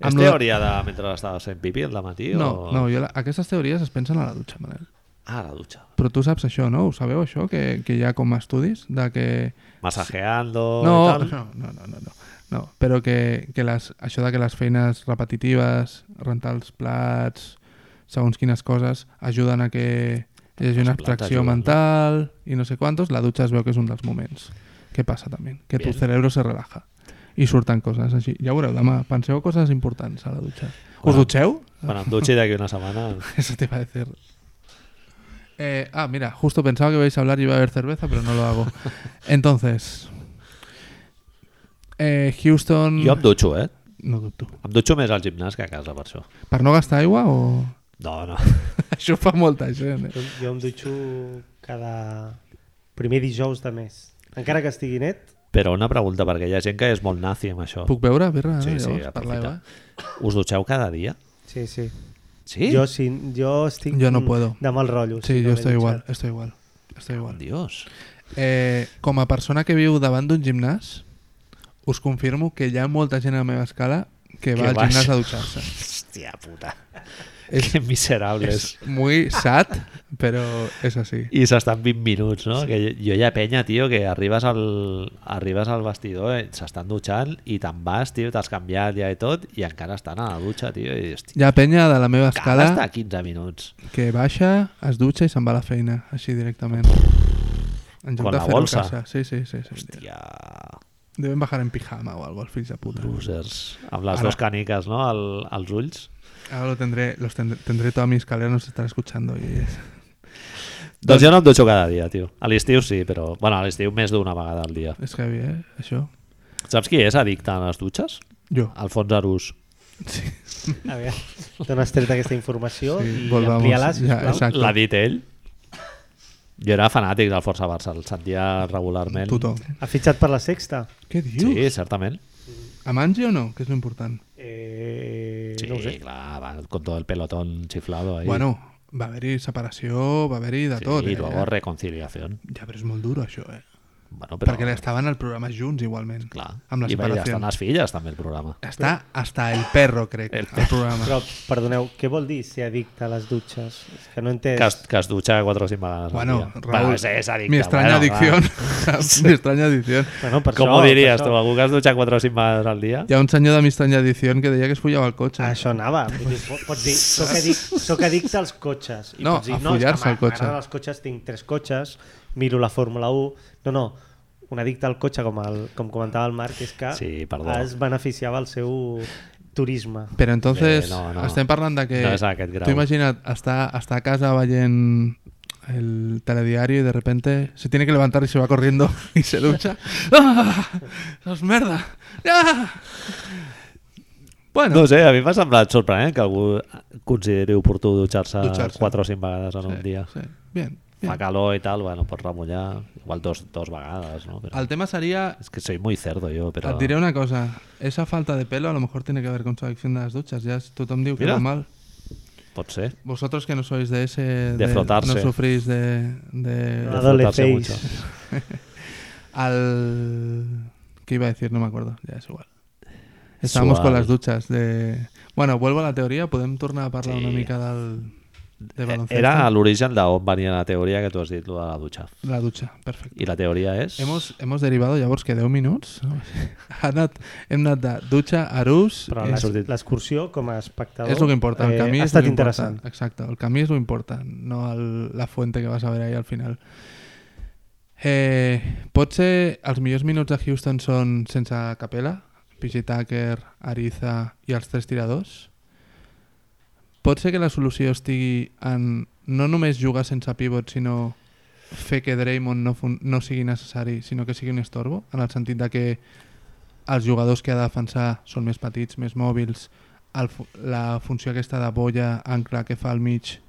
B: Amb
A: És
B: lo de-
A: teoria de mentre estaves fent pipi al matí?
B: No,
A: o...
B: no, jo la, aquestes teories es pensen a la dutxa, Manel.
A: Ah, la dutxa.
B: Però tu saps això, no? Ho sabeu, això? Que, que hi ha com a estudis de que...
A: Massajeando i
B: No,
A: tal.
B: no, no, no, no. no. no però que, que les, això de que les feines repetitives, rentar els plats, segons quines coses, ajuden a que hi hagi una
A: Els plats
B: abstracció
A: ajuden, no?
B: mental i no sé quantos, la dutxa es veu que és un dels moments. Què passa també? Que tu
A: Bien.
B: cerebro se relaja i surten coses així. Ja ho veureu, demà penseu coses importants a la dutxa. Us
A: Quan-
B: dutxeu?
A: Quan em dutxi d'aquí una setmana...
B: [LAUGHS] Eso te iba a decir. Eh, ah, mira, justo pensaba que ibais a hablar y iba a haber cerveza, pero no lo hago. Entonces, eh, Houston...
A: Jo em dutxo, eh?
B: No dubto.
A: Em dutxo més al gimnàs que a casa, per això.
B: Per no gastar aigua o...?
A: No, no.
B: Això ho fa molta gent, eh?
C: Jo, jo em dutxo cada primer dijous de mes. Encara que estigui net,
A: Però una pregunta, perquè hi ha gent que és molt nazi amb això.
B: Puc beure birra,
A: Sí,
B: eh,
A: sí,
B: llavors, per l'aigua?
A: aprofita. Us dutxeu cada dia?
C: sí, sí.
A: Sí?
C: Jo, sí, jo estic
B: Jo no puedo.
C: de mal rotllo.
B: Sí,
C: si no
B: jo
C: m'he
B: estoy igual,
C: dutxat.
B: estoy igual. Estoy igual.
A: Dios.
B: Eh, com a persona que viu davant d'un gimnàs, us confirmo que hi ha molta gent a la meva escala que va
A: Que
B: al
A: vas.
B: gimnàs a
A: [LAUGHS]
B: dutxar-se.
A: Hòstia puta.
B: És-
A: que miserables.
B: És muy sad, però és així.
A: I s'estan 20 minuts, no? Sí. Que jo hi ha penya, tio, que arribes al, arribes al vestidor, eh, s'estan dutxant i te'n vas, tio, t'has canviat ja i tot i encara estan a la dutxa, tio, i dius, tio,
B: Hi ha penya de la meva
A: cal estar
B: escala
A: 15 minuts.
B: que baixa, es dutxa i se'n va a la feina, així directament. En
A: Con
B: lloc de
A: la
B: fer-ho a
A: bolsa.
B: casa. Sí, sí, sí. sí, sí.
A: Hòstia,
B: Deben bajar en pijama o algo, els fills de puta.
A: losers. Amb les
B: Ara-
A: dues caniques, no?, al, als ulls.
B: Ahora lo tendré, los tendré, tendré toda mi escalera, nos estará escuchando. Y
A: Doncs jo no em dutxo cada dia, tio. A l'estiu sí, però... Bueno, a l'estiu més d'una vegada al dia.
B: es heavy, ¿eh? Eso.
A: Saps qui és addicte a les dutxes?
B: Yo.
A: Alfons Arús.
C: A veure, d'on has tret aquesta informació
B: Sí,
C: sí, i
B: volvamos.
C: ampliar-la,
B: Ja,
C: sisplau.
B: exacte.
A: L'ha dit ell. Jo era fanàtic del Força Barça, el sentia regularment.
B: Tuto.
C: Ha fitxat per la sexta?
B: ¿Qué dios?
A: Sí, certament.
B: ¿A Manji o no? Que es lo importante.
C: Eh,
A: Sí,
C: No ho sé.
A: clar, va, con todo el pelotón chiflado ahí.
B: Bueno, va a haver separació, va a haver-hi de
A: sí,
B: tot.
A: I
B: eh?
A: luego reconciliación.
B: Ja, però és molt duro, això, eh?
A: Bueno,
B: Però...
A: però...
B: Perquè estaven al programa junts, igualment.
A: Clar,
B: Amb la
A: i va, ja
B: separació.
A: estan les filles també el programa.
B: Està hasta el perro, crec, el, el programa.
C: Però, perdoneu, què vol dir ser addicte a les dutxes? És que no he entès.
A: Que es, que es dutxa quatre o cinc vegades
B: Bueno,
A: al dia.
B: Raúl,
A: bueno, és, és addicte.
B: mi extraña
A: bueno,
B: adicción. [LAUGHS] mi extraña adicción.
C: Bueno, per
A: Com
C: això,
A: ho diries
C: per
A: tu? Algú que es dutxa quatre o cinc vegades al dia?
B: Hi ha un senyor de mi extraña adicción que deia que es follava al cotxe.
C: A
A: Ah,
C: això anava. Vull dir, po- pots dir,
B: [LAUGHS]
C: soc, addic, soc addicte als cotxes. I
B: No,
C: pots dir,
B: a
C: és que
B: follar-se al
C: m'a-
B: cotxe.
C: M'agraden els cotxes, tinc tres cotxes, miro la Fórmula 1... No, no, un addicte al cotxe, com, el, com comentava el Marc, és que
A: Sí, perdó.
C: es beneficiava el seu turisme.
B: Però entonces,
A: Eh, no, no.
B: estem parlant de que...
A: No és aquest grau.
B: Tu imagina't estar, estar a casa veient el telediario y de repente se tiene que levantar y se va corriendo [LAUGHS] y se ducha. ¡Ah! ¡Sos merda! ¡Ah! Bueno,
A: No ho sé, a mi m'ha semblat sorprenent que algú consideri oportú dutxar-se
B: Dutxar-se.
A: quatre o cinc vegades en un
B: sí,
A: dia.
B: sí. Bien,
A: Fa
B: bien.
A: calor i tal, bueno, pots remullar, igual dos, dos vegades, no? Però...
B: El tema sería...
A: És que soy muy cerdo jo, però...
B: Et diré una cosa. Esa falta de pelo a lo mejor tiene que ver con su adicción de las duchas. Ya tothom diu que
A: Mira.
B: va mal.
A: Pot ser.
B: Vosotros que no sois de ese...
A: De frotarse.
B: No sufrís de... de...
C: No. Adole
A: frotarse
C: face.
A: mucho.
B: al ¿Qué iba a decir? No me acuerdo, ya es igual. Estábamos
A: Sual.
B: con las duchas de... Bueno, vuelvo a la teoría, podemos tornar a parlar
A: Sí. Eh,
B: una mica del... de baloncesto.
A: Era l'origen d'on venia la teoria que tu has dit, lo de la dutxa.
B: La ducha, perfecto.
A: I la teoria és...
B: Hemos, hemos derivado, llavors, que 10 minuts ha [LAUGHS] anat, hem anat de dutxa, arús...
C: Però
A: Eh,
C: l'es-
A: sortit.
C: l'excursió, com a espectador, eh,
B: És el que importa, el camí
C: ha
B: és el
C: estat
B: que
C: interessant.
B: Importa. Exacte, el camí és el important, no el, la fuente que vas a veure ahir al final. Eh, potser els millors minuts de Houston són sense capella, PG Tucker, Ariza i els tres tiradors. Pot ser que la solució estigui en no només jugar sense pivot, sinó fer que Draymond no, fun- no sigui necessari, sinó que sigui un estorbo, en el sentit de que els jugadors que ha de defensar són més petits, més mòbils, el, fu- la funció aquesta de boia, ancla que fa al mig,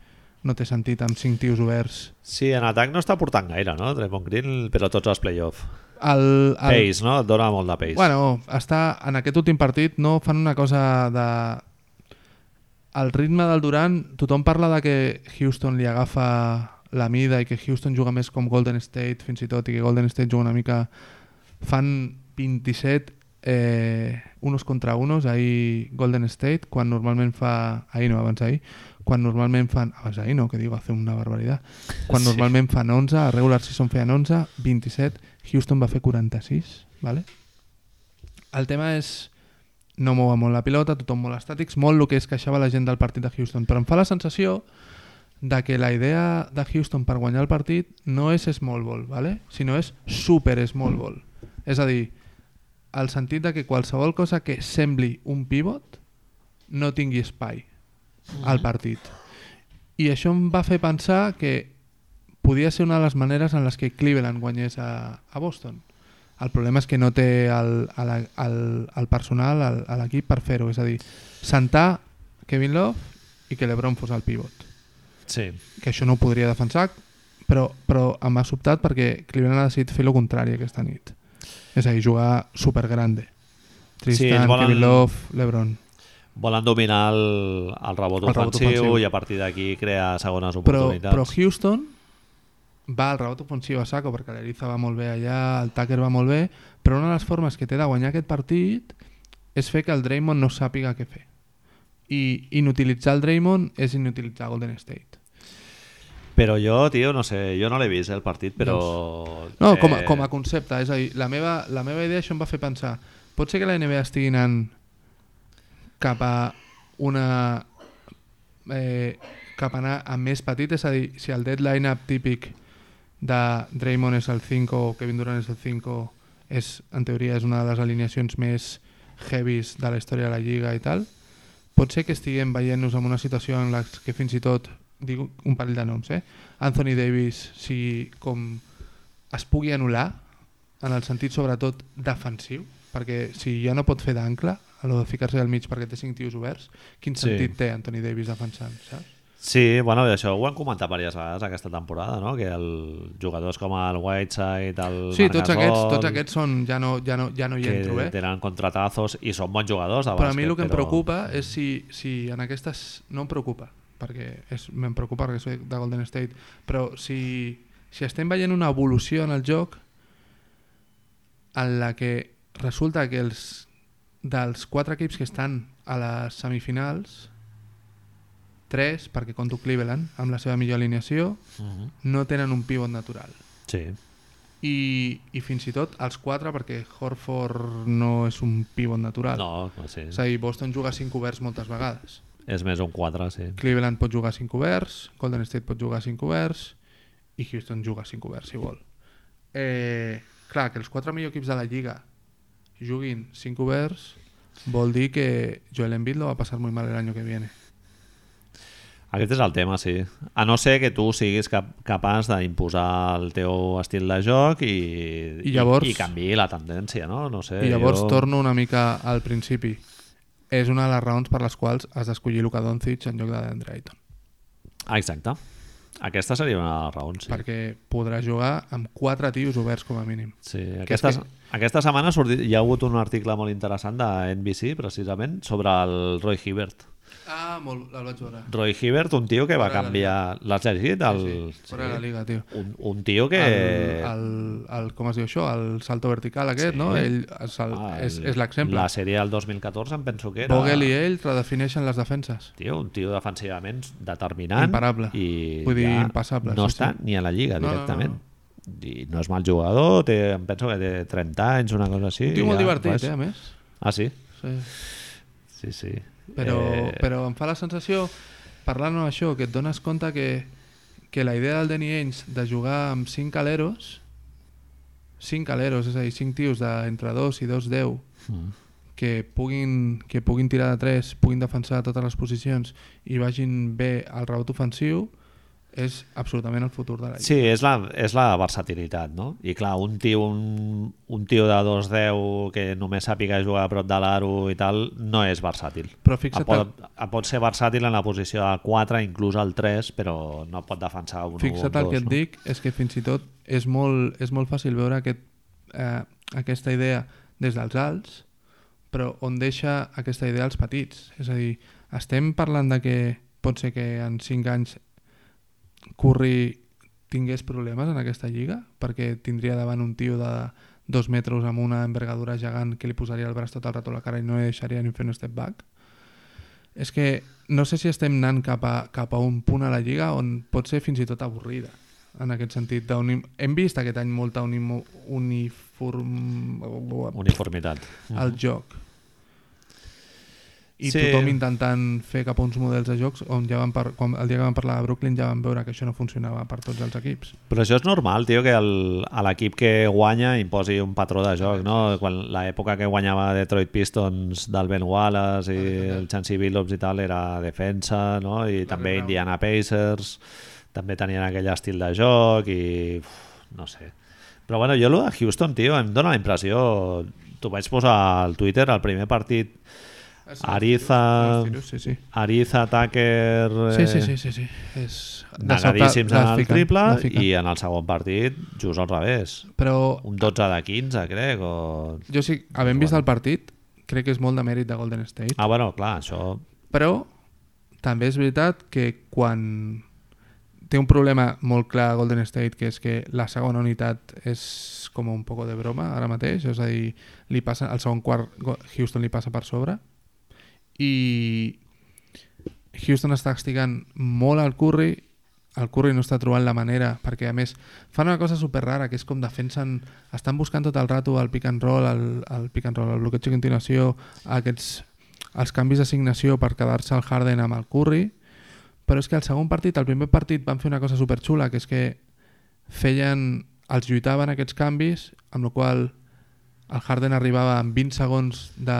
B: no té sentit amb cinc tios oberts.
A: Sí, en atac no està portant gaire, no? Draymond Green, però tots els play-off.
B: El, el,
A: Pace, no? Et dona molt de pace.
B: Bueno, està, en aquest últim partit no fan una cosa de... Al ritme del Durant, tothom parla de que Houston li agafa la mida i que Houston juga més com Golden State fins i tot i que Golden State juga una mica... Fan 27 eh, unos contra unos ahir Golden State quan normalment fa... Ahir no, abans ahir. Quan normalment fan... Abans ahir no, que digo, hace una barbaridad. Quan
A: Sí.
B: normalment fan 11, a regular season feien 11, 27, Houston va fer 46, ¿vale? El tema és no mouen molt la pilota, tothom molt estàtics, molt el que es queixava la gent del partit de Houston, però em fa la sensació de que la idea de Houston per guanyar el partit no és small ball, ¿vale? sinó és super small ball. És a dir, el sentit de que qualsevol cosa que sembli un pivot no tingui espai al partit. I això em va fer pensar que podia ser una de les maneres en les que Cleveland guanyés a, a Boston. El problema és que no té el, el, el, el personal, el- a l'equip, per fer-ho. És a dir, sentar Kevin Love i que l'Ebron fos el pivot.
A: Sí.
B: Que això no ho podria defensar, però, però em ha sobtat perquè Cleveland ha decidit fer el contrari aquesta nit. És a dir, jugar supergrande.
A: Sí, ells
B: Tristan,
A: volen-
B: Kevin Love, l'Ebron.
A: Volen dominar el, el rebot
B: El rebot
A: ofensiu,
B: ofensiu.
A: i a partir d'aquí crear segones
B: però,
A: oportunitats.
B: però Houston va al rebot ofensiu a saco perquè l'Eriza va molt bé allà, el Tucker va molt bé però una de les formes que té de guanyar aquest partit és fer que el Draymond no sàpiga què fer i inutilitzar el Draymond és inutilitzar Golden State
A: Però jo, tio, no sé, jo no l'he vist eh, el partit, però... eh,
B: no, com, a, com a concepte és a dir, la meva, la meva idea això em va fer pensar pot ser que la NBA estigui anant cap a una eh, cap a anar a més petit és a dir, si el deadline up típic de Draymond és el 5 o Kevin Durant és el 5 és, en teoria és una de les alineacions més heavies de la història de la Lliga i tal, pot ser que estiguem veient-nos en una situació en la que fins i tot dic un parell de noms, eh? Anthony Davis si com es pugui anul·lar en el sentit sobretot defensiu perquè si ja no pot fer d'ancle a lo de ficar-se al mig perquè té cinc tios oberts quin
A: Sí.
B: sentit té Anthony Davis defensant, saps?
A: Sí, bueno, i això ho han comentat diverses vegades aquesta temporada, no? Que el jugadors com el Whiteside, el
B: Sí,
A: Marc
B: tots
A: Gasol,
B: aquests, tots aquests són, ja no, ja no, ja no hi
A: que
B: entro, eh?
A: tenen contratazos i són bons jugadors de
B: Però a mi
A: bàsquet,
B: el que em
A: però-
B: preocupa és si, si en aquestes... No em preocupa, perquè és- me'n preocupa perquè soc de Golden State, però si, si estem veient una evolució en el joc en la que resulta que els dels quatre equips que estan a les semifinals tres, perquè conto Cleveland amb la seva millor alineació
A: Mhm.
B: no tenen un pivot natural
A: Sí,
B: i, i fins i tot els quatre perquè Horford no és un pivot natural
A: no, no sí.
B: és a dir, Boston juga 5 oberts moltes vegades.
A: és més un 4, sí.
B: Cleveland pot jugar 5 oberts, Golden State pot jugar 5 oberts i Houston juga 5 oberts, si vol. Eh, clar, que els 4 millors equips de la Lliga juguin 5 oberts vol dir que Joel Embiid lo va passar molt mal el año que viene.
A: Aquest és el tema, sí. A no ser que tu siguis cap, capaç d'imposar el teu estil de joc i,
B: I llavors-
A: i, i canviï la tendència, no? no sé,
B: I llavors
A: Eh, jo...
B: torno una mica al principi. És una de les raons per les quals has d'escollir Luka Doncic en lloc de Deandre Ayton.
A: Ah, exacte. Aquesta seria una de les raons,
B: Sí.
A: sí.
B: Perquè podrà jugar amb 4 tios oberts com a mínim.
A: Sí, aquesta,
B: és que-
A: aquesta setmana ha sortit, hi ha hagut un article molt interessant de NBC, precisament, sobre el Roy Hibbert.
B: Ah, molt, el vaig veure.
A: Roy Hibbert, un tio que va
B: Fora de la
A: canviar... L'has llegit? El...
B: Sí, fora de la Liga, tio.
A: Un, un tio que...
B: el, el, el, com es diu això? El salto vertical aquest, sí. no? Ell és el-
A: Ah,
B: és, és l'exemple.
A: La sèrie del 2014, em penso que era...
B: Vogel i ell redefineixen les defenses.
A: Tio, un tio defensivament determinant.
B: Imparable.
A: I
B: Vull dir,
A: ja
B: impassable,
A: No
B: sí,
A: està
B: sí.
A: ni a la Lliga,
B: No, no,
A: directament. No, no, I no és mal jugador, té, em penso que té 30 anys, una cosa així.
B: Un tio molt
A: ja,
B: divertit,
A: vas-
B: eh, a més.
A: Ah, sí?
B: Sí.
A: Sí, sí.
B: Però,
A: Eh,
B: però em fa la sensació, parlant amb això, que et dones compte que, que la idea del Danny Ainge de jugar amb 5 caleros, 5 caleros, és a dir, 5 tios d'entre 2 i 2, 10,
A: mm.
B: que puguin, que puguin tirar de 3, puguin defensar totes les posicions i vagin bé al rebot ofensiu és absolutament el futur de la Lliga.
A: Sí, és la, és la versatilitat, no? I clar, un tio, un, un tio de 2-10 que només sàpiga jugar a prop de l'aro i tal, no és versàtil.
B: Però fixa't,
A: Et Ah, pot, et pot ser versàtil en la posició del 4, inclús al 3, però no pot defensar un 1 o un 2.
B: el, fixa't el que et
A: no?
B: dic és que fins i tot és molt, és molt fàcil veure aquest, eh, aquesta idea des dels alts però on deixa aquesta idea als petits és a dir, estem parlant de que pot ser que en 5 anys Curry tingués problemes en aquesta lliga perquè tindria davant un tio de dos metres amb una envergadura gegant que li posaria el braç tot el rato a la cara i no li deixaria ni fer un step back és que no sé si estem anant cap a, cap a un punt a la lliga on pot ser fins i tot avorrida en aquest sentit d'unim... hem vist aquest any molta unimo... uniform
A: Uniformitat.
B: al joc i
A: Sí.
B: sí. tothom intentant fer cap a uns models de jocs on ja van par... quan el dia que vam parlar de Brooklyn ja vam veure que això no funcionava per tots els equips
A: Però això és normal, tio, que el- a l'equip que guanya imposi un patró de joc, no? Quan l'època que guanyava Detroit Pistons del Ben Wallace i el Chancey Billups i tal era defensa, no? I també
B: Brown.
A: Indiana Pacers, també tenien aquell estil de joc i... Uf, no sé. Però bueno, jo allò de Houston, tio, em dóna la impressió... T'ho vaig posar al Twitter, el primer partit... Ariza...
B: Sí, sí.
A: Ariza, Tucker... eh,
B: Sí, sí, sí, sí, sí. És... de sobte
A: Negadíssims en
B: la
A: el
B: fiquen,
A: triple
B: la fiquen.
A: i en el segon partit just al revés.
B: Però
A: Un 12 de 15, crec, o...
B: jo sí, havent vist el partit, crec que és molt de mèrit de Golden State.
A: Ah, bueno, clar, això...
B: però també és veritat que quan té un problema molt clar a Golden State que és que la segona unitat és com un poco de broma ara mateix és a dir, li passa, al segon quart Go- Houston li passa per sobre i Houston està castigant molt al Curry el Curry no està trobant la manera perquè a més fan una cosa super rara que és com defensen, estan buscant tot el rato el pick and roll, el, el pick and roll el bloqueig a continuació, aquests els canvis d'assignació per quedar-se al Harden amb el Curry però és que al segon partit, al primer partit van fer una cosa superxula, que és que feien, els lluitaven aquests canvis amb la qual el Harden arribava amb 20 segons de,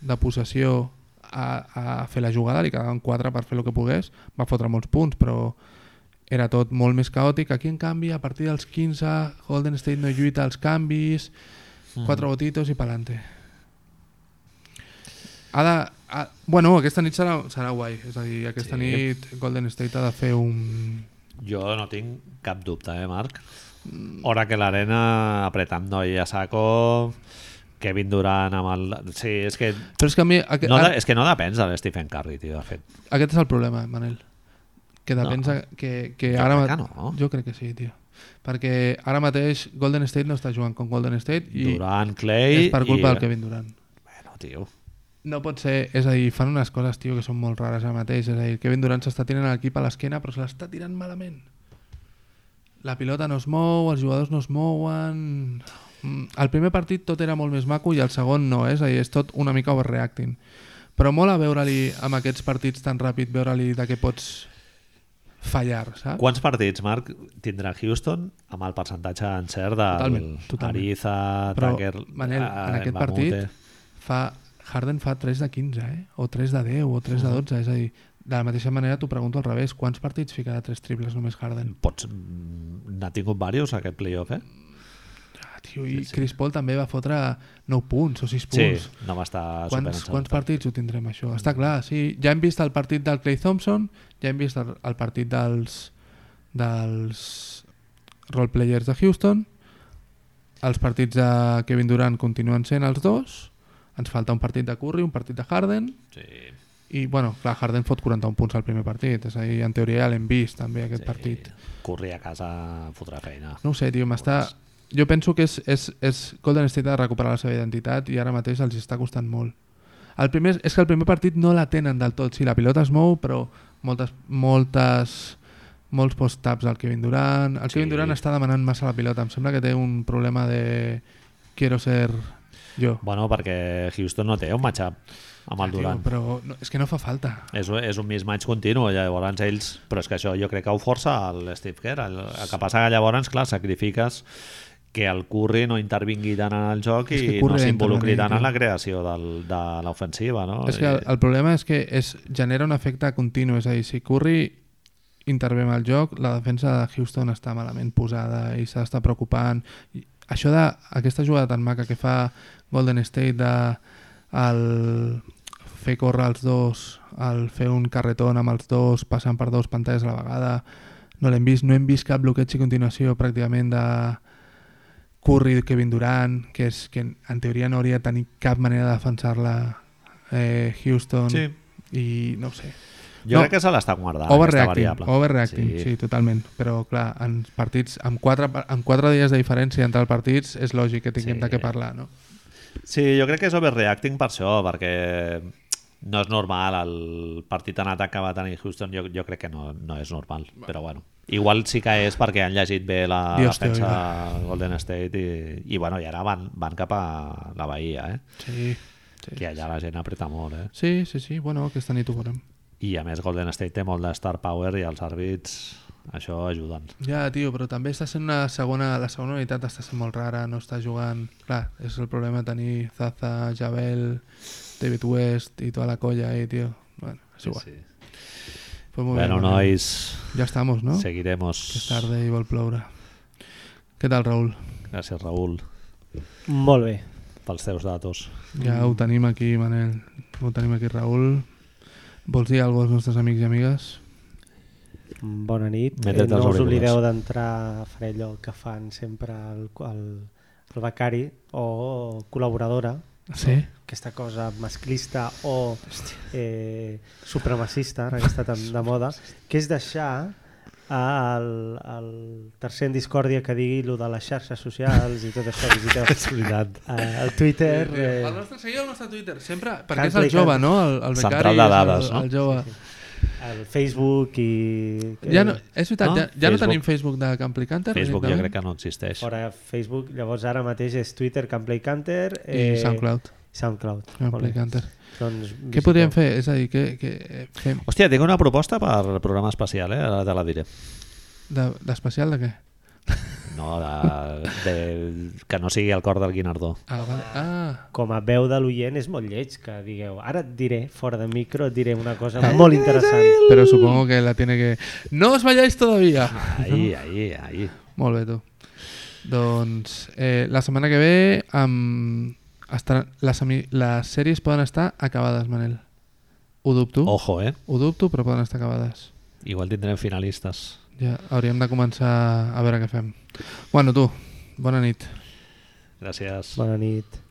B: de possessió a, a fer la jugada, li quedaven 4 per fer el que pogués, va fotre molts punts però era tot molt més caòtic aquí en canvi a partir dels 15 Golden State no lluita els canvis
A: Mm.
B: 4 botitos i pa'lante ha de, ha, bueno, aquesta nit serà, serà guai és a dir, aquesta
A: Sí.
B: sí. nit Golden State ha de fer un...
A: Jo no tinc cap dubte, eh, Marc? Hora que l'arena apretant noi a saco, Kevin Durant amb el... Sí, és que
B: Però és que a mi... Aquest,
A: no, de-
B: ara,
A: és que no depèn de Stephen Curry, tio, de fet.
B: aquest és el problema, Manel. Que depèn no. que, que
A: Jo
B: ara...
A: crec
B: ma-
A: que no.
B: Jo crec que sí, tio. Perquè ara mateix Golden State no està jugant com Golden State i
A: Durant,
B: és
A: Clay...
B: per culpa
A: i...
B: del Kevin Durant.
A: Bueno, tio.
B: No pot ser, és a dir, fan unes coses, tio, que són molt rares ara mateix. És a dir, Kevin Durant s'està tirant l'equip a l'esquena, però se l'està tirant malament. La pilota no es mou, els jugadors no es mouen... Mm, El primer partit tot era molt més maco i el segon no, eh? és a dir, és tot una mica overreacting. Però mola veure-li amb aquests partits tan ràpid, veure-li de què pots fallar, saps?
A: Quants partits, Marc, tindrà Houston amb el percentatge d'encert de
B: Totalment, totalment.
A: Ariza,
B: Però,
A: Tucker...
B: Manel, en
A: eh,
B: aquest
A: Mamute.
B: partit fa, Harden fa 3 de 15, eh? o 3 de 10, o 3 de 12, és a dir, de la mateixa manera t'ho pregunto al revés, quants partits ficarà 3 triples només Harden?
A: Pots... mm, N'ha tingut diversos aquest playoff, eh?
B: Ah, tio, i Chris Paul també va fotre 9 punts o 6
A: Sí,
B: punts.
A: no m'està
B: Quants,
A: superencertat.
B: quants partits ho tindrem això? Està clar, sí, ja hem vist el partit del Clay Thompson, ja hem vist el, el partit dels dels roleplayers de Houston els partits de Kevin Durant continuen sent els dos ens falta un partit de Curry, un partit de Harden
A: Sí.
B: i bueno, clar, Harden fot 41 punts al primer partit, és a dir, en teoria ja l'hem vist també aquest sí. partit.
A: Corri a casa, fotrà feina.
B: No ho sé, tio, m'està... Jo penso que és, és, és Golden State ha de recuperar la seva identitat i ara mateix els està costant molt. El primer, és que el primer partit no la tenen del tot. Sí, la pilota es mou, però moltes, moltes, molts post-taps al Kevin Durant. El Kevin
A: Sí.
B: Durant està demanant massa la pilota. Em sembla que té un problema de... Quiero ser jo.
A: Bueno, perquè Houston no té un matchup amb el Durant.
B: Tio, però no, és que no fa falta.
A: És, és un mismatch continu, llavors ells... Però és que això jo crec que ho força el Steve Kerr. El, el que passa que llavors, clar, sacrifiques que el Curry no intervingui tant en el joc
B: És
A: i
B: que Curry
A: no
B: ha
A: s'involucri
B: intervenit,
A: tant en
B: tio.
A: la creació del, de l'ofensiva, no?
B: És que el, el problema és que es genera un efecte continu, és a dir, si Curry intervé amb el joc, la defensa de Houston està malament posada i s'ha d'estar preocupant. I això de aquesta jugada tan maca que fa Golden State de el, fer córrer els dos, el fer un carretón amb els dos, passant per dos pantalles a la vegada, no l'hem vist, no hem vist cap bloqueig i continuació pràcticament de Curry, Kevin Durant, que, és, que en teoria no hauria de tenir cap manera de defensar-la eh, Houston
A: Sí.
B: i no ho sé.
A: Jo
B: no.
A: crec que se l'està guardant, Ah, aquesta
B: Overreacting,
A: variable.
B: overreacting sí. sí, totalment. Però clar, en partits amb quatre, amb quatre dies de diferència entre els partits és lògic que tinguem
A: Sí.
B: sí. de què parlar, no?
A: Sí, jo crec que és overreacting per això, perquè no és normal el partit en atac que va tenir Houston, jo, jo crec que no, no és normal, però bueno. Igual sí que és perquè han llegit bé la
B: Dios te
A: defensa de Golden State i, i, bueno, i ara van, van cap a la Bahia, eh?
B: Sí, sí.
A: que allà la gent apreta molt. Eh?
B: Sí, sí, sí, bueno, aquesta nit ho veurem.
A: I a més Golden State té molt de star power i els àrbits això ajuden.
B: Ja, tio, però també està sent una segona... La segona unitat està sent molt rara, no està jugant... Clar, és el problema tenir Zaza, Javel, David West i tota la colla ahí, tio. Bueno, és igual. Sí, sí. Pues muy
A: bueno,
B: bien, muy bien.
A: nois,
B: Ja estamos, ¿no?
A: seguiremos.
B: Que és tarda i vol ploure. Què tal, Raül?
A: Gràcies, Raül,
C: Molt bé.
A: pels teus datos.
B: Ja ho tenim aquí, Manel. Ho tenim aquí, Raül. Vols dir alguna cosa als nostres amics i amigues?
C: Bona nit.
A: M'he tret
C: Eh, no
A: els
C: us
A: auriculars.
C: oblideu d'entrar a fer allò que fan sempre el, el, el becari o col·laboradora,
B: Sí?
C: aquesta cosa masclista o eh, supremacista, ara que està tan de moda, que és deixar al, al tercer en discòrdia que digui lo de les xarxes socials i tot això,
B: [LAUGHS]
C: visiteu eh, el Twitter.
B: El
C: Eh,
B: nostre, seguiu el nostre Twitter, sempre,
C: Cal
B: perquè és el
C: clicar.
B: jove, no? El, el
A: Central
B: becari,
A: de
B: és
A: dades,
B: el,
A: no?
B: el jove.
C: el Facebook i...
B: Ja no, és veritat,
A: Eh, No?
B: ja, ja no
A: Facebook.
B: tenim Facebook de Camp Licanter.
A: Facebook jo crec que no existeix.
C: Fora Facebook, llavors ara mateix és Twitter, Camplay Canter eh,
B: I SoundCloud.
C: SoundCloud.
B: Camp
C: Molt bé.
B: Licanter.
C: Doncs
B: Què
C: visiteu.
B: podríem fer? És a dir, què, què eh, fem?
A: Hòstia, tinc una proposta per programa especial, eh? Ara te la diré.
B: De- D'especial de, de què?
A: No, de, de, que no sigui el cor del Guinardó.
B: Ah, vale. ah,
C: Com a veu de l'oient és molt lleig que digueu. Ara et diré, fora de micro, et diré una cosa molt interessant.
B: pero supongo que la tiene que... ¡No os vayáis todavía!
A: Ahí, ahí, ahí.
B: Molt bé, tu. Doncs eh, la setmana que ve amb... Estaran, les, semi- les sèries poden estar acabades, Manel. Ho dubto.
A: Ojo, eh?
B: Ho dubto, però poden estar acabades.
A: Igual tindrem finalistes.
B: Ja hauríem de començar a veure què fem. Bueno, tu, bona nit.
A: Gràcies.
C: Bona nit.